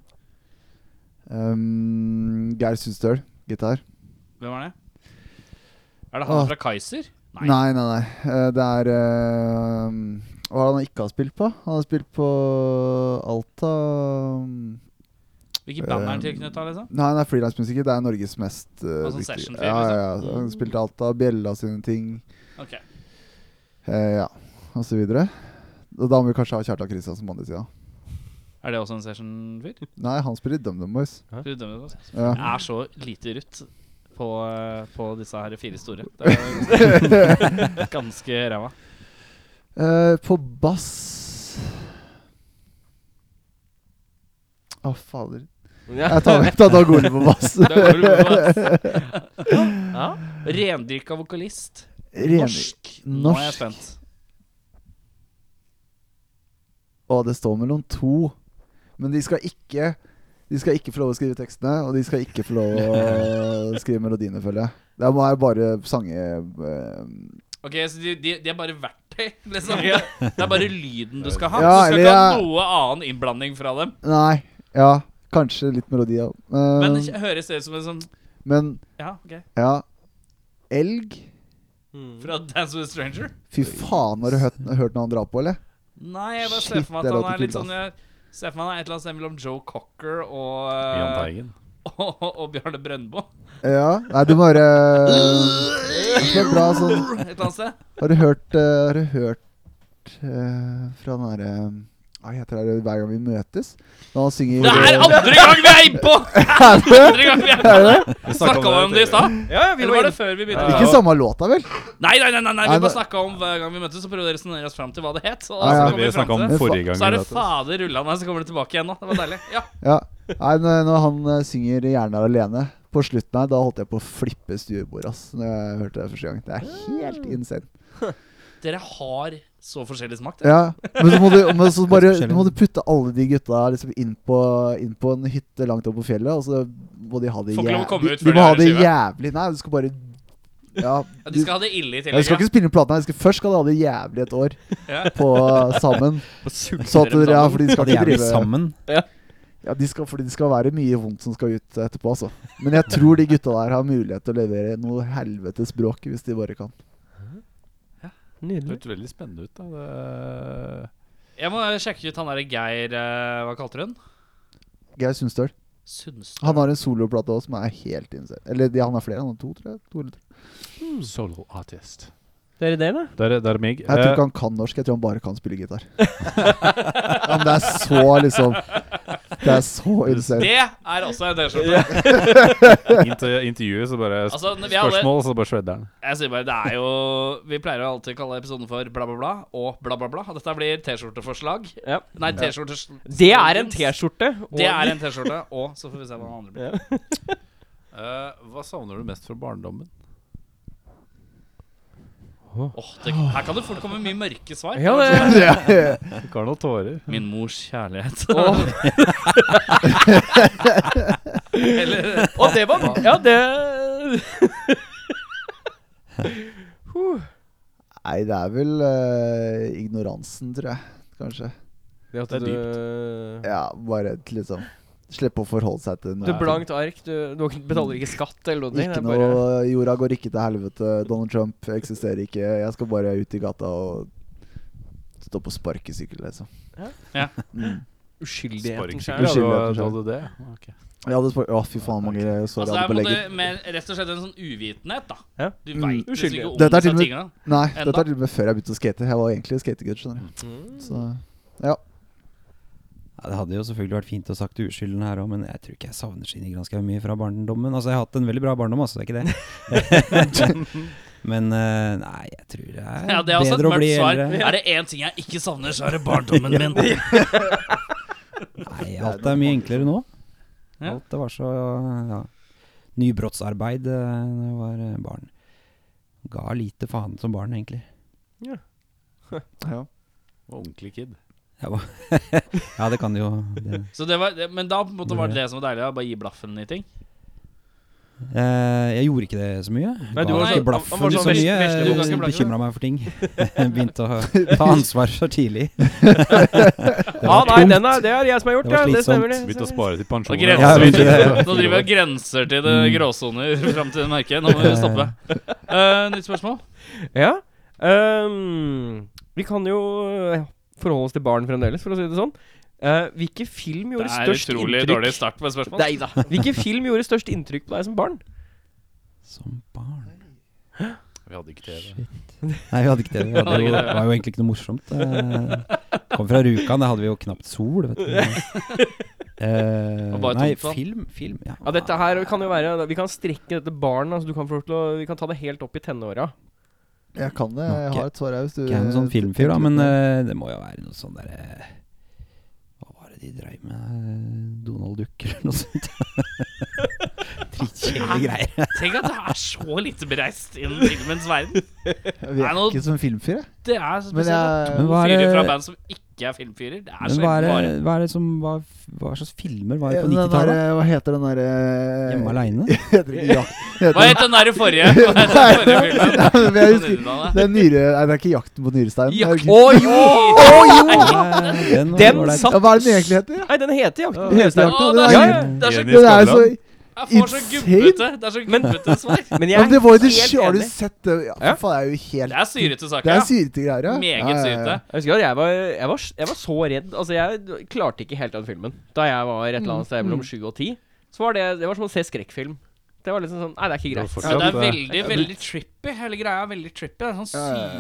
[SPEAKER 6] Um, Geir Sundstøl, gitar.
[SPEAKER 3] Hvem er det? Er det han
[SPEAKER 6] Åh.
[SPEAKER 3] fra Kaiser?
[SPEAKER 6] Nei, nei, nei. Eh, det er eh, Hva er det han ikke har spilt på? Han har spilt på Alta um,
[SPEAKER 3] Hvilket band er han
[SPEAKER 6] Eh,
[SPEAKER 3] tilknytta, liksom?
[SPEAKER 6] Nei, han er frilansmusiker. Det er Norges mest eh,
[SPEAKER 3] Og sånn
[SPEAKER 6] dyktige.
[SPEAKER 3] sessionfyr,
[SPEAKER 6] Ja, ja, ja. Han
[SPEAKER 3] Mm.
[SPEAKER 6] har spilt Alta, Bjella sine ting,
[SPEAKER 3] Ok
[SPEAKER 6] eh, ja, og så videre. Og da må vi kanskje ha Kjartan Kristiansen på andre sida.
[SPEAKER 3] Er det også en session-fyr?
[SPEAKER 6] Nei, han spiller i DumDum Boys.
[SPEAKER 3] Du dømmer det, altså.
[SPEAKER 6] Ja.
[SPEAKER 3] Jeg er så lite rutt på, eh, på disse her fire store. Det er ganske- ganske ræva.
[SPEAKER 6] Eh, på bass Å, fader.
[SPEAKER 4] Ja.
[SPEAKER 6] Jeg tar, jeg tar Dag Ole på bass.
[SPEAKER 3] Det er bare å gå, ass. ja. Rendyrka vokalist.
[SPEAKER 6] Ren-
[SPEAKER 3] Norsk. Nå er jeg
[SPEAKER 6] Norsk.
[SPEAKER 3] spent.
[SPEAKER 6] Og det står mellom to. Men de skal ikke De skal ikke få lov å skrive tekstene, og de skal ikke få lov å skrive melodiene, føler jeg. Det må jeg bare sange eh,
[SPEAKER 3] Ok, så de, de, de er bare verktøy, liksom? Det er bare lyden du skal ha?
[SPEAKER 6] Ja,
[SPEAKER 3] du skal
[SPEAKER 6] eller
[SPEAKER 3] ikke ha
[SPEAKER 6] jeg-
[SPEAKER 3] noe annen innblanding fra dem?
[SPEAKER 6] Nei. Ja, kanskje litt melodi òg.
[SPEAKER 3] Men
[SPEAKER 6] Men,
[SPEAKER 3] det kj- høres det ut som en sånn
[SPEAKER 6] men
[SPEAKER 3] Ja, ok.
[SPEAKER 6] ja. Elg?
[SPEAKER 3] Fra Dance with a Stranger?
[SPEAKER 6] Fy faen, har du hørt, hørt noe han drar på, eller?
[SPEAKER 3] Nei, jeg bare ser
[SPEAKER 6] Shit,
[SPEAKER 3] for meg
[SPEAKER 6] det
[SPEAKER 3] at han
[SPEAKER 6] låter
[SPEAKER 3] er litt
[SPEAKER 6] kult,
[SPEAKER 3] sånn jeg Ser for meg han er et eller annet sted mellom Joe Cocker og
[SPEAKER 2] Jahn
[SPEAKER 3] eh,
[SPEAKER 2] Teigen.
[SPEAKER 3] og, og Bjarne Brøndbo.
[SPEAKER 6] Ja. Nei, du må høre Det er bra sånn
[SPEAKER 3] Et eller annet sted.
[SPEAKER 6] Har du hørt, eh, har du hørt eh, fra den derre Hva heter det hver gang vi møtes? Når han synger
[SPEAKER 3] Det er
[SPEAKER 6] eh,
[SPEAKER 3] andre gang vi er innpå! Andre gang vi er innpå! Snakka vi om det i stad?
[SPEAKER 4] ja, vi
[SPEAKER 3] Eller
[SPEAKER 4] var
[SPEAKER 3] var det
[SPEAKER 4] inne-
[SPEAKER 3] før vi
[SPEAKER 6] Ikke
[SPEAKER 3] begynte?
[SPEAKER 6] samme låta, vel?
[SPEAKER 3] Nei, nei, nei, nei, nei vi
[SPEAKER 6] Nei,
[SPEAKER 3] bare
[SPEAKER 6] nå-
[SPEAKER 3] snakka om hver gang vi møttes, så prøvde å resonnere oss fram til hva det het.
[SPEAKER 6] Ja,
[SPEAKER 3] Og så
[SPEAKER 6] ja.
[SPEAKER 3] kom
[SPEAKER 2] Vi
[SPEAKER 3] vi fram
[SPEAKER 2] snakka
[SPEAKER 3] til
[SPEAKER 2] om
[SPEAKER 3] det.
[SPEAKER 6] det.
[SPEAKER 2] forrige gang.
[SPEAKER 3] Så er det
[SPEAKER 2] vi møttes.
[SPEAKER 3] fader rullande, så kommer det tilbake igjen nå. Det var deilig. Ja.
[SPEAKER 6] Ja. Nei, når, når han eh, synger 'Gjerne er alene' på slutten her, da holdt jeg på å flippe stuebordet, ass. Når jeg hørte det første gang. Det er helt insane.
[SPEAKER 3] Dere har så forskjellig smak. dere.
[SPEAKER 6] Ja, men så må du, men så bare,
[SPEAKER 5] Forskjellig.
[SPEAKER 6] du må du putte alle de gutta her liksom inn, på, inn på en hytte langt oppe på fjellet, og så må de ha det
[SPEAKER 3] Får ikke lov å komme
[SPEAKER 6] jævlig
[SPEAKER 3] ut
[SPEAKER 6] De
[SPEAKER 3] før
[SPEAKER 6] må
[SPEAKER 3] de
[SPEAKER 6] ha
[SPEAKER 3] er i
[SPEAKER 6] det
[SPEAKER 3] skive.
[SPEAKER 6] jævlig Nei, du skal bare Ja,
[SPEAKER 3] Ja,
[SPEAKER 6] du,
[SPEAKER 3] de skal ha det ille i
[SPEAKER 6] ja, de
[SPEAKER 3] tillegg.
[SPEAKER 6] skal ikke spille inn platene. De skal, først skal de ha det jævlig et år
[SPEAKER 3] Ja.
[SPEAKER 6] på eh, sammen.
[SPEAKER 3] Sulte
[SPEAKER 6] Så at
[SPEAKER 3] dem
[SPEAKER 6] dere, ja,
[SPEAKER 3] sammen.
[SPEAKER 6] for de skal
[SPEAKER 5] Hadde
[SPEAKER 6] ikke
[SPEAKER 5] jeg blitt
[SPEAKER 6] drive
[SPEAKER 5] sammen
[SPEAKER 6] ja, de skal, Fordi det skal være mye vondt som skal ut etterpå, altså. Men jeg tror de gutta der har mulighet til å levere noe helvetes bråk, hvis de bare kan.
[SPEAKER 2] Det
[SPEAKER 4] Nydelig.
[SPEAKER 2] hørtes veldig spennende ut. da det,
[SPEAKER 3] Jeg må sjekke ut han derre Geir eh, Hva kalte du han?
[SPEAKER 6] Geir Sundstøl.
[SPEAKER 3] Sundstø.
[SPEAKER 6] Han har en soloplate også som er helt insane. Eller de, han har flere. Han har to, tror jeg. To eller tre.
[SPEAKER 2] Solo artist.
[SPEAKER 4] Det er det, da.
[SPEAKER 2] Der, er- der er meg.
[SPEAKER 6] Jeg tror
[SPEAKER 2] Eh,
[SPEAKER 6] ikke han kan norsk. Jeg tror han bare kan spille gitar. ja, men det er så liksom Det er så insane.
[SPEAKER 3] Det er også en T-skjorte.
[SPEAKER 2] intervju- intervjuet, så bare
[SPEAKER 3] Altså, når vi alle-
[SPEAKER 2] Spørsmål, så bare shredder den.
[SPEAKER 3] Jeg sier bare, det er jo Vi pleier jo alltid å kalle episoden for bla, bla, bla og bla, bla, bla. Dette blir T-skjorteforslag.
[SPEAKER 4] Ja.
[SPEAKER 3] Nei, T-skjorte
[SPEAKER 4] Det er en T-skjorte. og-
[SPEAKER 3] Det er en T-skjorte, og så får vi se hva den andre blir.
[SPEAKER 4] Ja.
[SPEAKER 2] Eh, hva savner du mest fra barndommen?
[SPEAKER 3] Åh, det, her kan det fort komme mye mørke svar.
[SPEAKER 4] Ja, det-
[SPEAKER 6] Ja, ja.
[SPEAKER 2] Du har noen tårer.
[SPEAKER 3] Min mors kjærlighet.
[SPEAKER 4] Eller- Og det var Ja, det
[SPEAKER 6] Nei, det er vel eh, ignoransen, tror jeg. Kanskje.
[SPEAKER 4] Det, at
[SPEAKER 2] Det er
[SPEAKER 4] du,
[SPEAKER 6] Ja, bare et liksom Slippe å forholde seg til
[SPEAKER 4] Du
[SPEAKER 6] noe.
[SPEAKER 4] er blankt ark. Du, du har ikke- betaler ikke skatt eller noe. det
[SPEAKER 6] Ikke
[SPEAKER 4] er
[SPEAKER 6] noe eh,
[SPEAKER 4] bare-
[SPEAKER 6] Jorda går ikke til helvete. Donald Trump eksisterer ikke. Jeg skal bare ut i gata og stå på sparkesykkel, liksom.
[SPEAKER 4] Ja.
[SPEAKER 3] Ja.
[SPEAKER 6] Mm.
[SPEAKER 4] Uskyldigheten
[SPEAKER 2] Sparkesykkel.
[SPEAKER 4] sjøl.
[SPEAKER 6] Unnskyld,
[SPEAKER 2] Du
[SPEAKER 6] jeg
[SPEAKER 2] hadde-
[SPEAKER 6] tror
[SPEAKER 2] hadde det? Ok.
[SPEAKER 6] Jeg hadde spar Å, fy faen, mange sår
[SPEAKER 3] Altså,
[SPEAKER 6] jeg
[SPEAKER 3] det er
[SPEAKER 6] hadde
[SPEAKER 3] på
[SPEAKER 6] på
[SPEAKER 3] en
[SPEAKER 6] leggen.
[SPEAKER 3] måte mer, rett og slett en sånn uvitenhet, da.
[SPEAKER 4] Ja.
[SPEAKER 3] Du
[SPEAKER 6] Mm.
[SPEAKER 3] veit liksom
[SPEAKER 4] Uskyldig.
[SPEAKER 3] ikke om
[SPEAKER 6] Dette er
[SPEAKER 3] disse
[SPEAKER 6] til og med-
[SPEAKER 3] tingene.
[SPEAKER 6] Nei,
[SPEAKER 3] Enda?
[SPEAKER 6] dette er til og med før jeg begynte å skate. Jeg var egentlig skategutt, skjønner du.
[SPEAKER 4] Mm.
[SPEAKER 6] Så
[SPEAKER 5] Ja, det hadde jo selvfølgelig vært fint å sagt uskylden her òg, men jeg tror ikke jeg savner Skinny Granskaug mye fra barndommen. Altså, jeg har hatt en veldig bra barndom, altså, det er ikke det. men eh, nei, jeg tror det er
[SPEAKER 3] Ja, det er også et
[SPEAKER 5] bedre å
[SPEAKER 3] mørkt
[SPEAKER 5] bli
[SPEAKER 3] svar.
[SPEAKER 5] eldre.
[SPEAKER 3] Er det én ting jeg ikke savner, så er det barndommen min.
[SPEAKER 5] Nei, alt er mye enklere nå.
[SPEAKER 3] Ja.
[SPEAKER 5] Alt det var så ja. Nybrottsarbeid eh, da jeg var eh, barn. Ga lite faen som barn, egentlig.
[SPEAKER 6] ja.
[SPEAKER 2] Det var Ordentlig kid.
[SPEAKER 5] Jeg var ja, det kan det jo det.
[SPEAKER 3] Så det var, det, men da på en måte var det det som var deilig, å bare gi blaffen i ting.
[SPEAKER 5] Eh, jeg gjorde ikke det så mye.
[SPEAKER 4] Nei, du var
[SPEAKER 5] Ga ikke
[SPEAKER 4] sånn- han
[SPEAKER 5] blaffen
[SPEAKER 4] var
[SPEAKER 5] i
[SPEAKER 4] sånn
[SPEAKER 5] så
[SPEAKER 4] vesle-
[SPEAKER 5] mye.
[SPEAKER 4] vesle-
[SPEAKER 3] du var ganske
[SPEAKER 5] Jeg
[SPEAKER 3] blaffen,
[SPEAKER 5] bekymra meg for ting. Begynte å ta ansvar så tidlig.
[SPEAKER 4] Ja, nei, den er, det er jeg som har gjort,
[SPEAKER 5] Det var
[SPEAKER 4] ja. Det stemmer, det.
[SPEAKER 5] slitsomt.
[SPEAKER 2] Begynte å spare til
[SPEAKER 3] Nå,
[SPEAKER 2] pensjoner.
[SPEAKER 5] Ja, men
[SPEAKER 3] grenser,
[SPEAKER 5] det-
[SPEAKER 3] nå driver jeg og grenser til det
[SPEAKER 6] Mm.
[SPEAKER 3] gråsoner fram til det merket. Nå må vi stoppe. Eh, nytt spørsmål?
[SPEAKER 4] Ja. Ehm, vi kan jo ja, forholde oss til barn fremdeles, for å si det sånn. Eh, hvilke film
[SPEAKER 3] Det
[SPEAKER 4] gjorde
[SPEAKER 3] er
[SPEAKER 4] størst
[SPEAKER 3] utrolig
[SPEAKER 4] inntrykk
[SPEAKER 3] dårlig start på et spørsmål.
[SPEAKER 4] Nei da. Hvilke film gjorde størst inntrykk på deg som barn?
[SPEAKER 5] Som barn
[SPEAKER 2] Vi hadde ikke TV.
[SPEAKER 5] Nei, vi hadde ikke det. Vi hadde jo, det var jo egentlig ikke noe morsomt. Eh, Kom fra Rjukan, der hadde vi jo knapt sol, vet du. Eh,
[SPEAKER 3] Og bare
[SPEAKER 5] nei,
[SPEAKER 3] tomt vann.
[SPEAKER 5] film, film ja.
[SPEAKER 4] Ja, dette her kan jo være Vi kan strekke dette barn. Altså, du kan få lov til å, vi kan ta det helt opp i tenåra.
[SPEAKER 6] Jeg kan det. Jeg har et svar her hvis du
[SPEAKER 5] Ikke jeg er noen sånn filmfyr, da, men eh, det må jo være noe sånn derre Hva var det de dreiv med? Eh, Donald Duck eller noe sånt? Dritkjedelige greier.
[SPEAKER 3] Tenk at det er så lite bereist innen filmens verden.
[SPEAKER 6] Jeg
[SPEAKER 3] Nei,
[SPEAKER 6] er
[SPEAKER 3] nå-
[SPEAKER 6] ikke som filmfyr, jeg.
[SPEAKER 3] Det er så
[SPEAKER 6] Men
[SPEAKER 3] spesielt.
[SPEAKER 6] jeg
[SPEAKER 3] at
[SPEAKER 5] Men
[SPEAKER 3] To
[SPEAKER 5] hva er
[SPEAKER 3] fyrer fra
[SPEAKER 5] det-
[SPEAKER 3] band som ikke er filmfyrer. Det er
[SPEAKER 5] Men
[SPEAKER 3] så
[SPEAKER 5] hva er det,
[SPEAKER 3] bare
[SPEAKER 5] hva er det som Hva, hva slags filmer var det på
[SPEAKER 6] den der,
[SPEAKER 5] 90-tallet?
[SPEAKER 6] Hva heter den derre
[SPEAKER 5] Hjemme aleine?
[SPEAKER 6] Heter ikke Jakt
[SPEAKER 3] Hva het den der forrige? Hva het den forrige filmen?
[SPEAKER 6] Nei, men jeg husker
[SPEAKER 3] Nydelig.
[SPEAKER 6] Det er nyre... Nei, det er ikke Jakten på nyrestein. Det er
[SPEAKER 3] Jakt-
[SPEAKER 6] ikke-
[SPEAKER 5] Den, var
[SPEAKER 4] Den
[SPEAKER 5] ålreit.
[SPEAKER 4] satt
[SPEAKER 6] Ja, hva er det den egentlig heter?
[SPEAKER 4] Nei, den heter Jakten
[SPEAKER 6] Ja?
[SPEAKER 4] på
[SPEAKER 6] Heter
[SPEAKER 4] Høyestein.
[SPEAKER 6] jakten,
[SPEAKER 3] Å,
[SPEAKER 6] det,
[SPEAKER 3] det
[SPEAKER 6] er,
[SPEAKER 3] er-
[SPEAKER 6] ja,
[SPEAKER 3] det er så
[SPEAKER 2] Jenny
[SPEAKER 6] det er så
[SPEAKER 2] Skavlan.
[SPEAKER 3] Jeg får så
[SPEAKER 6] Insane.
[SPEAKER 3] gubbete Det er så
[SPEAKER 4] Men-
[SPEAKER 3] gubbete svar.
[SPEAKER 4] Men
[SPEAKER 6] ja,
[SPEAKER 4] jeg
[SPEAKER 6] men Det var jo det
[SPEAKER 4] helt
[SPEAKER 6] sj- Har du
[SPEAKER 4] enig.
[SPEAKER 6] sett det? Ja,
[SPEAKER 4] Ja.
[SPEAKER 6] for faen, det er jo helt
[SPEAKER 3] Det er syrete
[SPEAKER 6] Det
[SPEAKER 3] saker,
[SPEAKER 6] er
[SPEAKER 3] ja.
[SPEAKER 6] syrete greier, ja. Ja,
[SPEAKER 3] Meget
[SPEAKER 6] ja, ja.
[SPEAKER 3] syrete.
[SPEAKER 4] Jeg husker at jeg var, jeg, var, jeg var så redd. Altså, jeg klarte ikke helt den filmen. Da jeg var et eller annet sted
[SPEAKER 3] Mm.
[SPEAKER 4] mellom sju og ti, så var det Det var som å se skrekkfilm. Det var liksom sånn Nei, det er ikke
[SPEAKER 2] Det var
[SPEAKER 4] greit.
[SPEAKER 2] fortsatt-
[SPEAKER 3] Men det er
[SPEAKER 2] Ja,
[SPEAKER 3] veldig, veldig trippy. Hele greia er veldig trippy. Det er sånn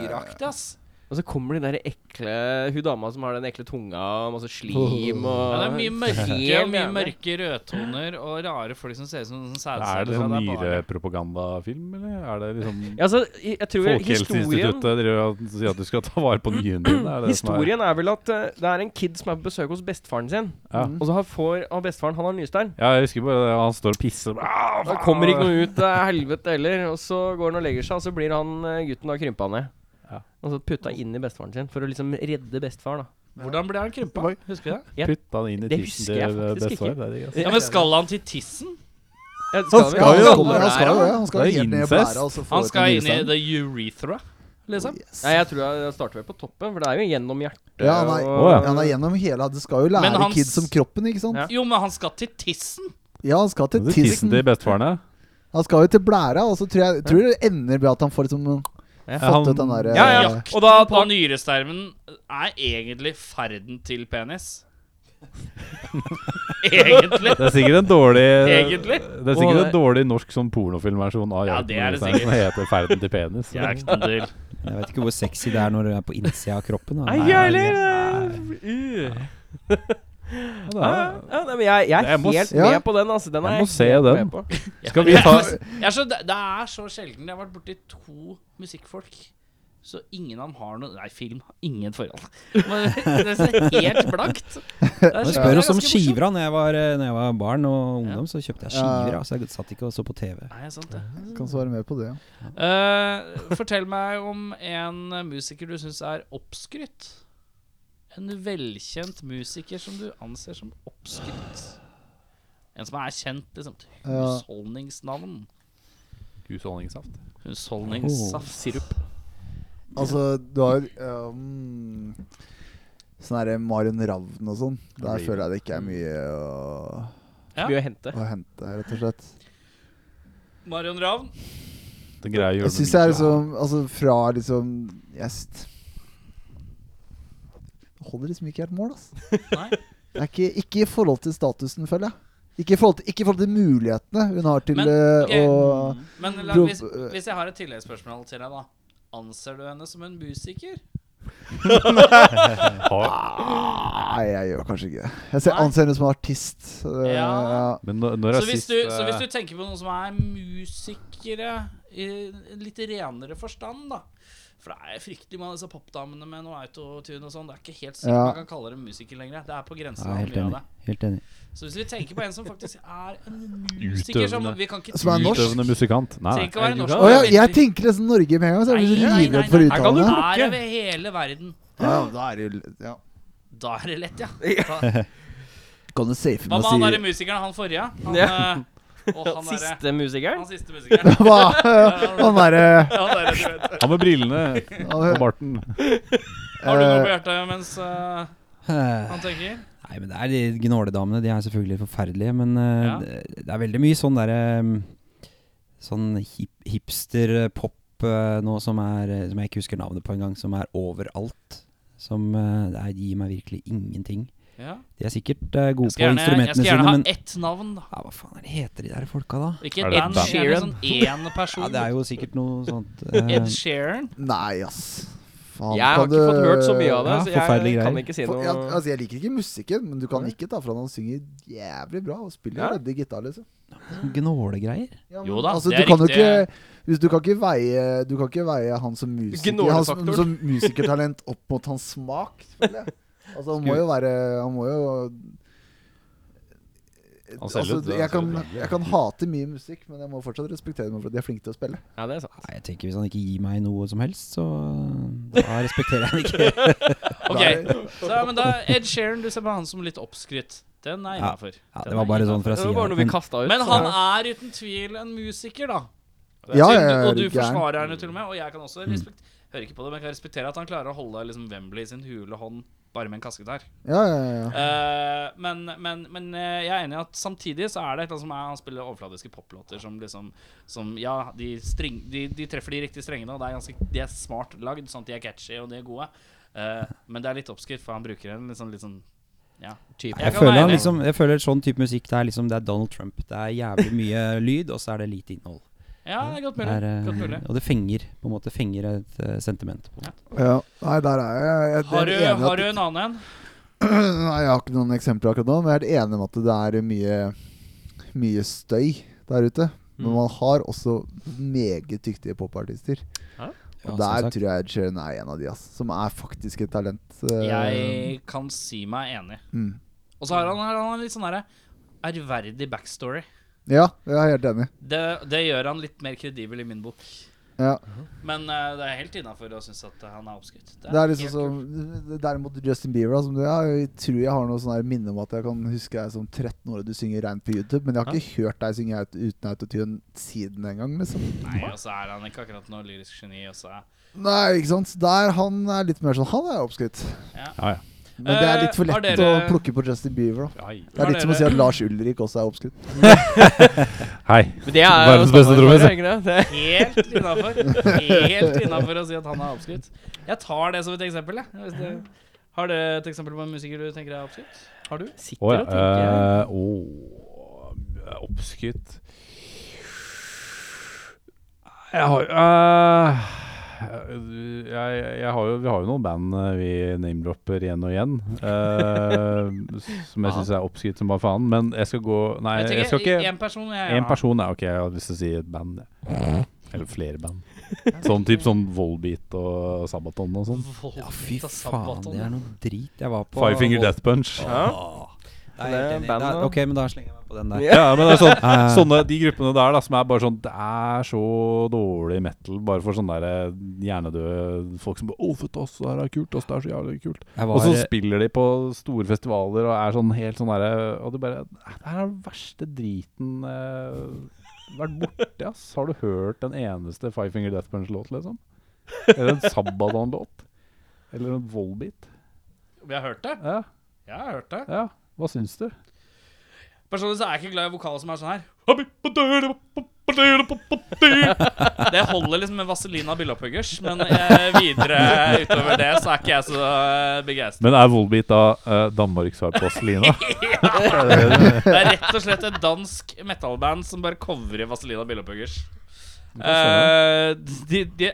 [SPEAKER 3] syreaktig, ass.
[SPEAKER 4] Og så kommer de der ekle Hun dama som har den ekle tunga og masse slim og
[SPEAKER 3] Ja, det er mye mørke,
[SPEAKER 4] Hel
[SPEAKER 3] og mye
[SPEAKER 4] jævlig.
[SPEAKER 3] mørke rødtoner og rare folk som ser ut som sånn sædceller.
[SPEAKER 2] Er det
[SPEAKER 3] og
[SPEAKER 2] sånn
[SPEAKER 3] bare-
[SPEAKER 2] nyrepropagandafilm, eller? Er det liksom
[SPEAKER 4] Ja, altså, jeg, jeg tror historien
[SPEAKER 2] Folkehelseinstituttet driver og sier at du skal ta vare på nyrene dine? Er det det som er-
[SPEAKER 4] Historien er vel at eh, det er en kid som er på besøk hos bestefaren sin.
[SPEAKER 2] Ja.
[SPEAKER 4] Og så har, får, og bestefaren han har nystein.
[SPEAKER 2] ja, jeg husker bare det, han står og pisser og bare, "Ah,
[SPEAKER 4] Da kommer ikke noe ut, det er helvete heller. Og så går han og legger seg, og så blir han eh, gutten da krympa ned.
[SPEAKER 2] Ja.
[SPEAKER 4] Og så putta inn i bestefaren sin, for å liksom redde bestefar, da.
[SPEAKER 3] Hvordan ble han krympa? Husker du det?
[SPEAKER 4] Ja.
[SPEAKER 2] Putt han inn i
[SPEAKER 4] Det
[SPEAKER 2] tissen
[SPEAKER 4] husker jeg
[SPEAKER 2] til eh,
[SPEAKER 4] faktisk
[SPEAKER 2] bestefar.
[SPEAKER 4] ikke.
[SPEAKER 2] Det er digg, ass.
[SPEAKER 3] Ja, Men skal han til tissen?
[SPEAKER 4] Ja,
[SPEAKER 6] Han
[SPEAKER 4] vi?
[SPEAKER 6] skal jo
[SPEAKER 3] Han
[SPEAKER 6] han
[SPEAKER 3] kommer der,
[SPEAKER 6] skal jo det. Han skal
[SPEAKER 2] Det er
[SPEAKER 6] helt ned i
[SPEAKER 2] incest.
[SPEAKER 6] blæra. og så få
[SPEAKER 3] Han
[SPEAKER 6] ut
[SPEAKER 3] skal
[SPEAKER 6] den
[SPEAKER 3] inn i
[SPEAKER 6] nyresten.
[SPEAKER 3] the urethra, liksom.
[SPEAKER 6] Yes.
[SPEAKER 4] Nei, jeg tror jeg jeg starter vel på toppen, for det er jo gjennom hjertet.
[SPEAKER 6] Ja, han er,
[SPEAKER 2] Å, ja.
[SPEAKER 6] han er gjennom hele Det skal jo lære
[SPEAKER 3] Men hans-
[SPEAKER 6] kids om kroppen, ikke sant?
[SPEAKER 4] Ja.
[SPEAKER 3] Jo, men han skal til tissen.
[SPEAKER 6] Ja, han skal til
[SPEAKER 2] Det
[SPEAKER 6] tissen.
[SPEAKER 2] siste i bestefarene.
[SPEAKER 6] Han skal jo til blæra, og så tror jeg tror det ender med at han får liksom
[SPEAKER 4] Ja,
[SPEAKER 6] fått
[SPEAKER 2] han-
[SPEAKER 6] ut den derre
[SPEAKER 4] Ja, ja, ja. Og da,
[SPEAKER 3] På
[SPEAKER 4] da
[SPEAKER 3] nyrestermen er egentlig ferden til penis. egentlig.
[SPEAKER 2] Det er sikkert en dårlig
[SPEAKER 3] Egentlig.
[SPEAKER 2] Det er sikkert en dårlig norsk sånn pornofilmversjon av
[SPEAKER 3] Ja, det er
[SPEAKER 2] Jakten på
[SPEAKER 3] det sikkert.
[SPEAKER 2] Nyreisen som heter 'Ferden til penis'.
[SPEAKER 3] Jeg er ikke noe til.
[SPEAKER 5] Jeg vet ikke hvor sexy det er når det er på innsida av kroppen. da.
[SPEAKER 4] Nei,
[SPEAKER 5] Nei,
[SPEAKER 4] jeg
[SPEAKER 5] nei,
[SPEAKER 4] heller.
[SPEAKER 5] nei.
[SPEAKER 4] Uh.
[SPEAKER 2] Ja,
[SPEAKER 4] Ja,
[SPEAKER 2] da-
[SPEAKER 4] ja, nei, men jeg, jeg er
[SPEAKER 2] Jeg må
[SPEAKER 4] helt
[SPEAKER 2] s-
[SPEAKER 6] Ja.
[SPEAKER 4] med på den, altså. Den
[SPEAKER 2] Jeg
[SPEAKER 4] er
[SPEAKER 2] må se
[SPEAKER 4] helt
[SPEAKER 2] den.
[SPEAKER 4] med på.
[SPEAKER 2] Skal vi ta
[SPEAKER 3] Jeg er så, det det er så sjelden. Jeg har vært borti to musikkfolk. Så ingen av dem har noe Nei, film har ingen forhold. Men det er så helt blankt. Det er
[SPEAKER 5] Men
[SPEAKER 3] så- det
[SPEAKER 5] spør
[SPEAKER 3] er
[SPEAKER 5] oss om
[SPEAKER 3] ganske morsomt.
[SPEAKER 5] skiver. da. Når jeg var, eh, når jeg var barn og ungdom, så kjøpte jeg skiver. da, Så jeg satt ikke og så på TV.
[SPEAKER 3] Nei, sant det.
[SPEAKER 6] Kan svare med på det.
[SPEAKER 3] Eh, fortell meg om en musiker du syns er oppskrytt. En velkjent musiker som du anser som oppskrytt. En som er kjent, liksom.
[SPEAKER 6] Ja.
[SPEAKER 3] Husholdningsnavn.
[SPEAKER 2] Husholdningssaft.
[SPEAKER 3] Husholdningssaft. Sirup.
[SPEAKER 6] Altså, du har um, sånn derre Marion Ravn og sånn. Der føler jeg det ikke er mye å,
[SPEAKER 3] Ja.
[SPEAKER 4] Mye å hente.
[SPEAKER 6] å hente, rett og slett.
[SPEAKER 3] Marion Ravn.
[SPEAKER 2] Den greia gjør
[SPEAKER 6] Jeg syns jeg er liksom Altså, fra liksom Jeg s- Det holder liksom ikke helt mål, ass.
[SPEAKER 3] Nei.
[SPEAKER 6] Det er ikke, ikke i forhold til statusen, føler jeg. Ikke i forhold til, ikke i forhold til mulighetene hun har til
[SPEAKER 3] Men,
[SPEAKER 6] eh,
[SPEAKER 3] ok.
[SPEAKER 6] å
[SPEAKER 3] Men la,
[SPEAKER 6] Pro-
[SPEAKER 3] hvis, hvis jeg har et tilleggsspørsmål til deg, da. Anser du henne som en musiker? Ah.
[SPEAKER 6] Nei, jeg gjør kanskje ikke det. Jeg ser
[SPEAKER 3] Nei.
[SPEAKER 6] anser henne som artist. eh,
[SPEAKER 3] Ja.
[SPEAKER 2] Men nå- når
[SPEAKER 3] Så
[SPEAKER 2] er
[SPEAKER 3] hvis,
[SPEAKER 2] sist
[SPEAKER 3] du, så hvis
[SPEAKER 2] eh,
[SPEAKER 3] du tenker på noen som er musikere i en litt renere forstand, da. For det er fryktelig mange av disse popdamene med noe autotune og sånn. Det er ikke helt sikkert
[SPEAKER 6] Ja.
[SPEAKER 3] man kan kalle dem musikere lenger. Det er på grensen
[SPEAKER 5] Ja,
[SPEAKER 3] av
[SPEAKER 5] helt
[SPEAKER 3] mye av
[SPEAKER 5] enig.
[SPEAKER 3] det.
[SPEAKER 5] Helt enig.
[SPEAKER 3] Så hvis vi tenker på en som faktisk er en musiker som
[SPEAKER 2] Utøvende.
[SPEAKER 3] Vi kan ikke
[SPEAKER 6] Som er norsk?
[SPEAKER 2] Utøvende musikant. Nei, nei.
[SPEAKER 3] Trenger ikke å være
[SPEAKER 4] Nei, du
[SPEAKER 3] norsk.
[SPEAKER 6] Å
[SPEAKER 4] kan-
[SPEAKER 6] ja, jeg tenker liksom Norge med en gang, så er jeg så
[SPEAKER 3] Nei, nei, nei,
[SPEAKER 6] livredd for
[SPEAKER 3] nei. Her
[SPEAKER 4] kan du
[SPEAKER 6] uttalen.
[SPEAKER 3] Er over hele verden.
[SPEAKER 6] Ja, da er det jo ja.
[SPEAKER 3] Da er det lett, ja. Da,
[SPEAKER 6] Kan du safe
[SPEAKER 3] hva
[SPEAKER 6] med
[SPEAKER 3] med han
[SPEAKER 6] å
[SPEAKER 3] derre musikeren, han forrige? Han, eh, og han derre
[SPEAKER 4] Siste musikeren.
[SPEAKER 3] Han siste musikeren.
[SPEAKER 6] si Hva? Han derre
[SPEAKER 3] Ja, det er det du vet.
[SPEAKER 2] Han med brillene og barten.
[SPEAKER 3] Har du noe på hjertet mens eh,
[SPEAKER 5] Eh,
[SPEAKER 3] han tenker?
[SPEAKER 5] Nei, men det er de gnåledamene. De er selvfølgelig forferdelige, men eh,
[SPEAKER 3] Ja.
[SPEAKER 5] det, det er veldig mye sånn derre mm, Sånn hip, hipster-pop eh, nå som er eh, Som jeg ikke husker navnet på engang, som er overalt. Som eh, det er, gir meg virkelig ingenting.
[SPEAKER 3] Ja.
[SPEAKER 5] De er sikkert eh,
[SPEAKER 3] Jeg
[SPEAKER 5] gode
[SPEAKER 3] skal
[SPEAKER 5] på
[SPEAKER 3] gjerne, jeg
[SPEAKER 5] instrumentene
[SPEAKER 3] skal gjerne
[SPEAKER 5] sine,
[SPEAKER 3] ha
[SPEAKER 5] men
[SPEAKER 3] ett navn. da.
[SPEAKER 5] ja, Hva faen er det heter de der folka, da?
[SPEAKER 3] Ikke
[SPEAKER 2] Er det et
[SPEAKER 3] Ed
[SPEAKER 2] band?
[SPEAKER 3] Sheeran, sånn én person.
[SPEAKER 5] Ja, Det er jo sikkert noe sånt. eh,
[SPEAKER 3] Ed Sheeran.
[SPEAKER 6] Nei, ass. Faen,
[SPEAKER 4] Jeg har
[SPEAKER 6] kan
[SPEAKER 4] ikke
[SPEAKER 6] du-
[SPEAKER 4] fått hørt så mye av det,
[SPEAKER 5] Ja,
[SPEAKER 4] så
[SPEAKER 5] forferdelige
[SPEAKER 4] jeg
[SPEAKER 5] greier.
[SPEAKER 4] kan ikke si
[SPEAKER 6] For, ja,
[SPEAKER 4] noe.
[SPEAKER 6] altså, jeg liker ikke musikken, men du kan ikke ta fra han han synger jævlig bra og spiller
[SPEAKER 4] Ja.
[SPEAKER 6] redde gitar, liksom.
[SPEAKER 5] sånn Gnålegreier.
[SPEAKER 6] Ja,
[SPEAKER 3] Jo da,
[SPEAKER 6] altså,
[SPEAKER 3] det
[SPEAKER 6] du
[SPEAKER 3] er
[SPEAKER 6] kan jo
[SPEAKER 3] riktig.
[SPEAKER 6] ikke, hvis du, kan ikke veie, du kan ikke veie han som musiker Han som,
[SPEAKER 4] Gnålefaktoren.
[SPEAKER 6] som musikertalent opp mot hans smak, føler jeg. Altså, han må jo være Han må jo
[SPEAKER 2] Han selger
[SPEAKER 6] altså,
[SPEAKER 2] ut, det,
[SPEAKER 6] jeg,
[SPEAKER 2] han
[SPEAKER 6] kan,
[SPEAKER 2] selger
[SPEAKER 6] jeg kan hate mye musikk, men jeg må fortsatt respektere dem for at de er flinke til å spille.
[SPEAKER 4] Ja, det er sant.
[SPEAKER 5] Nei, jeg tenker Hvis han ikke gir meg noe som helst, så da respekterer jeg han ikke.
[SPEAKER 3] Ok,
[SPEAKER 6] Da
[SPEAKER 3] så, ja, men da Ed Sheeran, du ser på han som litt oppskrytt. Den er
[SPEAKER 5] Ja.
[SPEAKER 3] innafor.
[SPEAKER 5] Ja, det var bare sånn fra
[SPEAKER 4] Det var bare noe vi
[SPEAKER 5] sida.
[SPEAKER 4] kastet ut.
[SPEAKER 3] Men
[SPEAKER 4] så-
[SPEAKER 3] han er uten tvil en musiker, da.
[SPEAKER 6] Ja,
[SPEAKER 3] Siden
[SPEAKER 6] ja, ja,
[SPEAKER 3] du-
[SPEAKER 6] er
[SPEAKER 3] og du
[SPEAKER 6] du gæren? Mm.
[SPEAKER 3] forsvarer henne til og med. Og jeg kan også respekt, hører ikke på det, men jeg kan respektere at han klarer å holde liksom Wembley i sin hule hånd bare med en kassegitar.
[SPEAKER 6] Ja, ja, ja.
[SPEAKER 3] Eh, men men, men eh, jeg er enig i at samtidig så er det et eller annet som er Han spiller overfladiske poplåter som liksom som, Ja, de, string, de, de treffer de riktige strengene, og det er ganske, de er smart lagd, sånn at de er catchy og de er gode. Eh, men det er litt oppskrytt, for han bruker en litt sånn litt sånn Ja.
[SPEAKER 5] Jeg,
[SPEAKER 3] Jeg kan
[SPEAKER 5] føler
[SPEAKER 3] være
[SPEAKER 5] han
[SPEAKER 3] enig.
[SPEAKER 5] liksom, jeg føler sånn type musikk det er liksom Det er Donald Trump. Det er jævlig mye lyd, og så er det lite innhold.
[SPEAKER 3] Ja, det er godt
[SPEAKER 5] Det
[SPEAKER 3] mulig.
[SPEAKER 5] er, eh,
[SPEAKER 3] godt mulig.
[SPEAKER 5] og det fenger på en måte fenger et eh, sentiment. På. en måte.
[SPEAKER 6] ja. Nei, der er jeg. jeg er
[SPEAKER 3] Har du,
[SPEAKER 6] enig i at-
[SPEAKER 3] har du en annen en?
[SPEAKER 6] Nei, jeg har ikke noen eksempler akkurat nå, men jeg er helt enig om at det er mye, mye støy der ute. Men
[SPEAKER 4] Mm.
[SPEAKER 6] man har også meget dyktige popartister.
[SPEAKER 5] Ja,
[SPEAKER 6] og
[SPEAKER 5] som
[SPEAKER 6] der
[SPEAKER 5] sagt.
[SPEAKER 6] tror jeg Ed Sheeran er en av de, ass, som er faktisk et talent. eh,
[SPEAKER 3] Jeg kan si meg enig.
[SPEAKER 6] mm.
[SPEAKER 3] Og så har han, har han litt sånn derre ærverdig backstory.
[SPEAKER 6] Ja, jeg er helt enig.
[SPEAKER 3] Det, det gjør han litt mer kredibel i min bok.
[SPEAKER 6] Ja.
[SPEAKER 3] Men eh, det er helt innafor å synes at eh, han er oppskrytt. Det
[SPEAKER 6] Det er liksom
[SPEAKER 3] helt
[SPEAKER 6] som Derimot Justin Bieber da, som du, ja, jeg tror jeg har noe sånn her minne om at jeg kan huske deg som 13 år og du synger rent på YouTube, men jeg har ikke hørt deg synge aut- uten autotune siden den gang, liksom.
[SPEAKER 3] kult. Nei, og så er han ikke akkurat noe lyrisk geni. Og så er
[SPEAKER 6] Nei, ikke sant. Der han er litt mer sånn Han er oppskrytt.
[SPEAKER 2] Ja, ja.
[SPEAKER 6] Men det er litt for
[SPEAKER 3] Eh, har
[SPEAKER 6] lett
[SPEAKER 3] dere-
[SPEAKER 6] å plukke på Justin Bieber, da.
[SPEAKER 2] Hei.
[SPEAKER 6] Det er
[SPEAKER 3] Har
[SPEAKER 6] litt som å si
[SPEAKER 3] dere-
[SPEAKER 6] at Lars Ulrik også er oppskrytt.
[SPEAKER 2] Hei.
[SPEAKER 4] Men det er
[SPEAKER 2] Verdens beste trommis, ja.
[SPEAKER 4] trommis.
[SPEAKER 3] Helt innafor. Helt innafor å si at han er oppskrytt. Jeg tar det som et eksempel. Jeg. Hvis det, har du et eksempel på en musiker du tenker er oppskrytt? Har du?
[SPEAKER 4] Sitter
[SPEAKER 2] Å
[SPEAKER 4] og tenker.
[SPEAKER 2] ja. eh, å, Oppskrytt Jeg har eh, jeg, jeg har jo, Vi har jo noen band eh, vi name-dropper igjen og igjen. eh, som jeg syns er oppskrytt som bare faen. Men jeg skal gå Nei,
[SPEAKER 3] Jeg
[SPEAKER 2] jeg,
[SPEAKER 3] tenker,
[SPEAKER 2] skal ikke
[SPEAKER 3] En person jeg
[SPEAKER 2] Én person er ok, jeg hadde lyst til å si et band. jeg. Eller flere band. Sånn typ sånn Volbeat og Sabaton og sånn.
[SPEAKER 5] Ja, fy faen, det er noe drit. Jeg var på
[SPEAKER 2] Five Finger Death Punch.
[SPEAKER 5] Nei,
[SPEAKER 4] Det er
[SPEAKER 5] jeg er helt enig.
[SPEAKER 4] bandet,
[SPEAKER 5] Da-
[SPEAKER 4] da.
[SPEAKER 5] Ok, men da slenger jeg meg på den der.
[SPEAKER 2] Ja, men det er sånn,
[SPEAKER 5] Eh,
[SPEAKER 2] sånne, De gruppene der da som er bare sånn Det er så dårlig metal, bare for sånne der hjernedøde folk som bare 'Å, fett, ass, det her er kult, ass, det er så jævlig kult'.
[SPEAKER 5] jeg
[SPEAKER 2] Og så
[SPEAKER 5] var, eh,
[SPEAKER 2] spiller de på store festivaler og er sånn helt sånn derre Og du bare "Nei, Det her er den verste driten eh, vært borti, ass. Har du hørt en eneste Five Finger Death Punch-låt, liksom? Eller en Sabaton-låt? Eller en Volbeat?
[SPEAKER 3] Vi har hørt det.
[SPEAKER 2] Ja,
[SPEAKER 3] Jeg har hørt det.
[SPEAKER 2] ja. Hva syns du?
[SPEAKER 3] Personlig så er jeg ikke glad i vokaler som er sånn her Det holder liksom med Vaselina Billopphuggers, men eh, videre utover det så er ikke jeg så eh, begeistret.
[SPEAKER 2] Men er Volbeat da eh, Danmarks svar på Selina?
[SPEAKER 3] Det er rett og slett et dansk metalband som bare covrer Vaselina Billopphuggers. Eh, de, de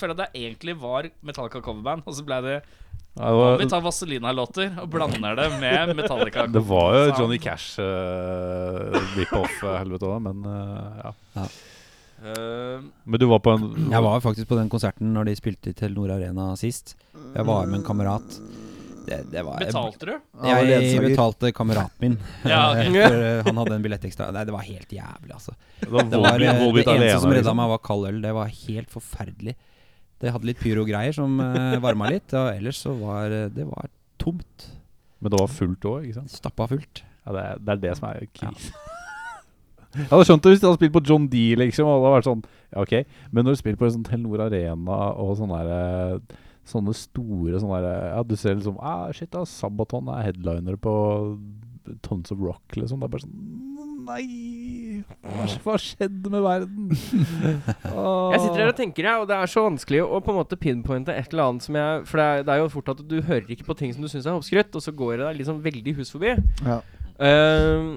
[SPEAKER 3] jeg føler at det egentlig var Metallica coverband, og så ble det
[SPEAKER 2] Ja, det
[SPEAKER 3] Vi
[SPEAKER 2] var-
[SPEAKER 3] tar Vaselina-låter og blander det med Metallica.
[SPEAKER 2] Det var jo Johnny Cash eh, uh, rip-off-helvete òg, men eh, ja.
[SPEAKER 3] Eh,
[SPEAKER 2] Men du var på en
[SPEAKER 5] jeg var faktisk på den konserten når de spilte i Telenor Arena sist. Jeg var med en kamerat. Det, det var
[SPEAKER 3] betalte du?
[SPEAKER 6] Ja, det var
[SPEAKER 5] Jeg
[SPEAKER 6] ledsager.
[SPEAKER 5] betalte kameraten min.
[SPEAKER 3] Ja, ok.
[SPEAKER 5] For eh, han hadde en billett ekstra. Nei, det var helt jævlig, altså.
[SPEAKER 2] Det var
[SPEAKER 5] Det, var,
[SPEAKER 2] Volbeat,
[SPEAKER 5] eh, det
[SPEAKER 2] Volbeat
[SPEAKER 5] eneste
[SPEAKER 2] alene.
[SPEAKER 5] som redda
[SPEAKER 2] liksom.
[SPEAKER 5] meg, var kald øl. Det var helt forferdelig. Det hadde litt pyrogreier som uh, varma litt. Og ellers så var eh, det var tomt.
[SPEAKER 2] Men det var fullt òg, ikke sant?
[SPEAKER 5] Stappa fullt.
[SPEAKER 2] Ja, det, er, det er det som er krise. Jeg hadde skjønt det hvis de hadde spilt på John D, liksom. Og det hadde vært sånn, ja, ok Men når du spiller på en sånn Telenor Arena og sånne der, eh, Sånne store sånne der, Ja, du ser liksom ah, Shit, da, Sabaton er headliner på Tons of Rock, liksom. Det er bare sånn Nei! Hva sk- Hva skjedde med verden?
[SPEAKER 4] Jeg sitter her og tenker, jeg, og det er så vanskelig å på en måte pinpointe et eller annet som jeg For det er, det er jo fort at du hører ikke på ting som du syns er oppskrytt, og så går det deg liksom veldig hus forbi.
[SPEAKER 6] Ja.
[SPEAKER 4] Ehm,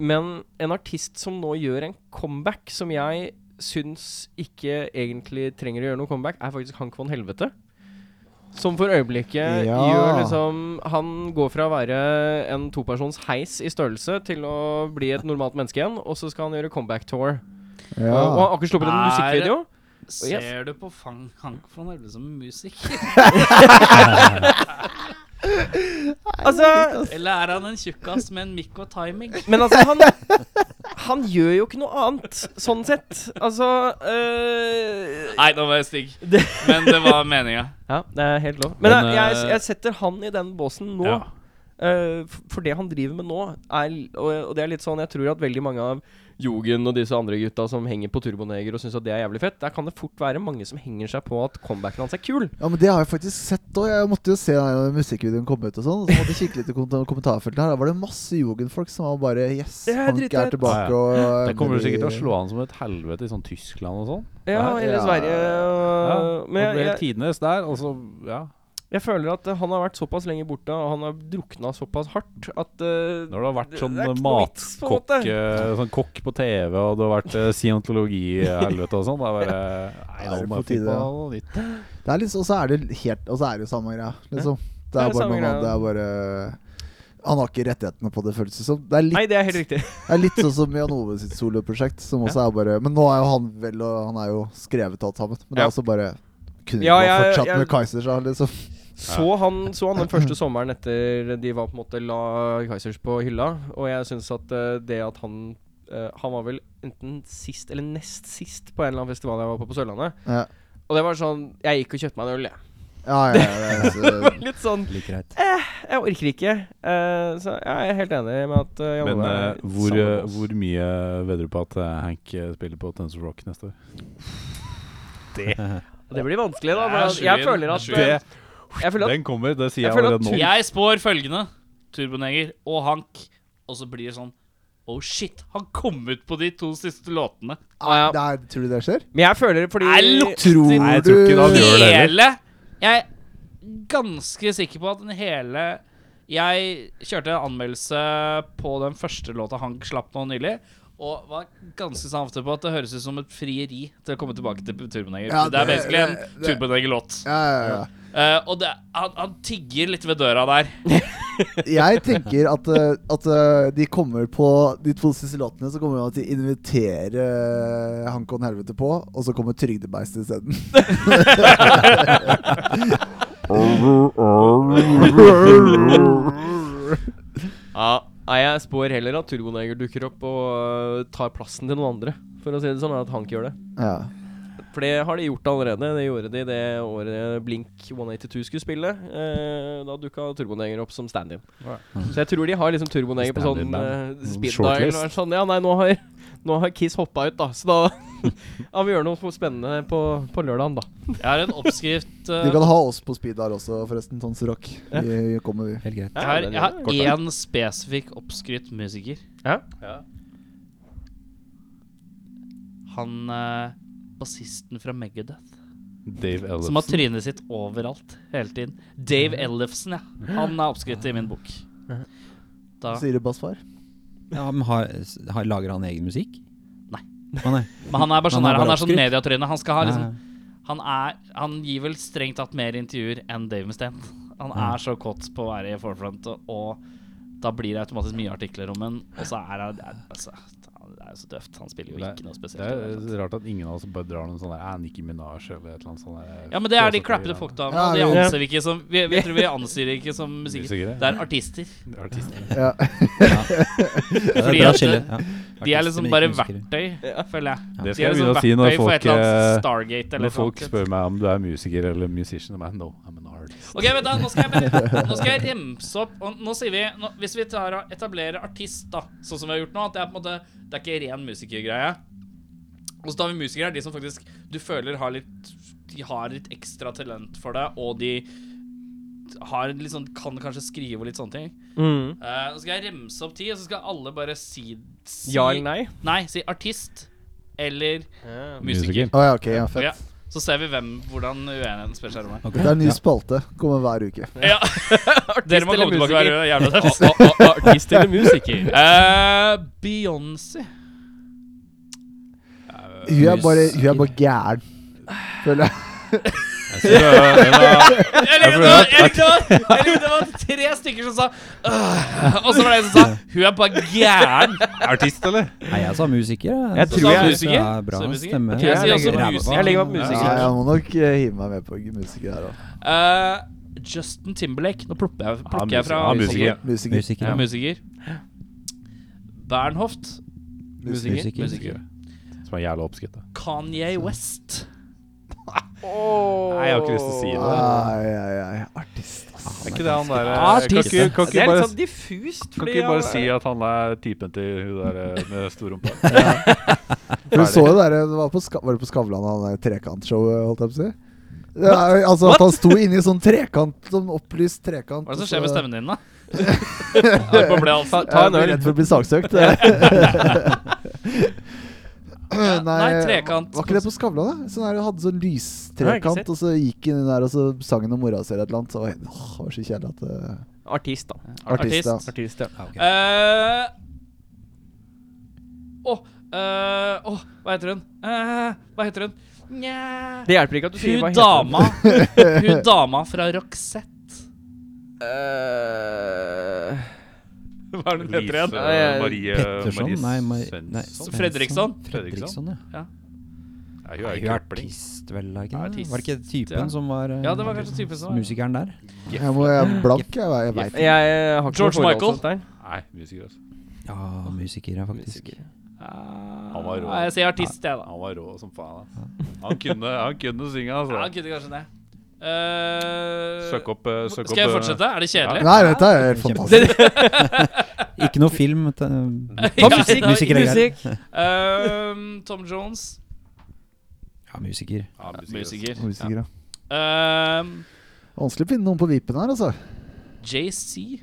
[SPEAKER 4] men en artist som nå gjør en comeback som jeg syns ikke egentlig trenger å gjøre noe comeback, er faktisk Hank von Helvete. Som for øyeblikket
[SPEAKER 6] Ja.
[SPEAKER 4] gjør liksom Han går fra å være en topersons heis i størrelse til å bli et normalt menneske igjen, og så skal han gjøre comeback-tour. Og
[SPEAKER 6] Ja.
[SPEAKER 4] han har akkurat sluppet en
[SPEAKER 3] Er-
[SPEAKER 4] musikkvideo.
[SPEAKER 3] Ser du på Fang Hank von Helvete som musiker?
[SPEAKER 4] Altså,
[SPEAKER 3] Eller er han en tjukkas med en mikk og timing?
[SPEAKER 4] Men altså, han Han gjør jo ikke noe annet, sånn sett. Altså øh,
[SPEAKER 3] Nei, nå var jeg stygg. Men det var meninga.
[SPEAKER 4] Ja, det er helt lov. Men,
[SPEAKER 2] Men,
[SPEAKER 4] jeg- jeg,
[SPEAKER 2] øh,
[SPEAKER 4] jeg setter han i den båsen nå.
[SPEAKER 2] Ja.
[SPEAKER 4] Øh, f- for det han driver med nå, er, l- og, og det er litt sånn Jeg tror at veldig mange av Jogen og disse andre gutta som henger på Turboneger og syns at det er jævlig fett, der kan det fort være mange som henger seg på at comebacken hans er kul.
[SPEAKER 6] Ja, men Det har jeg faktisk sett òg. Jeg måtte jo se den her musikkvideoen komme ut. og sånn og Så måtte jeg kikke litt i kommentar- kommentarfeltet her Da var det masse jugendfolk som var bare Yes,
[SPEAKER 4] Det er
[SPEAKER 6] Hank
[SPEAKER 4] dritfett.
[SPEAKER 6] er tilbake.
[SPEAKER 2] Ja,
[SPEAKER 6] Og, eh,
[SPEAKER 2] Det kommer du sikkert til å slå an som et helvete i sånn Tyskland og sånn.
[SPEAKER 4] Ja,
[SPEAKER 6] Nei,
[SPEAKER 4] eller
[SPEAKER 6] ja.
[SPEAKER 4] Sverige
[SPEAKER 2] Ja,
[SPEAKER 4] øh, Men
[SPEAKER 2] det
[SPEAKER 4] jeg,
[SPEAKER 2] ble
[SPEAKER 4] jeg,
[SPEAKER 2] tidenes der, og så Ja.
[SPEAKER 4] jeg føler at øh, han har vært såpass lenge borte, og han har drukna såpass hardt at øh,
[SPEAKER 2] Når du har vært
[SPEAKER 4] Det-
[SPEAKER 2] sånn
[SPEAKER 4] det er ikke noe vits, på en
[SPEAKER 2] matkokk
[SPEAKER 4] måte.
[SPEAKER 2] eh, Sånn kokk på TV, og du har vært eh, scientologi-helvete og sånn. Da bare
[SPEAKER 6] Da
[SPEAKER 2] Nei,
[SPEAKER 6] er
[SPEAKER 2] nå
[SPEAKER 6] det
[SPEAKER 2] må
[SPEAKER 6] på
[SPEAKER 2] jeg finne
[SPEAKER 6] tide,
[SPEAKER 2] på
[SPEAKER 6] ja.
[SPEAKER 2] noe nytt.
[SPEAKER 6] Det er litt, og så er det helt Og så er det jo samme greia, liksom. Det
[SPEAKER 4] Det
[SPEAKER 6] er,
[SPEAKER 4] er
[SPEAKER 6] bare
[SPEAKER 4] samme
[SPEAKER 6] noen
[SPEAKER 4] greia.
[SPEAKER 6] andre, det er bare Han har ikke rettighetene på det, føles det som. Det er litt,
[SPEAKER 4] Nei, det er helt riktig.
[SPEAKER 6] det er litt sånn som Jan Ove sitt soloprosjekt, som også er bare Men nå er jo han vel og Han er jo skrevet alt sammen. Men det
[SPEAKER 4] Ja.
[SPEAKER 6] er også bare Kunne ikke
[SPEAKER 4] Ja,
[SPEAKER 6] bare
[SPEAKER 4] jeg-
[SPEAKER 6] fortsatt
[SPEAKER 4] jeg-
[SPEAKER 6] med Kaizers, da, liksom.
[SPEAKER 4] Så han, så han den første sommeren etter de var på en måte la Kaizers på hylla, og jeg syns at eh, det at han eh, Han var vel enten sist eller nest sist på en eller annen festival jeg var på på Sørlandet.
[SPEAKER 6] Ja,
[SPEAKER 4] Og det var sånn Jeg gikk og kjøpte meg en øl, jeg.
[SPEAKER 6] ja, ja, ja, ja så,
[SPEAKER 4] Litt sånn
[SPEAKER 5] Like greit.
[SPEAKER 4] Jeg orker ikke. Eh, så jeg er helt enig med at uh,
[SPEAKER 2] Men eh, hvor, eh, hvor mye vedder du på at eh, Hank eh, spiller på Tensor Rock neste år?
[SPEAKER 4] Det blir vanskelig, da.
[SPEAKER 3] Det er
[SPEAKER 4] Men jeg, jeg
[SPEAKER 3] svin.
[SPEAKER 4] føler at
[SPEAKER 3] Det er
[SPEAKER 4] eh, Jeg føler at
[SPEAKER 2] Den kommer, det sier
[SPEAKER 4] jeg
[SPEAKER 2] jeg,
[SPEAKER 4] føler at
[SPEAKER 2] allerede nå.
[SPEAKER 3] Jeg spår følgende. Turboneger og Hank. Og så blir det sånn Oh shit, han kom ut på de to siste låtene.
[SPEAKER 4] ja, ja.
[SPEAKER 6] Nei, tror du det skjer?
[SPEAKER 4] Men jeg føler fordi
[SPEAKER 3] Jeg lukter
[SPEAKER 6] Tror du
[SPEAKER 2] Nei, jeg tror ikke han gjør det heller.
[SPEAKER 3] Hele Jeg er ganske sikker på at den hele Jeg kjørte en anmeldelse på den første låta Hank slapp nå nylig. Og var ganske samtidig på at det høres ut som et frieri til å komme tilbake til Turboneger.
[SPEAKER 6] Ja,
[SPEAKER 3] det er
[SPEAKER 6] det-
[SPEAKER 3] basically en
[SPEAKER 6] det- det-
[SPEAKER 3] Turboneger-låt.
[SPEAKER 6] Ja, ja, ja.
[SPEAKER 3] Eh, og det, han, han tigger litt ved døra der.
[SPEAKER 6] Jeg tenker at, eh, at eh, de kommer på de to siste låtene, så kommer de til å invitere eh, Hankon Helvete på, og så kommer Trygdebeistet isteden.
[SPEAKER 4] Ja, nei, jeg spår heller at Turboneger dukker opp og øh, tar plassen til noen andre. For å si det sånn, at Hank gjør det.
[SPEAKER 6] Ja.
[SPEAKER 4] For det har de gjort allerede. Det gjorde de det året Blink 182 skulle spille. Eh, da dukka Turboneger opp som stand-in.
[SPEAKER 2] Ja.
[SPEAKER 4] Så jeg tror de har liksom Turboneger på sånn
[SPEAKER 2] Stand-in-band.
[SPEAKER 4] eh, speed dial.
[SPEAKER 2] Shortlist.
[SPEAKER 4] og er Sånn, ja, nei, nå har, nå har Kiss hoppa ut, da. Så da ja, vi gjør noe spennende på, på lørdagen, da.
[SPEAKER 3] Jeg har en oppskrift. eh,
[SPEAKER 6] Du kan ha oss på speed der også, forresten. Tons Rock. Vi kommer, vi.
[SPEAKER 5] Helt greit.
[SPEAKER 3] eh, Jeg har, jeg har én spesifikk oppskrytt musiker.
[SPEAKER 4] Ja.
[SPEAKER 3] Han eh, bassisten fra Megadeth.
[SPEAKER 2] Dave
[SPEAKER 3] Som har
[SPEAKER 2] Ellefsen.
[SPEAKER 3] trynet sitt overalt hele tiden. Dave Ellefsen, ja. Han er oppskrytt i min bok. Da,
[SPEAKER 6] Sier du bassfar?
[SPEAKER 5] Ja, men har, s- har, lager han egen musikk?
[SPEAKER 3] Nei.
[SPEAKER 5] Å nei.
[SPEAKER 3] men han er bare sånn
[SPEAKER 5] Men
[SPEAKER 3] der, han er
[SPEAKER 5] han er bare
[SPEAKER 3] sånn
[SPEAKER 5] oppskrytt.
[SPEAKER 3] mediatryne. Han skal ha liksom
[SPEAKER 5] Nei.
[SPEAKER 3] Han er Han gir vel strengt tatt mer intervjuer enn Dave Mustaine. Han
[SPEAKER 2] Mm.
[SPEAKER 5] Ja.
[SPEAKER 3] er så kåt på å være i forefront, og- og da blir det automatisk mye artikler om ham. Og så er han det er, altså, det er jo så døvt. Han spiller jo
[SPEAKER 2] Det er-
[SPEAKER 3] ikke noe
[SPEAKER 2] Det er
[SPEAKER 3] spesielt.
[SPEAKER 2] eh, rart at ingen av oss bare drar noen sånn der eh, Nicki Minaj eller et eller annet sånt. der, eh,
[SPEAKER 3] Ja, men det er de
[SPEAKER 2] flåsete
[SPEAKER 3] klappede
[SPEAKER 2] greier.
[SPEAKER 3] folkdamene.
[SPEAKER 6] Ja,
[SPEAKER 3] og de
[SPEAKER 6] ja.
[SPEAKER 3] anser vi ikke som Vi, vi tror vi anser de ikke som musikere.
[SPEAKER 2] Musikere.
[SPEAKER 3] Det er artister.
[SPEAKER 2] Artister.
[SPEAKER 6] Ja.
[SPEAKER 5] Ja, det er
[SPEAKER 3] Fordi
[SPEAKER 5] bra
[SPEAKER 3] at det-
[SPEAKER 5] skille. Ja.
[SPEAKER 3] De er
[SPEAKER 5] Artister,
[SPEAKER 3] liksom
[SPEAKER 5] men
[SPEAKER 3] bare
[SPEAKER 5] ikke musikere.
[SPEAKER 3] verktøy, føler jeg.
[SPEAKER 2] Det
[SPEAKER 3] De
[SPEAKER 2] skal
[SPEAKER 3] er
[SPEAKER 2] jeg
[SPEAKER 3] liksom
[SPEAKER 2] begynne å si når
[SPEAKER 3] verktøy for et
[SPEAKER 2] folk,
[SPEAKER 3] eller annet
[SPEAKER 2] eh,
[SPEAKER 3] Stargate eller
[SPEAKER 2] når folk
[SPEAKER 3] noe.
[SPEAKER 2] spør meg om du er musiker eller musician. Jeg bare, no, I'm an artist.
[SPEAKER 3] Ok, vent da, nå skal jeg bare Nå skal jeg remse opp og Nå sier vi nå, Hvis vi tar og etablerer artist da Sånn som vi har gjort nå At det er på en måte Det er ikke ren musikergreie Og så tar vi musikere De som faktisk Du føler har litt De har litt ekstra talent for det Og de Har litt sånn Kan kanskje skrive og litt sånne ting
[SPEAKER 4] Mm.
[SPEAKER 3] Eh, Nå skal jeg remse opp ti Og så skal alle bare si, si
[SPEAKER 4] Ja eller nei?
[SPEAKER 3] Nei, si artist Eller musiker,
[SPEAKER 2] Musiker.
[SPEAKER 6] Å ja, ok. Ja, fett.
[SPEAKER 3] Ja Så ser vi hvem Hvordan uenigheten spiller seg om her
[SPEAKER 5] Ok,
[SPEAKER 6] Det er en ny
[SPEAKER 5] ja.
[SPEAKER 6] spalte. Kommer hver uke.
[SPEAKER 3] Ja Dere må
[SPEAKER 4] eller
[SPEAKER 3] komme tilbake og være jævla tøff
[SPEAKER 4] Artist eller musiker?
[SPEAKER 3] Eh, Beyoncé.
[SPEAKER 6] Hun er bare, hun er bare gæren. Føler jeg.
[SPEAKER 2] Jeg synes, eh, den er-
[SPEAKER 3] Jeg likte det var- jeg likte det var- jeg likte det var tre stykker som sa «Åh», Og så var det en som sa Hun er bare gæren.
[SPEAKER 2] Artist, eller?
[SPEAKER 5] Nei, jeg sa musiker. Jeg,
[SPEAKER 4] Jeg tror
[SPEAKER 5] Så
[SPEAKER 4] jeg-
[SPEAKER 5] musiker. Ja, bra
[SPEAKER 3] Så musiker.
[SPEAKER 5] stemme.
[SPEAKER 3] Jeg
[SPEAKER 4] sier også
[SPEAKER 5] Ræva.
[SPEAKER 3] musiker.
[SPEAKER 4] Jeg legger opp musiker.
[SPEAKER 6] Ja, jeg må nok eh, hive meg med på musikere her òg.
[SPEAKER 3] Eh, Justin Timberlake. Nå plukker jeg,
[SPEAKER 2] Han
[SPEAKER 3] plukker jeg fra
[SPEAKER 2] er musiker.
[SPEAKER 6] Musiker.
[SPEAKER 5] Musiker.
[SPEAKER 3] Ja, musiker. Bernhoft.
[SPEAKER 6] Musiker.
[SPEAKER 5] Musiker.
[SPEAKER 3] Musiker.
[SPEAKER 2] Som er jævla oppskrytt. da.
[SPEAKER 3] Kanye West.
[SPEAKER 2] Nei, jeg har ikke lyst til å si det.
[SPEAKER 6] Ai, ai, ai. Artist, ass.
[SPEAKER 2] Er ikke det han der eh, Kan
[SPEAKER 3] Artist.
[SPEAKER 2] ikke, kan
[SPEAKER 4] Det
[SPEAKER 2] ikke
[SPEAKER 4] er
[SPEAKER 2] bare,
[SPEAKER 4] litt sånn diffust.
[SPEAKER 2] kan
[SPEAKER 4] fordi
[SPEAKER 2] ikke bare
[SPEAKER 4] jeg-
[SPEAKER 2] si at han er typen til hun der eh, med stor rumpe?
[SPEAKER 6] Du så jo der, eh, det var, på Ska- var det på Skavlan han der trekantshowet, holdt jeg på å si? Ja, altså At han sto inni sånn trekant, sånn opplyst trekant.
[SPEAKER 3] Hva er det som
[SPEAKER 6] og
[SPEAKER 3] skjer med
[SPEAKER 6] så-
[SPEAKER 3] stemmen din, da? Er det på ble altså?
[SPEAKER 4] Ta, ta
[SPEAKER 6] Jeg
[SPEAKER 4] en øl.
[SPEAKER 6] blir redd for å bli saksøkt. Nei,
[SPEAKER 3] nei, trekant.
[SPEAKER 6] Var ikke det på Skavlan, da? Sånn der, hadde sånn
[SPEAKER 4] Nei, ikke
[SPEAKER 6] lystrekant,
[SPEAKER 4] sett.
[SPEAKER 6] og så gikk han inn der, og så sang han om mora si eller et eller annet. Så var jeg, åh, det var så kjedelig at eh,
[SPEAKER 4] Artist, da.
[SPEAKER 6] Artist, ja.
[SPEAKER 4] Artist, ja.
[SPEAKER 5] Ja, ok.
[SPEAKER 3] Eh, Åh eh, åh, hva heter hun? Eh, hva heter hun? Nja
[SPEAKER 4] Det hjelper ikke at du sier hva
[SPEAKER 3] Hun
[SPEAKER 4] heter den.
[SPEAKER 3] dama Hun dama fra Roxette.
[SPEAKER 4] Eh,
[SPEAKER 3] Hva er det hun heter igjen?
[SPEAKER 4] Nei, jeg-
[SPEAKER 2] Marie
[SPEAKER 5] Petterson? Nei, Mar nei
[SPEAKER 2] Svensson?
[SPEAKER 5] Svensson.
[SPEAKER 3] Fredriksson?
[SPEAKER 5] Fredriksson,
[SPEAKER 2] Nei,
[SPEAKER 5] ja.
[SPEAKER 2] hun er
[SPEAKER 5] Hun er
[SPEAKER 2] jo
[SPEAKER 5] jo
[SPEAKER 2] krøpling.
[SPEAKER 5] artist, vel? Er
[SPEAKER 3] Ja,
[SPEAKER 5] ikke det?
[SPEAKER 3] artist,
[SPEAKER 5] Var det ikke typen
[SPEAKER 3] ja.
[SPEAKER 5] som var eh,
[SPEAKER 3] Ja, det var kanskje sånn, typen som var-
[SPEAKER 5] Musikeren der?
[SPEAKER 6] Jeg må jeg er blank, jeg, jeg veit
[SPEAKER 4] jeg har ikke noe
[SPEAKER 3] George
[SPEAKER 4] forhold
[SPEAKER 3] Michael.
[SPEAKER 4] til dette her.
[SPEAKER 2] Nei, musiker, altså.
[SPEAKER 3] Ah,
[SPEAKER 5] Ja, musiker, ja, faktisk.
[SPEAKER 4] Musiker.
[SPEAKER 3] Han
[SPEAKER 2] Han var rå.
[SPEAKER 3] Eh, Jeg sier artist, jeg, da.
[SPEAKER 2] Han var rå som faen. ass. Han kunne, han kunne synge,
[SPEAKER 3] Ja, han
[SPEAKER 2] altså.
[SPEAKER 3] kunne kanskje det. Eh,
[SPEAKER 2] Søk opp, eh, søk opp
[SPEAKER 3] Skal jeg
[SPEAKER 2] eh,
[SPEAKER 3] fortsette? Er det kjedelig?
[SPEAKER 6] Nei, dette er helt fantastisk.
[SPEAKER 5] Ikke noe film. t-
[SPEAKER 3] Ja,
[SPEAKER 5] musikk, musiker er greit.
[SPEAKER 4] Musikk.
[SPEAKER 3] Ehm, Tom Jones.
[SPEAKER 5] Ja, musiker.
[SPEAKER 2] Ja, musiker. altså.
[SPEAKER 3] Musiker.
[SPEAKER 6] Musiker, ja.
[SPEAKER 3] Ehm,
[SPEAKER 6] Vanskelig å finne noen på vippen her, altså.
[SPEAKER 3] JC.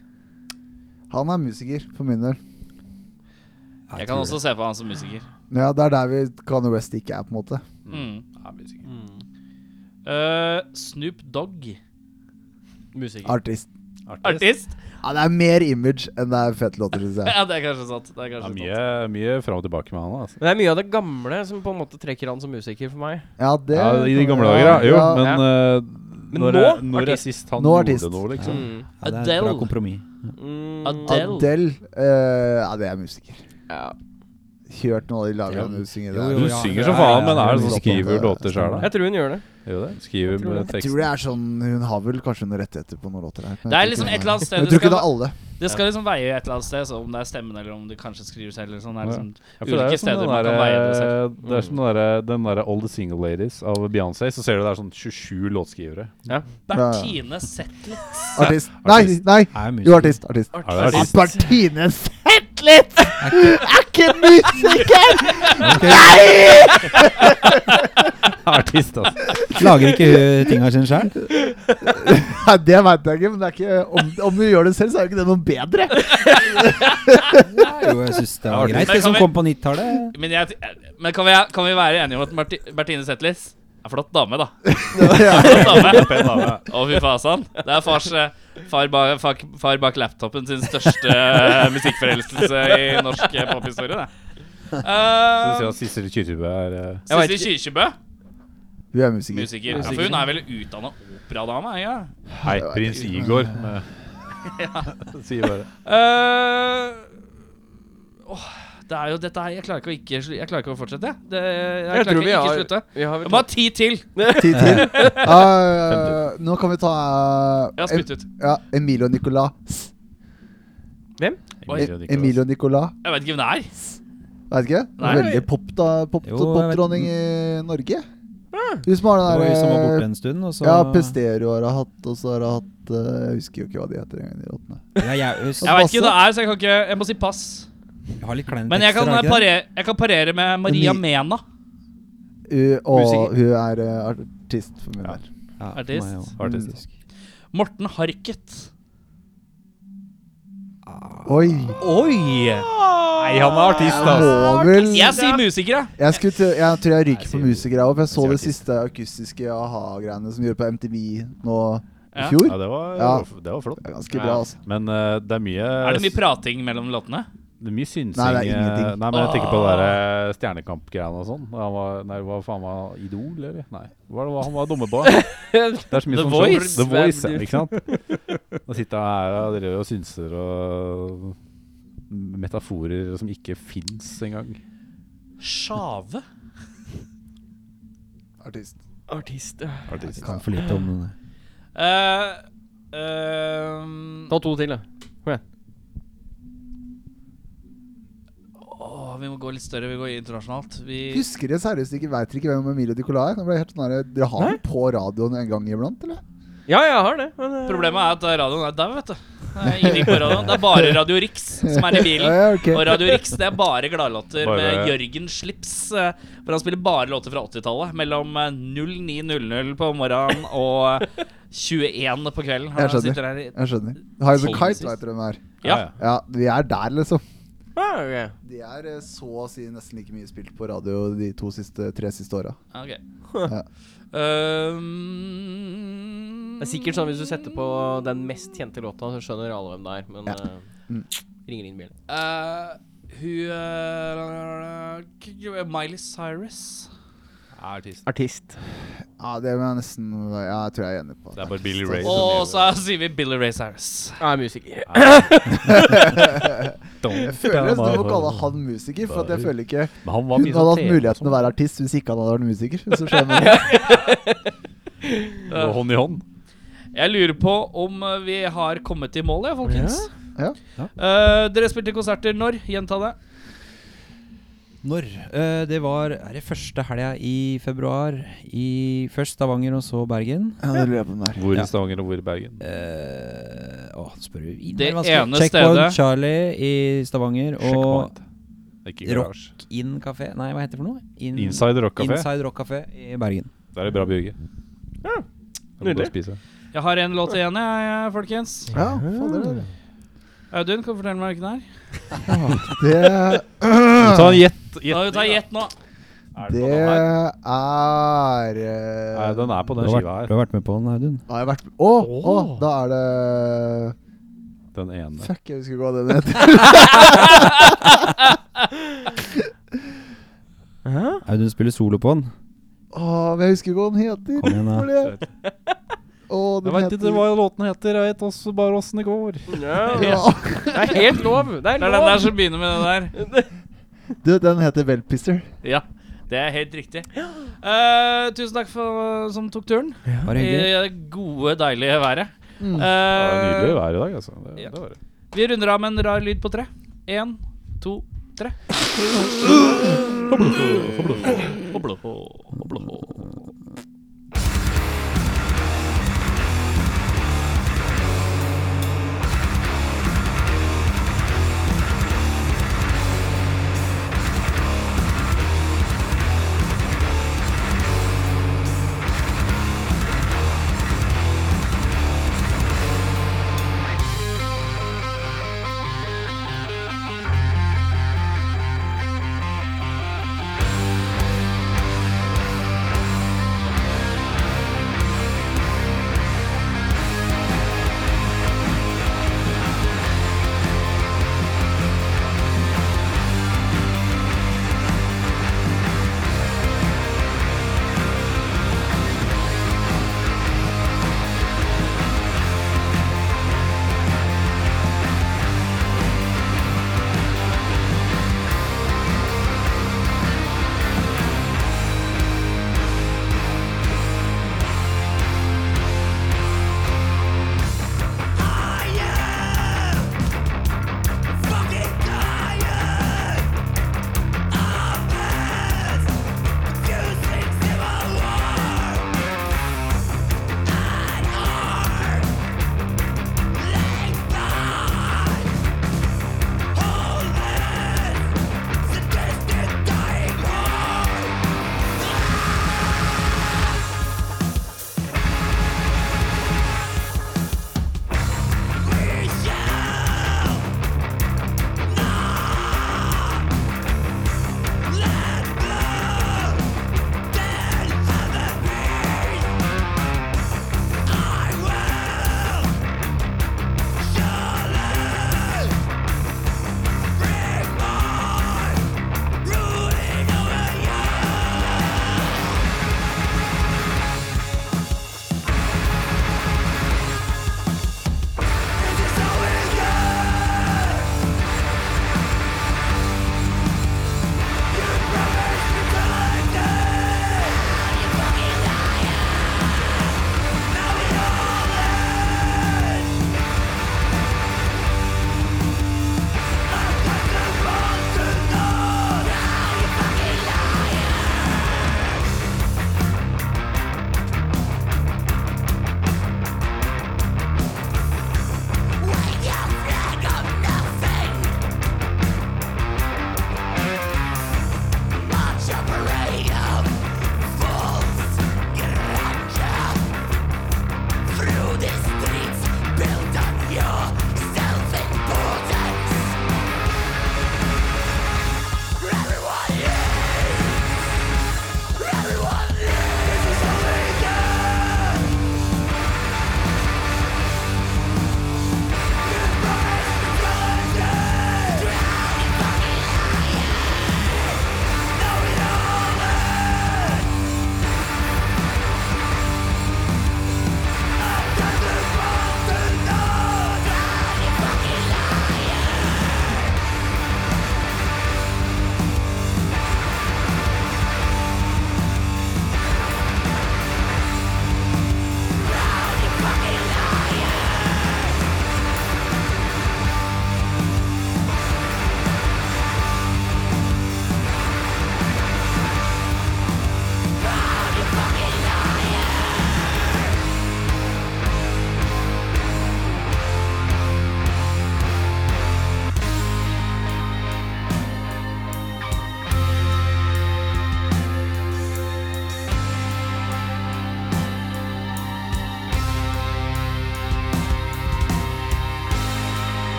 [SPEAKER 6] Han er musiker, for min del.
[SPEAKER 5] Ja,
[SPEAKER 3] Jeg kan
[SPEAKER 5] tror
[SPEAKER 3] også se på han som musiker.
[SPEAKER 6] Ja, Det er der vi Kanye West ikke er, på en måte.
[SPEAKER 3] Mm.
[SPEAKER 2] Ja, musiker.
[SPEAKER 3] Eh, Snoop Dogg.
[SPEAKER 4] Musiker.
[SPEAKER 6] Artist.
[SPEAKER 2] Artig.
[SPEAKER 3] Artist?
[SPEAKER 6] Ja, Det er mer image enn det er fete låter, syns jeg.
[SPEAKER 3] Ja, det er kanskje sant. Det er
[SPEAKER 2] Det
[SPEAKER 3] kanskje
[SPEAKER 2] er mye,
[SPEAKER 3] sant.
[SPEAKER 2] mye fram og tilbake med han. altså
[SPEAKER 4] Men det er mye av det gamle som på en måte trekker han som musiker for meg.
[SPEAKER 6] Ja, det
[SPEAKER 2] ja, I de gamle dager, ja. Jo,
[SPEAKER 6] Ja,
[SPEAKER 2] men, eh,
[SPEAKER 4] Men
[SPEAKER 2] når,
[SPEAKER 4] nå,
[SPEAKER 2] er- når er
[SPEAKER 4] artist.
[SPEAKER 2] sist han
[SPEAKER 6] Nå
[SPEAKER 2] gjorde
[SPEAKER 6] artist.
[SPEAKER 2] noe, liksom?
[SPEAKER 4] Mm.
[SPEAKER 5] Ja, det er et bra
[SPEAKER 3] Adele.
[SPEAKER 5] kompromiss.
[SPEAKER 4] Mm.
[SPEAKER 3] Adele.
[SPEAKER 6] Adele eh, Ja, det er musiker.
[SPEAKER 4] Ja.
[SPEAKER 6] Hørt noen av de lagene du synger
[SPEAKER 5] Jo,
[SPEAKER 6] der.
[SPEAKER 5] jo,
[SPEAKER 2] Du
[SPEAKER 5] ja,
[SPEAKER 2] synger
[SPEAKER 5] det
[SPEAKER 2] som
[SPEAKER 5] er-
[SPEAKER 2] faen,
[SPEAKER 5] ja,
[SPEAKER 2] men
[SPEAKER 5] det
[SPEAKER 2] er det sånn
[SPEAKER 5] er mye
[SPEAKER 2] skriver
[SPEAKER 6] sånn.
[SPEAKER 2] låter sjøl, da?
[SPEAKER 4] Jeg tror hun gjør det.
[SPEAKER 2] Gjør det? Skriver med
[SPEAKER 6] Jeg tror
[SPEAKER 2] teksten.
[SPEAKER 6] det er sånn Hun har vel kanskje noen rettigheter på noen låter her. men jeg
[SPEAKER 3] Det er
[SPEAKER 6] tror ikke-
[SPEAKER 3] liksom et eller annet sted
[SPEAKER 6] Jeg
[SPEAKER 3] det
[SPEAKER 6] tror ikke
[SPEAKER 3] skal
[SPEAKER 6] det er alle.
[SPEAKER 3] Det skal liksom veie et eller annet sted, så om det er stemmen eller om du kanskje skriver selv. Eller sånn, det er liksom
[SPEAKER 2] Ja, for det er
[SPEAKER 3] ulike
[SPEAKER 2] jo sånn
[SPEAKER 3] steder
[SPEAKER 2] den
[SPEAKER 3] man kan veie det selv.
[SPEAKER 2] der,
[SPEAKER 3] Mm.
[SPEAKER 2] det er sånn den der, den der All the Single Ladies av Beyoncé. Så ser du det er sånn 27 låtskrivere.
[SPEAKER 3] Bertine Zetlitz.
[SPEAKER 6] Artist. Nei, nei! Jo,
[SPEAKER 5] Er musiker.
[SPEAKER 6] artist. Artist.
[SPEAKER 2] Er det artist?
[SPEAKER 6] Martine Zetlitz er ikke musiker!
[SPEAKER 2] artist altså.
[SPEAKER 5] Lager ikke ø, tinga sine sjøl.
[SPEAKER 6] Nei, det veit jeg ikke, men det er ikke, om, om du gjør det selv, så er jo ikke det noe bedre.
[SPEAKER 5] Jo, jeg syns det var
[SPEAKER 2] Ja,
[SPEAKER 5] greit,
[SPEAKER 3] Men
[SPEAKER 5] det som
[SPEAKER 3] kan vi-
[SPEAKER 5] kom på 90-tallet.
[SPEAKER 3] Men, jeg, men kan, vi, kan vi være enige om at Marti, Bertine Zetlitz er flott dame, da? Flott dame. Å, fy fasan. Det er fars eh, far, ba, far, far bak laptopen sin største eh, musikkforelskelse i norsk eh, pophistorie,
[SPEAKER 2] Så
[SPEAKER 3] det.
[SPEAKER 2] du sier
[SPEAKER 3] Uh,
[SPEAKER 2] at Sissel Kyrkjebø er eh,
[SPEAKER 4] Jeg vet
[SPEAKER 3] Sissel Kyrkjebø,
[SPEAKER 6] Hun er musiker.
[SPEAKER 3] musiker. Ja, for hun er vel utdanna operadame? er hun ikke det?
[SPEAKER 2] Hei, prins Igor. med- Sier bare
[SPEAKER 3] Eh, åh, det er jo dette her Jeg klarer ikke å, ikke, slu- jeg klarer ikke å fortsette. jeg. Det, jeg,
[SPEAKER 4] Jeg
[SPEAKER 3] klarer
[SPEAKER 4] tror
[SPEAKER 3] ikke
[SPEAKER 4] vi
[SPEAKER 3] å
[SPEAKER 4] har
[SPEAKER 3] ikke slutte.
[SPEAKER 4] Vi har
[SPEAKER 3] Jeg
[SPEAKER 4] vel
[SPEAKER 3] må ha ti til!
[SPEAKER 6] Ti til. Ah, nå kan vi ta
[SPEAKER 3] Jeg har
[SPEAKER 6] eh,
[SPEAKER 3] spytt ut.
[SPEAKER 6] ja, Emilio Nicolas.
[SPEAKER 3] Oi.
[SPEAKER 2] Emilie og Nicolas.
[SPEAKER 6] Emilio Nicolas.
[SPEAKER 3] Jeg vet ikke hvem det er.
[SPEAKER 6] Vet ikke.
[SPEAKER 3] Nei.
[SPEAKER 6] Veldig pop da, pop,
[SPEAKER 5] Jo, jeg vet-
[SPEAKER 6] popdronning i Norge. Hun som har
[SPEAKER 5] Det var
[SPEAKER 6] den
[SPEAKER 5] jo som var borte
[SPEAKER 6] derre
[SPEAKER 5] en stund, og så
[SPEAKER 6] Ja, Pesterio har hun hatt, og så har hun hatt eh, Jeg husker jo ikke hva de heter engang, de låtene.
[SPEAKER 5] Ja, jeg,
[SPEAKER 3] Jeg vet ikke hvem det er, så jeg kan ikke Jeg må si pass.
[SPEAKER 5] jeg har litt kleine
[SPEAKER 3] Men jeg kan,
[SPEAKER 5] tekster, har jeg ikke det?
[SPEAKER 3] parere, jeg kan parere med Maria
[SPEAKER 6] Men
[SPEAKER 3] Mena.
[SPEAKER 6] Hun- Og
[SPEAKER 2] Musiker.
[SPEAKER 6] hun er eh, artist for min
[SPEAKER 2] Ja.
[SPEAKER 6] del.
[SPEAKER 5] Ja, for
[SPEAKER 3] Artist.
[SPEAKER 5] meg også.
[SPEAKER 2] Artist.
[SPEAKER 5] Musisk.
[SPEAKER 3] Morten Harket.
[SPEAKER 6] Oi!
[SPEAKER 3] Oi!
[SPEAKER 2] Nei, han er artist,
[SPEAKER 6] Jeg
[SPEAKER 2] altså.
[SPEAKER 6] må vel
[SPEAKER 3] Jeg sier musiker, jeg.
[SPEAKER 6] Jeg, skulle, til- jeg tror jeg ryker på
[SPEAKER 2] Jeg sier-
[SPEAKER 6] musikere òg. Jeg så
[SPEAKER 2] sier
[SPEAKER 6] det
[SPEAKER 2] artist.
[SPEAKER 6] siste akustiske a-ha-greiene som gjorde på MTV nå i
[SPEAKER 3] Ja.
[SPEAKER 6] fjor.
[SPEAKER 2] Ja, det var,
[SPEAKER 6] Ja.
[SPEAKER 2] det var flott.
[SPEAKER 6] Det er ganske
[SPEAKER 3] Ja.
[SPEAKER 6] bra, altså.
[SPEAKER 2] Men eh, det er mye
[SPEAKER 3] Er det mye prating mellom låtene?
[SPEAKER 2] Det er mye synsing.
[SPEAKER 6] Nei, det er
[SPEAKER 2] eh,
[SPEAKER 6] ingenting.
[SPEAKER 2] Nei, men jeg tenker på det der, eh, Stjernekamp-greiene og sånn. Da Han var, nei, hva faen var han? Idol, eller? Nei, hva var det han var dumme på? Det er så mye
[SPEAKER 3] The
[SPEAKER 2] sånn
[SPEAKER 3] Voice?
[SPEAKER 2] The Voice, ja, ikke sant? Da sitter han her og driver og synser og Metaforer som ikke fins engang.
[SPEAKER 3] Sjave?
[SPEAKER 6] Artist.
[SPEAKER 4] Artist.
[SPEAKER 5] Jeg kan for lite om det.
[SPEAKER 3] Eh, ehm,
[SPEAKER 4] Ta to til, da.
[SPEAKER 3] åh, vi må gå litt større. Vi går internasjonalt. Vi
[SPEAKER 6] Husker dere seriøst ikke Veit dere ikke hvem Emilio Dicolai er? Nå ble jeg helt sånn her, Dere har den på radioen en gang iblant, eller?
[SPEAKER 4] Ja, jeg har det. Men, eh,
[SPEAKER 3] Problemet er at radioen er dau, vet du. Det er ingenting på radioen. Det er bare Radio Rix som er i bilen.
[SPEAKER 6] Ja, ok.
[SPEAKER 3] Og Radio Rix det er bare gladlåter
[SPEAKER 2] Bare-
[SPEAKER 3] med Jørgen Slips. eh, Hvor han spiller bare låter fra 80-tallet. Mellom eh, 09.00 på morgenen og eh, 21 på kvelden.
[SPEAKER 6] Jeg skjønner.
[SPEAKER 3] sitter her i
[SPEAKER 6] Jeg skjønner. High as a
[SPEAKER 3] Sånn
[SPEAKER 6] kite,
[SPEAKER 3] sist.
[SPEAKER 6] vet dere hvem er.
[SPEAKER 3] Ja.
[SPEAKER 6] Ja, vi er der, liksom.
[SPEAKER 4] ah, ok.
[SPEAKER 6] De er eh, så å si nesten like mye spilt på radio de to siste, tre siste åra.
[SPEAKER 3] Ok.
[SPEAKER 6] Ja.
[SPEAKER 3] Um, Ehm,
[SPEAKER 4] Det er sikkert sånn hvis du setter på den mest kjente låta, så skjønner alle hvem det er, men eh, ringer inn bjellen.
[SPEAKER 3] eh, Hun eh, k- k- Miley Cyrus.
[SPEAKER 2] Artist.
[SPEAKER 4] Artist.
[SPEAKER 6] Ja, det må jeg nesten Ja, jeg tror jeg er enig på.
[SPEAKER 2] Det er bare Billy Ray.
[SPEAKER 3] Og så sier vi Billy Ray Cyrus.
[SPEAKER 4] Ja, ah, musiker.
[SPEAKER 6] Jeg føler nesten du må kalle han musiker, for at jeg føler ikke
[SPEAKER 2] Men han var
[SPEAKER 6] Hun
[SPEAKER 2] mye
[SPEAKER 6] hadde
[SPEAKER 2] sånn
[SPEAKER 6] hatt muligheten til å være artist hvis ikke han hadde vært musiker. hvis du skjønner det.
[SPEAKER 2] være Hånd i hånd.
[SPEAKER 3] Jeg lurer på om eh, vi har kommet i mål, ja, folkens.
[SPEAKER 6] Ja.
[SPEAKER 3] Eh, dere spilte konserter når? Gjenta det.
[SPEAKER 5] Når? Eh, det var er det første helga i februar. I først Stavanger og så Bergen.
[SPEAKER 6] Ja, det lurer jeg på om det er.
[SPEAKER 2] Hvor
[SPEAKER 5] Ja.
[SPEAKER 2] i Stavanger og hvor i Bergen?
[SPEAKER 5] Eh, Å, spør du
[SPEAKER 3] Det
[SPEAKER 5] innmari vanskelig.
[SPEAKER 3] ene
[SPEAKER 5] Checkpoint
[SPEAKER 3] stedet-
[SPEAKER 5] Charlie i Stavanger og
[SPEAKER 2] Checkpoint. Ikke
[SPEAKER 5] Rock.
[SPEAKER 2] garasje.
[SPEAKER 5] In Café Nei, hva heter det for noe? In-
[SPEAKER 2] Inside Rock Café.
[SPEAKER 5] Inside Rock Café i Bergen.
[SPEAKER 2] Det er et bra bygge. Ja,
[SPEAKER 4] nydelig.
[SPEAKER 3] Jeg har en låt igjen, jeg, folkens.
[SPEAKER 6] Ja, fader.
[SPEAKER 3] Audun, kan du fortelle meg hvilken det er?
[SPEAKER 6] Det,
[SPEAKER 2] Ta en gjett.
[SPEAKER 3] Da
[SPEAKER 2] gjett.
[SPEAKER 3] tar jeg gjett nå.
[SPEAKER 6] det er eh,
[SPEAKER 2] Nei, den er på
[SPEAKER 5] Du
[SPEAKER 2] den
[SPEAKER 5] har,
[SPEAKER 2] skiva
[SPEAKER 5] vært, du
[SPEAKER 2] her.
[SPEAKER 5] har vært med på den, Audun.
[SPEAKER 6] Har jeg vært Å! å, da er det
[SPEAKER 2] Den ene.
[SPEAKER 6] Fuck, jeg husker ikke hva den heter.
[SPEAKER 5] Audun spiller solo på den.
[SPEAKER 6] Å, men jeg husker ikke hva den heter.
[SPEAKER 5] Kom igjen, da.
[SPEAKER 6] Var det? Å, den
[SPEAKER 2] Jeg veit ikke
[SPEAKER 6] heter
[SPEAKER 2] hva låten heter, jeg vet også bare åssen det går.
[SPEAKER 4] Ja.
[SPEAKER 6] ja.
[SPEAKER 4] Det er helt lov! Det er
[SPEAKER 3] Det er den der
[SPEAKER 4] lov!
[SPEAKER 3] som begynner med den der.
[SPEAKER 6] Du, den heter Velpisser.
[SPEAKER 3] Ja, det er helt riktig. Eh, tusen takk for som tok turen. I
[SPEAKER 5] Bare hyggelig.
[SPEAKER 3] det gode, deilige været.
[SPEAKER 6] Mm.
[SPEAKER 2] Det er nydelig
[SPEAKER 3] Eh,
[SPEAKER 2] vær i dag, altså. Det,
[SPEAKER 3] Ja.
[SPEAKER 2] det var det.
[SPEAKER 3] vi runder av med en rar lyd på tre. Én, to, tre. Hoblå, hoblå, hoblå, hoblå.